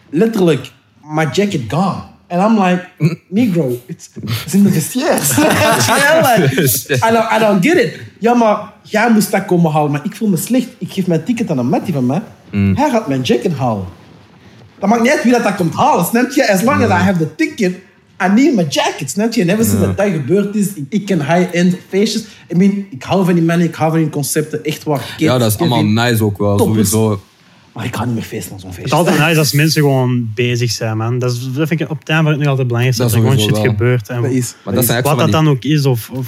Letterlijk, my jacket gone. And I'm like, negro, it's, it's in the vestiaire. I'm like, I don't, I don't get it. Ja, maar jij moest dat komen halen. Maar ik voel me slecht. Ik geef mijn ticket aan een mattie van mij. Hij gaat mijn jacket halen. Dat maakt niet uit wie dat, dat komt halen, snap je? As long as I have the ticket, I need my jacket, snap je? En ever since dat dat gebeurd is, ik, ik ken high-end feestjes. I mean, ik hou van die mannen, ik hou van die concepten, echt waar. Kids,
Ja, dat is allemaal
Kevin.
nice ook wel,
Toppers.
sowieso.
Maar ik ga niet meer feesten aan zo'n feestje.
Het is altijd nice als mensen gewoon bezig zijn, man. Dat, is, dat vind ik op tijd waar het nu altijd belangrijk is.
Dat
Dat, er gewoon
sowieso
shit
wel.
gebeurt. En
Dat is-
Maar dat zijn echt
wat
van
dat
die-
dan ook is, of... of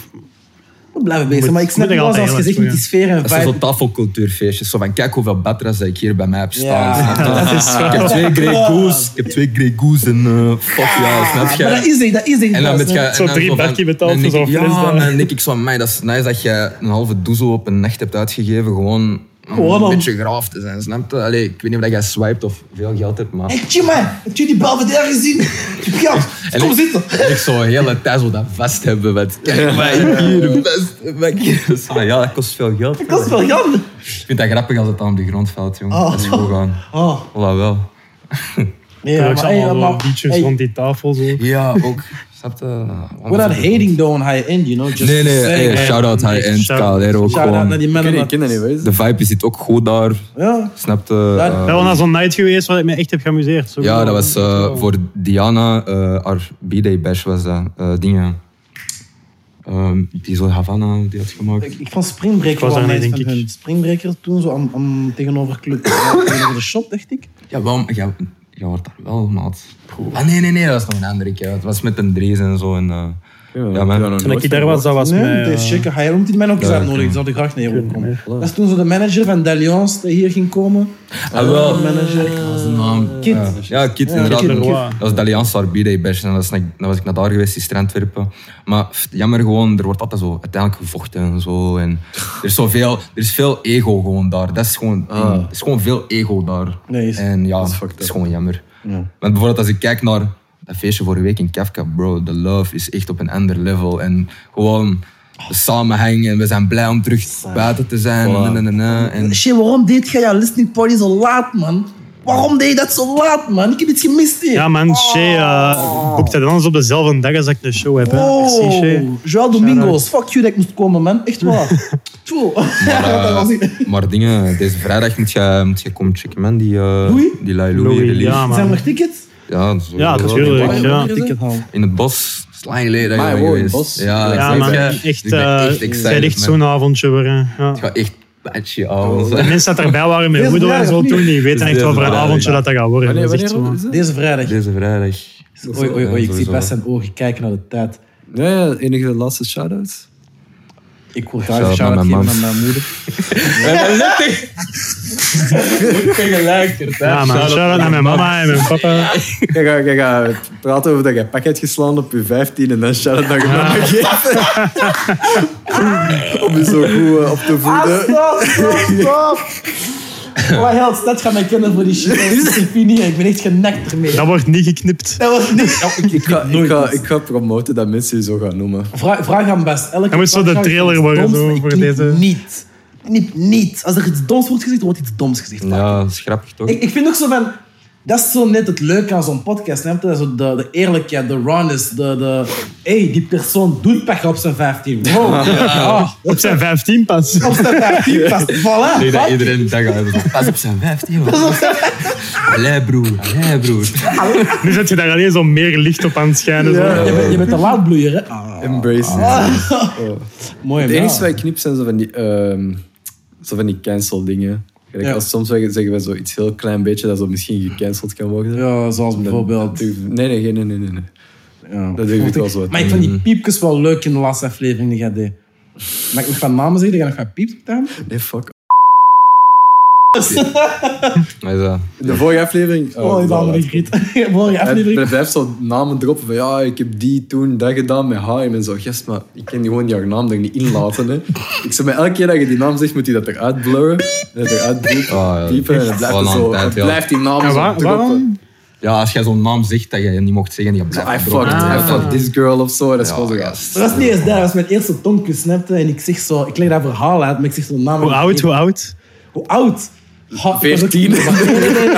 We blijven bezig, maar ik snap
moet
wel
er
zoals
altijd
je zegt
heel
met die
erg
sfeer en
Dat zijn
vibe.
zo tafelcultuurfeestjes. Zo van, kijk hoeveel batras dat ik hier bij mij heb staan.
Ja,
snap je?
[LAUGHS] dat is
ik heb twee Grey Goose, ik heb twee Grey Goose en eh fuck ja,
Maar
snap
dat
je?
is het, dat is het.
En dan met
dat is
je...
het.
Zo drie bakkie betaald voor zo'n fles
Ja,
daar.
en dan denk ik zo, mij, dat is nice dat je een halve doezel op een nacht hebt uitgegeven. Gewoon om
Gewoon
een
om-
beetje graaf te zijn, snap je? Allee, ik weet niet of dat jij swiped of veel geld hebt, maar...
Hey, Chima, heb je die Belvedere gezien? Ja,
En
kom
ik-
zitten.
en Ik zou heel hele tijd zo dat vast hebben. Met, kijk, maar hier, vast. Maar hier. Dus van, ja, dat kost veel geld.
Dat is wel jammer.
Ik vind dat grappig als het dan op de grond valt, jongen.
Oh.
Dat is gewoon gaan.
Oh,
Voilà, wel.
nee,
ja,
maar,
ik zag
hey,
allemaal
maar-
liedjes
hey,
rond die tafel, zo.
Ja, ook. Snap je?
Without hating though on high end, you know. Just
Nee, nee,
saying.
hey, shout-out
Nee,
high-end,
shout-
Calero.
Shout out naar
Gewoon.
die
Ik
mannen.
ken die
dat-
kinderen niet, weet je.
De vibe zit ook goed daar.
Ja.
Snap je?
Ja.
Ik
Eh,
ben wel naar zo'n night geweest waar ik me echt heb geamuseerd. Zo
ja,
gewoon-
dat was eh, voor Diana, eh, haar B-Day Bash was dat. Eh, dingen. Ehm, die zo Havana, die had gemaakt.
Ik, ik vond Springbreaker
Ik was
wel
daar
nice
niet,
van
denk ik.
hun. Springbreaker toen, zo aan, aan- tegenover
[LAUGHS]
Club. tegenover de shop, dacht ik.
Ja, wel, maar jij, jij hoort daar wel, maat. Ah, nee, nee, nee, dat was nog een andere keer. Het was met een Drees en zo. En, eh, ja,
maar-
man.
ja,
Toen ik daar was, dat was
nee,
mij...
deze
eh,
checker. Hij roemt die mij ook eens
Ja,
uitnodigen. Ik zou er graag naar
niet
komen. Dat is toen zo de manager van Dalliance die hier ging komen.
Ah, wel.
manager. Kid.
Ja, ja Kit, inderdaad.
Kit,
dat-
Kit.
Dat was Dalliance haar B-Day Bash. En dat is na- dan was ik naar daar geweest, die strandwerpen. Maar pff, jammer gewoon, er wordt altijd zo uiteindelijk gevochten en zo. En er, is zoveel, er is veel ego gewoon daar. Dat is gewoon, er is gewoon veel ego daar.
Nee, is-
en ja, dat is,
fucked up.
gewoon jammer. Want bijvoorbeeld als ik kijk naar dat feestje vorige week in Kafka, bro, de love is echt op een ander level. En gewoon de samenhang en we zijn blij om terug buiten te zijn. En, en, en, en, en-
Shit, waarom deed jij jouw listening party zo laat, man? Waarom deed je dat zo laat, man? Ik heb iets gemist hier.
Ja, man, Shay eh boekt dat anders op dezelfde dag als dat ik een show heb. Hè. Merci, Shay.
Wow, Oh, Joao Domingos, fuck you dat ik moest komen, man. Echt [LAUGHS] waar. Tjoe. Dat was niet-
Maar dingen, deze vrijdag moet je, moet je komen checken, man. Die, eh,
Louis?
die Lai Louis,
Louis,
release.
ja, man.
Zijn er nog tickets?
Ja, dat is
Ja,
wel-
natuurlijk.
Waar
ja.
heb je ticket halen?
In het bos. Dat is lang geleden dat ik
Maar
ben
wow, in het
geweest.
bos.
Ja,
Ja,
ik
man.
ben
Echt,
ik ben echt
eh
excited,
zijn echt
man.
zo'n avondje weer. hè. Ja.
Het gaat echt patchy avond.
De mensen dat erbij waren met
Deze
moeder en
vrijdag
zo
niet.
toen, die weten
Dus
echt wel
deze
voor een
vrijdag.
avondje dat dat gaat worden.
Wanneer,
Dat is echt
wanneer
zo.
is dat?
Deze vrijdag.
Deze vrijdag.
Oei, oei, oei. Ik zie
Sowieso.
best zijn ogen kijken naar de tijd.
Ja, ja, enige laatste shout-out.
Ik wil graag een
Shout-out
shout-out
naar
geven aan
mijn mam.
mijn moeder.
[LAUGHS]
[LAUGHS]
Tegelijk,
Ja, man. Shout-out naar mijn mama en mijn papa.
Je gaat, je gaat praten over dat je pak hebt geslaan op je 15 en dan shout-out dat je mama geeft. [LAUGHS] Om je zo goed eh, op te voeden.
Stop, stop, stop. Wat helpt, dat gaan mijn kinderen voor die shit. Ik vind niet, ik ben echt genekt ermee.
Dat wordt niet geknipt.
Dat was niet.
nou,
Ik ga, ik, ga, ik ga promoten dat mensen je zo gaan noemen.
Vraag, vraag aan best. Elke
Hij moet zo
vraag
de
gaat
trailer
iets
worden,
doms,
zo,
maar ik
voor
knip
deze.
Niet. Ik knip niet. Als er iets doms wordt gezegd, wordt iets doms gezegd.
Ja, dat is grappig toch?
Ik, ik vind ook zo van... Dat is zo net het leuke aan zo'n podcast. Hè? Dat is zo de, de eerlijkheid, de rawness, de... de hey, die persoon doet pech op
[LAUGHS]
zijn 15. Wow. Ah,
Op zijn 15 pas.
op zijn 15 vast. Voilà.
Nee, dat
fuck.
iedereen dat gaat. Pas op zijn 15, man. [LAUGHS] Allee, broer. Allee, broer.
Nu zet je daar alleen zo meer licht op aan het schijnen. zo.
Je, bent, je bent een laadbloeier, hè? Ah,
Embrace it.
mooi,
Het
man.
enige wat ik knip zijn zo van die, ehm, zo van die cancel dingen. Kijk,
Ja.
als soms zeggen zeggen we zo iets heel klein beetje dat zo misschien gecanceld kan worden.
Ja, zoals
Dan-
bijvoorbeeld...
Nee, nee, nee, nee, nee. nee.
Ja.
Dat durf ik wel Mm. zo wat.
Maar ik vond die piepjes wel leuk in de laatste aflevering die jij deed. Mag ik nog van namen zeggen? Ga ik nog van piep aan?
Nee, fuck.
Maar ja,
In de vorige aflevering...
Oh, die
voilà.
andere [LAUGHS] griet. Morgen
Hij
aflevering.
blijft zo namen droppen van ja, ik heb die toen dat gedaan met haar. En zo, gast, maar ik ken die gewoon jouw naam er niet in laten. Hè. Ik zeg maar, elke keer dat je die naam zegt, moet je dat eruit blurren. En het eruit piepen.
Oh, ja.
piepen en het blijft,
Wel
het
aan
zo,
tijd,
het
ja.
blijft die naam
Ja,
zo
waar-
droppen.
waarom?
ja, als jij zo'n naam zegt dat je niet mocht zeggen, je
I
blijft
fucked, I fucked this girl of zo. Dat is gewoon zo,
Ah. ja.
gast.
Dat was niet eens daar, dat was mijn eerste tongkus, snapte. En ik zeg zo, ik leg dat verhaal uit, maar ik zeg zo'n naam.
Hoe oud, hoe oud?
Hoe oud? Ha, ik was ook-
14.
Nee, nee, nee, nee.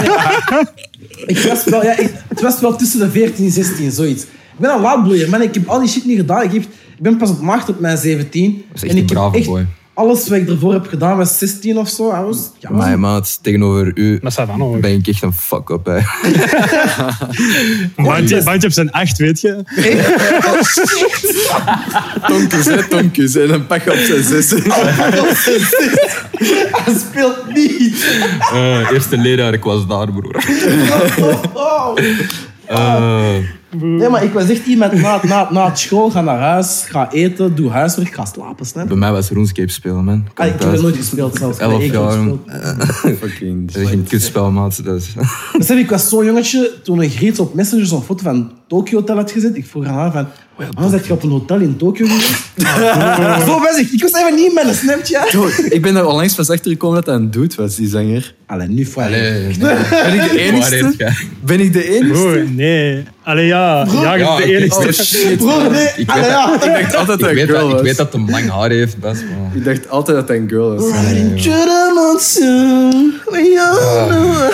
Ik
[LAUGHS]
was wel, ja, ik- het was wel tussen de 14 en 16, zoiets. Ik ben een laadbloeier, man. Ik heb al die shit niet gedaan. Ik, heb, ik ben pas op macht op mijn 17.
is echt
en
een
ik heb
brave boy.
Alles wat ik ervoor heb gedaan was 16 of zo. I was, ja, was
Mijn maat, tegenover u
Dat staat dan nog.
ben ik echt een fuck-up, hè.
Bounty Bounty op zijn 8, weet je.
Tonkjes, hè, tonkjes. En een pak op zijn
[LAUGHS]
zes.
[LAUGHS] Hij speelt niet.
[LAUGHS] Eh, eerste leraar, ik was daar, broer.
Oh.
Eh,
Nee, maar ik was echt iemand na, na, na het school, ga naar huis, ga eten, doe huiswerk, ga slapen, snap je?
bij mij was RuneScape spelen, man.
Ah, ik heb er nooit gespeeld zelfs.
Elf
Nee, ik heb
jaar.
gespeeld.
Fucking
Dat is geen kutspel, maat. Dat is...
Dus ik was zo'n jongetje, toen een Griet op Messenger zo'n foto van Tokyo Hotel had gezet. Ik vroeg aan haar van, waarom zat je op een hotel in Tokyo geweest? [LAUGHS] Zo was ik. Ik was even niet met een snapje.
Yo, ik ben daar onlangs pas achter gekomen dat dat een dude was, die zanger.
Allee, nu voor
[LAUGHS] nee.
Ben ik de enigste? Ben ik de enigste?
Broer, nee. Allee, ja. Ja,
Ja,
je bent
oké.
de enigste.
Oh shit.
Broer, nee.
Ik weet
Allee,
dat-
ja.
Ik dacht altijd
Ik
dat een
weet,
girl
dat, ik
was.
weet dat hem lang haar heeft, best, maar...
Ik dacht altijd dat hij een girl was.
Riding to the monsoon, we all know.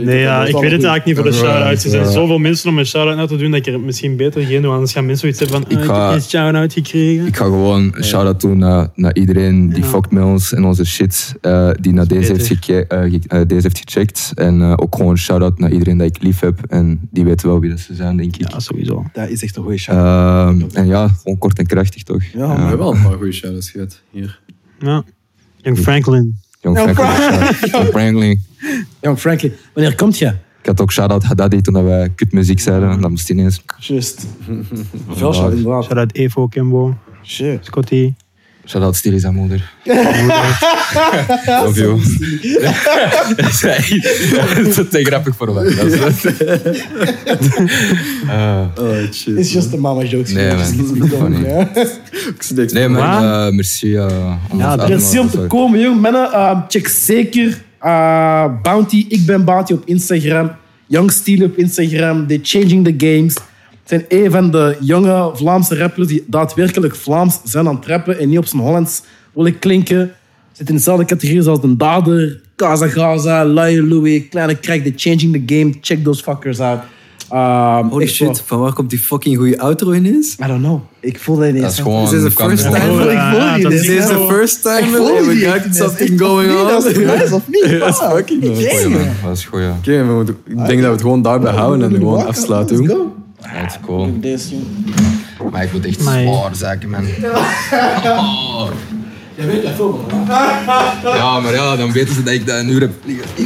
Nee, ja, ik weet het eigenlijk niet voor de
Alright,
shout-out. Er zijn
alright.
zoveel mensen om een shout-out na te doen dat ik er misschien beter geen doe. Anders gaan mensen zoiets hebben van,
Ik
eh, ik,
ga-
heb geen shout-out gekregen.
Ik ga gewoon een shout-out doen naar, naar iedereen die fucked met ons en onze shit. eh, die naar deze heeft, geke- eh, ge- eh, deze heeft gecheckt. En eh, ook gewoon een shout-out naar iedereen dat ik lief heb. En die weten wel wie dat ze zijn, denk ik.
Ja, sowieso.
Dat is echt een goeie shout.
Ehm, en ja, gewoon kort en krachtig, toch?
Ja,
We hebben wel een paar goede shout-outs gehad. Hier.
Ja. Young Franklin.
Jong
Ja,
Franklin.
[LAUGHS]
Jong Franklin.
Jong Franklin, wanneer komt je?
Ik had ook shout-out Haddadi toen dat wij kutmuziek zeiden. En dat moest ineens...
Just. Veel shout, inderdaad.
Shout-out Evo, Kimbo,
Shit.
Scotty.
Shout-out Stilly zijn
[LAUGHS]
moeder. Love you. Dat is echt- [LAUGHS] dat is te grappig voor mij. Dat is- Eh,
Oh, shit.
It's just a mama jokes.
Nee, man.
Just keep it going,
Funny.
ja.
Nee, maar
Waar?
eh, merci. eh, om
Ja,
ons uit te
Merci om te
nodigen.
komen, jong. Mannen, ehm, check zeker eh, Bounty. Ik ben Bounty op Instagram. Young Steel op Instagram. The Changing the Games. Het zijn een van de jonge Vlaamse rappers die daadwerkelijk Vlaams zijn aan het rappen en niet op zijn Hollands willen klinken. Zit in dezelfde categorie als De Dader, Casa Gaza, Lion Louis, Kleine Crack, The Changing the Game. Check those fuckers out. Um,
Holy
echt
shit, van waar komt die fucking goede outro ineens?
waar. I don't know. Ik voel dat ineens.
Dat is gewoon...
Is dit de
kan
first
gewoon-
Ik voel-
time?
ik voel
Oh, Ja,
die
dat
ineens.
is
Is this the first
Ik
time
voel
that we
die
got
ineens. Ik
something
voel
going
niet
on?
Dat is
Oké,
nice of
[LAUGHS]
niet?
Dat is
Ah,
fucking
ik
nice.
weet
Goeie,
het.
man. Dat is goed, ja.
maar we moeten- ik denk dat we het gewoon daarbij houden en er gewoon
Walk-up,
afsluiten.
Let's
hoe?
go.
Dat is cool.
Deze, jongen.
Maar ik moet echt
Maar-
zwaar zaken, man.
Jij weet dat veel, man.
Ja, maar ja, dan weten ze dat ik dat een uur heb liggen.